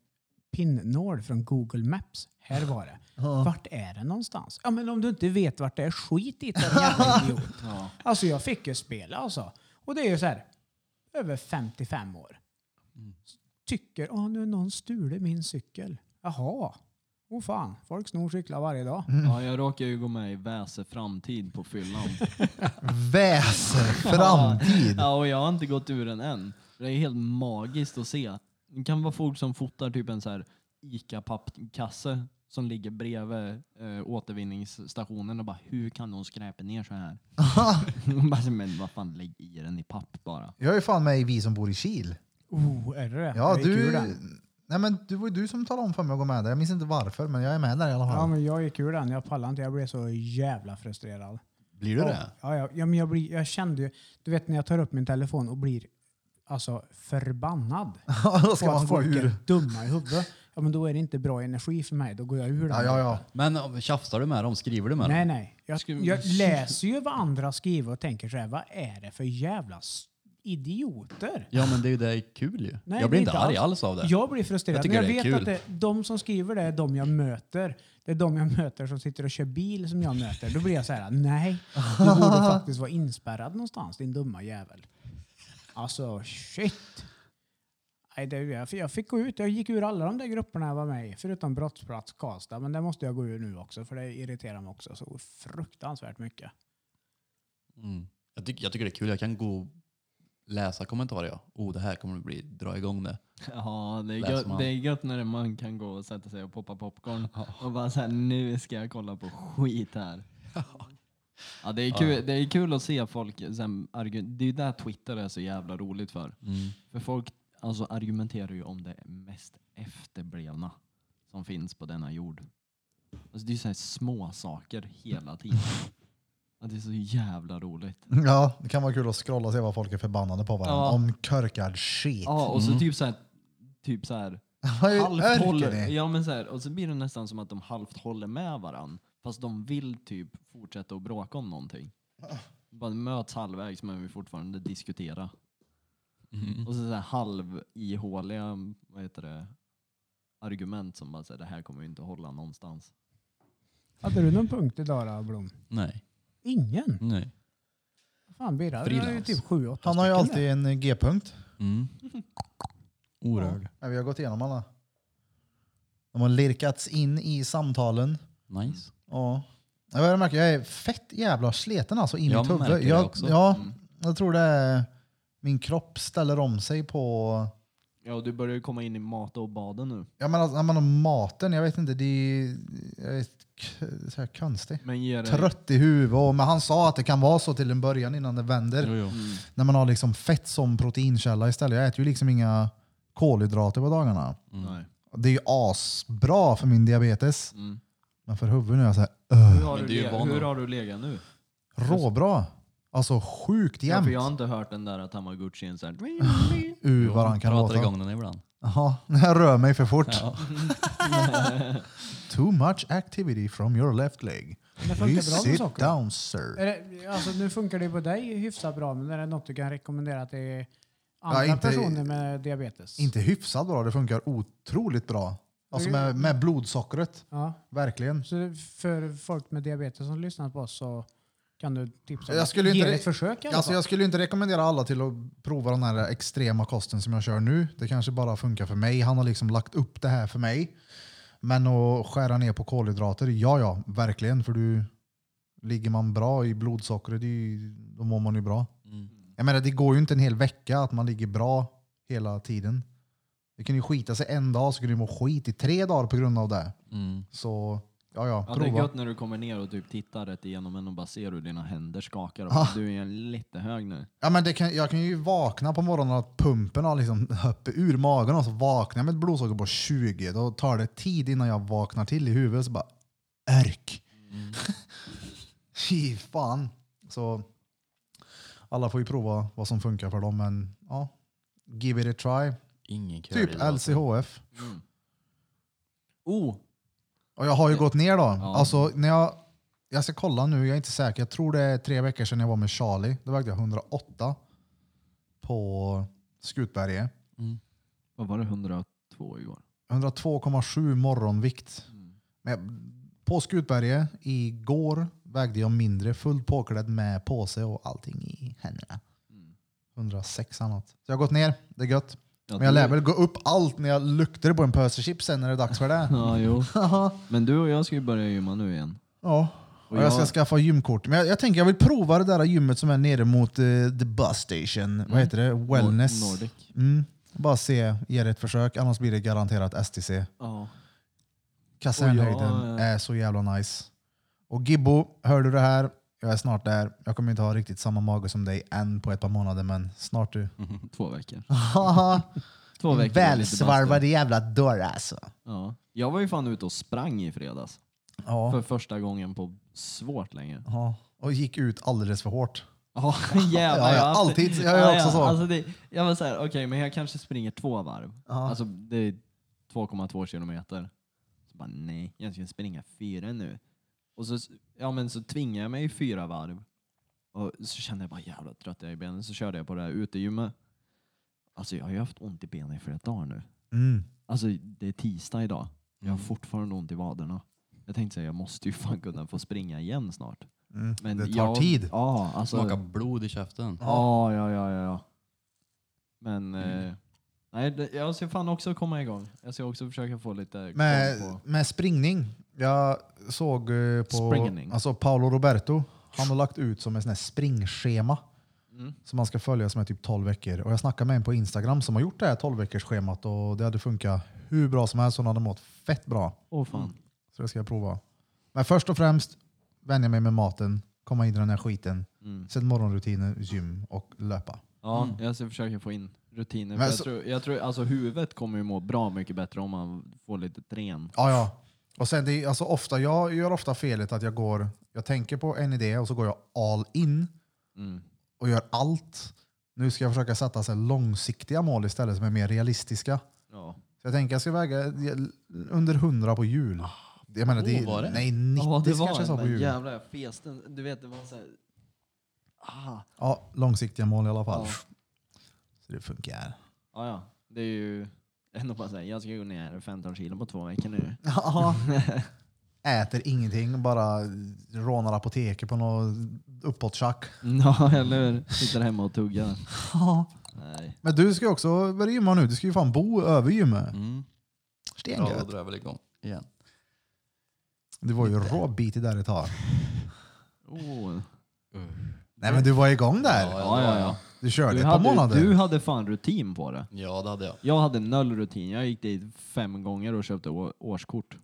pinnål från Google Maps. Här var det. Vart är det någonstans? Ja, men om du inte vet vart det är, skit *laughs* i det din jävla idiot. ja. Alltså jag fick ju spela alltså. Och det är ju så här, över 55 år. Mm. Tycker, åh nu har någon stulit min cykel. Jaha. Åh fan, folk snor cyklar varje dag. Mm. ja, jag råkar ju gå med i Väse framtid *laughs* på fyllan. Väs, framtid. ja, och jag har inte gått ur den än. Det är helt magiskt att se. Det kan vara folk som fotar typ en så här ICA-pappkasse som ligger bredvid eh, återvinningsstationen och bara hur kan de skräpa ner *laughs* så här? *laughs* Bara, men vad fan, lägg i den i papp bara. Jag är ju fan med i Vi som bor i Kil. Oh, är det det? Ja, Jag gick ur du, den. nej, men det var ju du som talade om för mig att gå med där. Jag minns inte varför, men jag är med där i alla fall. Ja, men jag gick ur den. Jag pallade inte. Jag blev så jävla frustrerad. Blir du Ja, ja, ja, ja men jag, blir, jag kände ju, du vet när jag tar upp min telefon och blir alltså *laughs* förbannad. Då ska på att man gå folk ur. är dumma i huvudet. Ja, men då är det inte bra energi för mig. Då går jag ur den. Ja, ja, ja. Men om- tjafsar du med dem? Skriver du med dem? Nej, nej. Jag, Skulle- jag läser ju vad andra skriver och tänker så här, vad är det för jävla s- idioter? Ja, men det är ju det är kul ju. Nej, jag det är blir inte arg alls av det. Jag blir frustrerad. Jag Jag, tycker jag det är vet kul. att det, de som skriver det är de jag möter. Det är de jag möter som sitter och kör bil som jag möter. Då blir jag så här, nej. *laughs* Du borde faktiskt vara inspärrad någonstans, din dumma jävel. Alltså, shit. Nej, det, jag, jag fick gå ut. Jag gick ur alla de där grupperna jag var med i, förutom Brottsplats Karlstad. Men det måste jag gå ur nu också, för det irriterar mig också så fruktansvärt mycket. Mm. Jag, tycker, jag tycker det är kul. Jag kan gå och läsa kommentarer. Ja. Oh, det här kommer att bli, dra igång det. Ja, det är, Läser gött, man. det är gött när man kan gå och sätta sig och poppa popcorn och bara såhär, nu ska jag kolla på skit här. Ja, det, är kul, det är kul att se folk, sen, argu- det är ju där Twitter är så jävla roligt för. Mm. För folk alltså, argumenterar ju om det mest efterblivna som finns på denna jord. Alltså, det är ju såhär små saker hela tiden. Ja, det är så jävla roligt. Ja, det kan vara kul att scrolla och se vad folk är förbannade på varandra. Ja. Om körkad shit. *laughs* Ja, och så typ såhär, typ såhär Vad halvt är håller, ni? ja, men så här, och så blir det nästan som att de halvt håller med varann. Fast de vill typ fortsätta att bråka om någonting. Bara möts halvvägs men vi fortfarande diskutera. Mm. Och så, så här halv-ihåliga vad heter det, argument som bara säger det här kommer ju inte att hålla någonstans. Hade du någon punkt idag då, Blom? Nej. Ingen? Nej. Fan Birra, det är ju Frilans. typ sju, åtta Han har ju stycken alltid en eh, G-punkt. Mm. Orög. Ja, vi har gått igenom alla. De har lirkats in i samtalen. Nice. Ja. Jag börjar märka, jag är fett jävla sleten alltså i Jag mitt märker huvud. det Jag, också. ja, Mm. jag tror det är min kropp ställer om sig på... Ja, och du börjar ju komma in i mat och baden nu. Jag menar, alltså, när man har maten, jag vet inte, det är, jag är k- så här konstig. Men ger dig... Trött i huvudet, och- men han sa att det kan vara så till en början innan det vänder. Jo, jo. När man har liksom fett som proteinkälla istället. Jag äter ju liksom inga kolhydrater på dagarna. Nej. Mm. Det är ju asbra för min diabetes. Mm. Men för huvudet nu är jag så här, Hur, har Men du det är ju le- van hur att- har du legat nu? råbra. Alltså sjukt Ja, jämnt. för jag har inte hört den där tamagotchin såhär... ur Jo, vad han kan pratar låta. igång den ibland. Jaha, *laughs* jag rör mig för fort. Ja. *laughs* Too much activity from your left leg. Det funkar Please bra med sit socker. down sir. Är det, alltså, nu funkar det ju på dig hyfsat bra, men är det något du kan rekommendera till andra inte- personer med diabetes? Inte hyfsat bra, det funkar otroligt bra. Alltså med, med blodsockret, Ja. verkligen. Så för folk med diabetes som lyssnar på oss så kan du tipsa om Jag att skulle ge inte det re- ett försök i alla Alltså fall. jag skulle ju inte rekommendera alla till att prova den här extrema kosten som jag kör nu. Det kanske bara funkar för mig. Han har liksom lagt upp det här för mig. Men att skära ner på kolhydrater, ja ja, verkligen. För du, ligger man bra i blodsockret, det är ju- då mår man ju bra. Mm. Jag menar, det går ju inte en hel vecka att man ligger bra hela tiden. Det kan ju skita sig en dag, så kan du må skit i tre dagar på grund av det. Mm. Så ja, ja, Ja, det är prova. gött när du kommer ner och typ tittar rätt igenom en och bara ser hur dina händer skakar. Och Ah. Du är lite hög nu. Ja, men det kan, jag kan ju vakna på morgonen och att pumpen har liksom hoppit ur magen och så vaknar jag med ett blodsocker på 20. Då tar det tid innan jag vaknar till i huvudet. Så bara, ärk. *laughs* Fy fan. Så alla får ju prova vad som funkar för dem, men ja, give it a try. Ingen kul. Typ LCHF. Mm. Oh! Och jag har ju gått ner då. Ja. Alltså, när jag, jag ska kolla nu, jag är inte säker. Jag tror det är tre veckor sedan jag var med Charlie. Då vägde jag 108 på Skutberget. Vad var det? 102 igår? 102,7 morgonvikt. Men jag- på Skutberget igår vägde jag mindre, fullt påklädd med påse och allting i händerna. Mm. 106 annat. Så jag har gått ner, det är gött. Ja, Men jag du- lär väl gå upp allt när jag luktar på en pöse chips sen när det är dags för *laughs* det. *laughs* Ja, jo. Men du och jag ska ju börja gymma nu igen. Ja. Och Och jag ska jag- skaffa gymkort. Men jag, jag tänker jag vill prova det där gymmet som är nere mot eh, the bus station. Vad heter det? Wellness. Nor- Nordic. Mm. Bara se, ge det ett försök. Annars blir det garanterat STC. Ja. *laughs* Kasernhöjden Och jag, eh, är så jävla nice. Och Gibbo, hör du det här? Jag är snart där. Jag kommer inte ha riktigt samma mage som dig än på ett par månader, men snart du. *laughs* Två veckor. Haha, Två veckor är lite bastu. Välsvarvad jävla dörr alltså. Ja. Jag var ju fan ute och sprang i fredags. För Ja. första gången på svårt länge. ja. Och gick ut alldeles för hårt. Ja, *laughs* Ja, jävlar. ja, jag har alltid. Jag gör också så. Alltså det, jag var såhär, okej men jag kanske springer två varv. Ja. Alltså det är 2,2 kilometer. Så bara nej, jag ska springa fyra nu. Och så, ja, men så tvingade jag mig i fyra varv. Och så kände jag bara jävla trött jag är i benen. Så körde jag på det här utegymmet. Alltså jag har ju haft ont i benen i flera dagar nu. Mm. Alltså det är tisdag idag. Jag har Mm. fortfarande ont i vaderna. Jag tänkte säga jag måste ju fan kunna få springa igen snart. Mm. Men det tar jag, tid. Ja, alltså, Smaka blod i käften. Ja, ja, ja, ja. ja. Men Mm. eh, nej, det- jag ska fan också komma igång. Jag ska också försöka få lite Med, koll på... med springning. Jag såg eh, på Springning. alltså Paolo Roberto. Han har lagt ut som ett sån här springschema Mm. som man ska följa som är typ 12 veckor. Och jag snackade med en på Instagram som har gjort det här 12 veckors schemat och det hade funkat hur bra som helst. Hon hade mått fett bra. Åh fan. Så det ska jag prova. Men först och främst vänja mig med maten, komma in i den här skiten. Mm. Sen morgonrutiner, gym och löpa. Ja, jag ska försöka få in rutiner. Mm. Men För jag, så- tror, jag tror alltså huvudet kommer ju må bra mycket bättre om man får lite tren. Ja, ja. Och sen det är, alltså ofta, jag gör ofta felet att jag går, jag tänker på en idé och så går jag all in. Mm. och gör allt. Nu ska jag försöka sätta så här långsiktiga mål istället som är mer realistiska. Ja. Så jag tänker jag ska väga under 100 på jul. Jag menar, det, Oh, var det? Nej, 90 ja, det kanske jag sa var på en jul. jävla festen. Du vet, det var så här... Ah, Ja, långsiktiga mål i alla fall. Ja. Så det *laughs* funkar. ja, ja. Det *laughs* är ju... Ändå bara säga, jag ska gå ner 15 kilo på två veckor nu. Ja. äter ingenting, bara rånar apoteket på något uppåtschack. Ja, eller hur? Sitter hemma och tuggar. Nej. Men du ska ju också börja gymma nu. Du ska ju fan bo över gymmet. Mm. Bra, då Stengött. drar jag väl igång igen. Du var ju råbitig där ett tag. Åh. Nej men du var igång där. Ja, ja, ja, ja. Du körde Mm. Du, ett par hade, månader. du hade fan rutin på det. Ja, det hade jag. Jag hade noll rutin. Jag gick dit fem gånger och köpte å- *laughs* årskort.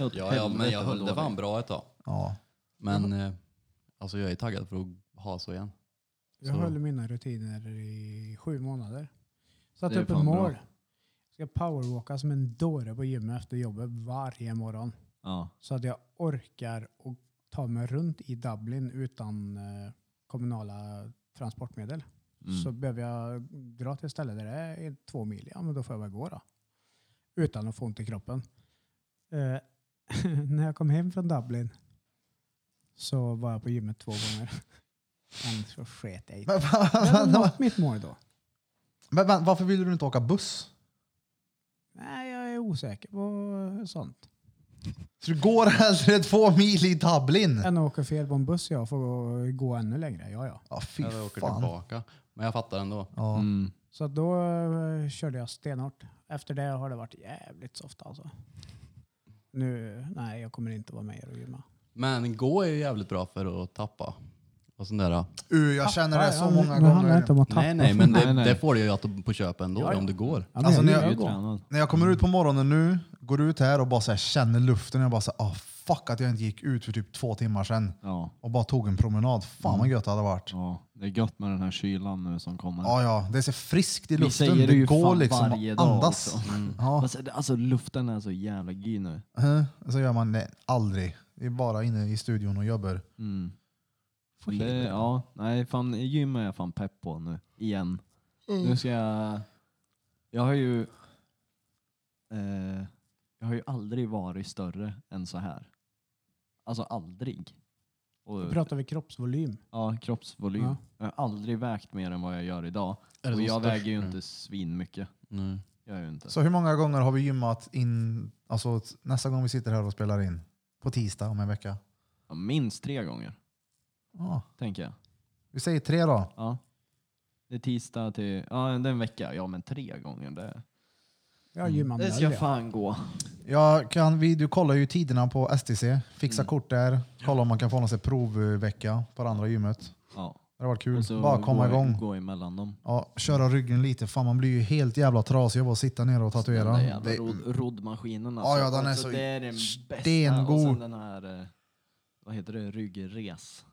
Åt Ja, ja, men helvete jag vad höll det dåligt. fan bra ett tag. Ja. *laughs* Men eh, alltså jag är taggad för att ha så igen. Jag Så. höll mina rutiner i sju månader. Det Satte är upp ett fan bra. mål. Ska powerwalka som en dåre på gymmet efter jobbet varje morgon. Ja. Så att jag orkar och ta mig runt i Dublin utan eh, kommunala transportmedel. Mm. Så behöver jag dra till ett ställe där det är två mil, ja men då får jag väl gå då. Utan att få ont i kroppen. Eh, *laughs* när jag kom hem från Dublin så var jag på gymmet två gånger. Men så sket jag i det. Men, va- Jag hade va- *laughs* nått mitt mål då. men, va- varför ville du inte åka buss? Nej, jag är osäker på sånt. Så du går hellre två mil i Dublin? Än åker fel på en buss jag får gå, gå ännu längre. Ja, ja. Ja, fy Jag åker fan. tillbaka. Men jag fattar ändå. Ja. Mm. Så att då eh, körde jag stenhårt. Efter det har det varit jävligt soft alltså. Nu, nej jag kommer inte vara med er och gymma. Men gå är ju jävligt bra för att tappa. Och sån där. eh, Uh, jag känner det så Ja, många Nu handlar det gånger. inte om att tappa. Nej, nej, men det, Nej, nej. det får du ju att- på köpen då Ja, ja. om du går. Ja, men Alltså, när Du gillar är ju att gå. tränad. När jag kommer ut på morgonen nu, går ut här och bara så här känner luften. Jag bara så här, ah, fuck att jag inte gick ut för typ två timmar sedan Ja. och bara tog en promenad. Fan Mm. vad gött det hade varit. ja. Det är gött med den här kylan nu som kommer. Ja, ja, det är så friskt i Vi luften. säger Det, det ju går fan liksom varje att dag andas. också. Ja. Alltså, det- alltså luften är så jävla gy nu. Eh, Så gör man det aldrig. Vi är bara inne i studion och jobbar. Mm. Får Det, helvete. ja, nej, fan, gym är jag fan pepp på nu. Igen. Nu ska jag... Jag har ju... Eh, jag har ju aldrig varit större än så här. Alltså aldrig. Och, Nu pratar vi kroppsvolym. ja, kroppsvolym. Ja. Jag har aldrig vägt mer än vad jag gör idag. Är det Och som jag störst väger ju nu? inte svin mycket. Nej. Jag gör ju inte. Så hur många gånger har vi gymmat in, alltså t- nästa gång vi sitter här och spelar in? På tisdag om en vecka. Ja, Minst tre gånger, Ja, tänker jag. vi säger tre då. Ja. Det är tisdag till... Ja, det är en vecka. Ja, men tre gånger. Det, Jag har gymmat det noll, ska ja. Alltså, fan gå. Jag kan, vi, du kollar ju tiderna på STC, fixa Mm. kort där, kolla om man kan få någon sån här provvecka på det andra gymmet. Ja. Det har varit kul. Och så Bara komma gå, igång. Gå emellan dem. Ja, köra ryggen lite. Fan man blir ju helt jävla trasig av att sitta ner och tatuera. Den där jävla Det- rod- roddmaskinen Ja, ja, den är så det är den bästa. Och stengod. sen den här, eh, vad heter det, ryggres.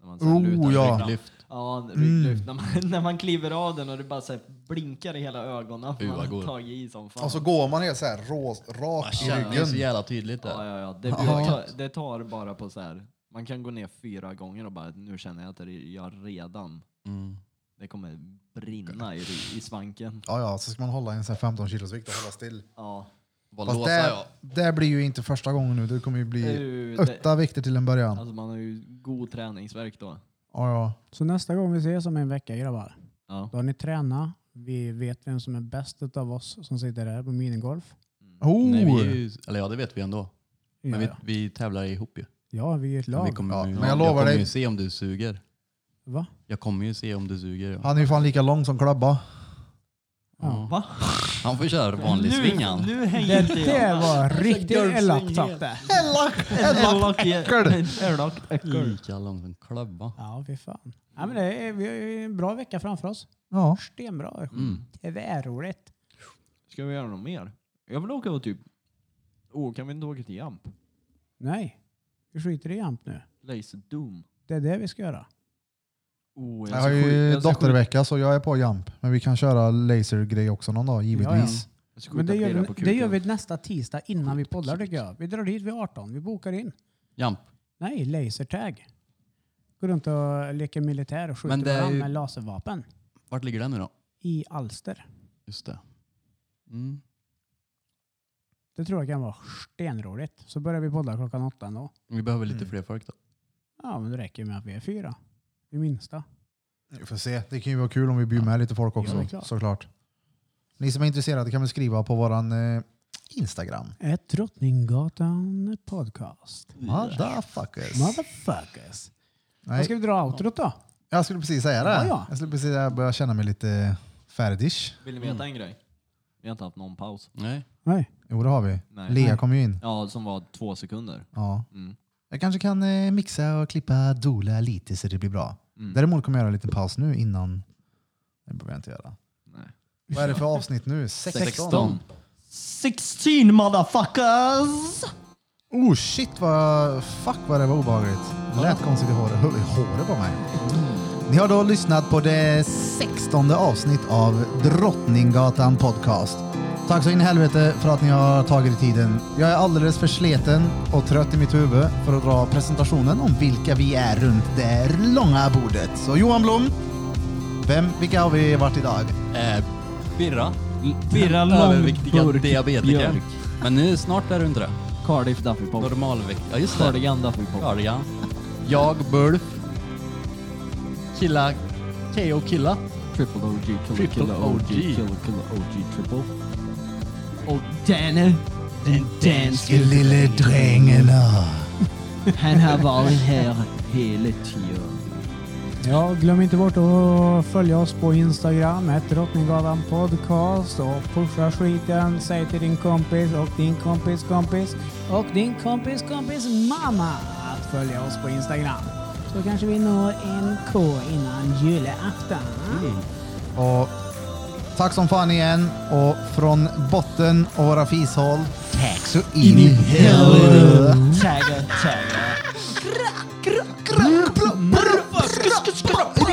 När man så här lutar Oh ja! Mm. ryggen. Lyft. Ja, rygglyft. När, man, *laughs* när man kliver av den och det bara så här blinkar i hela ögonen. Fy, man vad har god. tagit i som fan. Och så går man helt så här rå, rak i Känner ju så ryggen. jävla tydligt ja, där. ja, ja. Det, tar, det tar bara på så här. Man kan gå ner fyra gånger och bara, nu känner jag att det- jag redan, Mm. det kommer brinna i, ry- i svanken. Ja, ja, så ska man hålla en sån här 15 kilos vikt och hålla still. Ja. Bara Fast låsa det, jag. det blir ju inte första gången nu. Det kommer ju Det är bli ju- det- åtta vikter till en början. Alltså man har ju god träningsverk då. Ja, ja. Så nästa gång vi ses om en vecka grabbar, Ja. då har ni tränat. Vi vet vem som är bäst av oss som sitter här på minigolf. Oh! Nej, vi är ju, eller ja, det vet vi ändå. Ja, Men ja. vi, vi tävlar ihop ju. ja vi är ett Men, vi lag. kommer, Ja, ju- men jag jag lovar kommer dig- ju se om du suger. Va? Jag kommer ju se om du suger. Ja. Han är ju fan lika lång som klabba. Ja. Va? Han får köra vanlig sving han. Nu, nu hänger Det, inte det jag. var riktigt golfsving elakt det. Elakt äckel. Elakt äckel. Lika lång som klubba. Ja, fy fan. Ja, men det är, vi har ju en bra vecka framför oss. Ja. Stenbra. Mm. Tvärroligt. Ska vi göra något mer? Jag vill åka och typ... Åh, kan vi inte åka till Jamp? Nej, vi skiter i Jamp nu. Laser Doom. Det är det vi ska göra. Oh, Jag har ju dottervecka så jag är på jump. Men vi kan köra lasergrej också någon dag, givetvis. Men det gör, vi, det gör vi nästa tisdag innan vi poddar tycker jag. Vi drar dit vid 18. Vi bokar in. Jamp. Nej, lasertag. Går runt och leker militär och skjuter Men det är varandra ju- med laservapen. Vart ligger den nu då? I alster. Just det. Mm. Det tror jag kan vara stenroligt. Så börjar vi podda klockan åtta ändå. Vi behöver lite Mm. fler folk då. Ja, men det räcker ju med att vi är fyra. Det minsta. Vi får se. Det kan ju vara kul om vi bjuder med lite folk Ja, det också, är klart. såklart. Ni som är intresserade kan väl skriva på våran eh, Instagram. Ett Drottninggatan podcast. Motherfuckers. Motherfuckers. Vad Nej, ska vi dra outrot då? jag skulle precis säga det. Ja, ja. Jag skulle precis säga, jag börjar känna mig lite färdig. Vill ni veta en grej? Vi har inte haft någon paus. Nej. Nej. Jo, det har vi. Nej. Lea kom ju in. Ja, som var två sekunder. Ja. Mm. Jag kanske kan eh, mixa och klippa dola lite så det blir bra. Mm. Däremot kommer jag göra en liten paus nu innan. Det behöver jag inte göra. Nej. Vad är det för avsnitt nu? 16? 16. 16 motherfuckers! Oh shit vad, fuck vad det var obehagligt. Det Lät konstigt i håret, Hör- i håret på mig. Ni har då lyssnat på det sextonde avsnitt av Drottninggatan podcast. Tack så in i helvete för att ni har tagit er tiden. Jag är alldeles för sleten och trött i mitt huvud för att dra presentationen om vilka vi är runt det långa bordet. Så Johan Blom, vem, vilka har vi varit idag? Eh, Birra. Birra Överviktiga Långburk diabetiker. Björk. Men nu snart är du inte det. Cardiff Duffy Pop. Normalvikt. Ja just det. Cardigan Duffy Pop. Cardigan. Jag, Bulf. Killa. K.O. Killa. Triple OG, killer, Triple killer, OG, OG. killer, killer, OG, triple. Och denne, den danske lille drängen. han har varit här hela tiden. Ja, glöm inte bort att följa oss på Instagram, ett Drottninggatan podcast och pusha skiten. Säg till din kompis och din kompis kompis och din kompis kompis mamma att följa oss på Instagram. Så kanske vi når en K innan julafton. Och tack som fan igen. Och från botten av våra fishål, tack så in i helvete. Tagga, tagga. Brr, brr, brr, brr, brr, brr.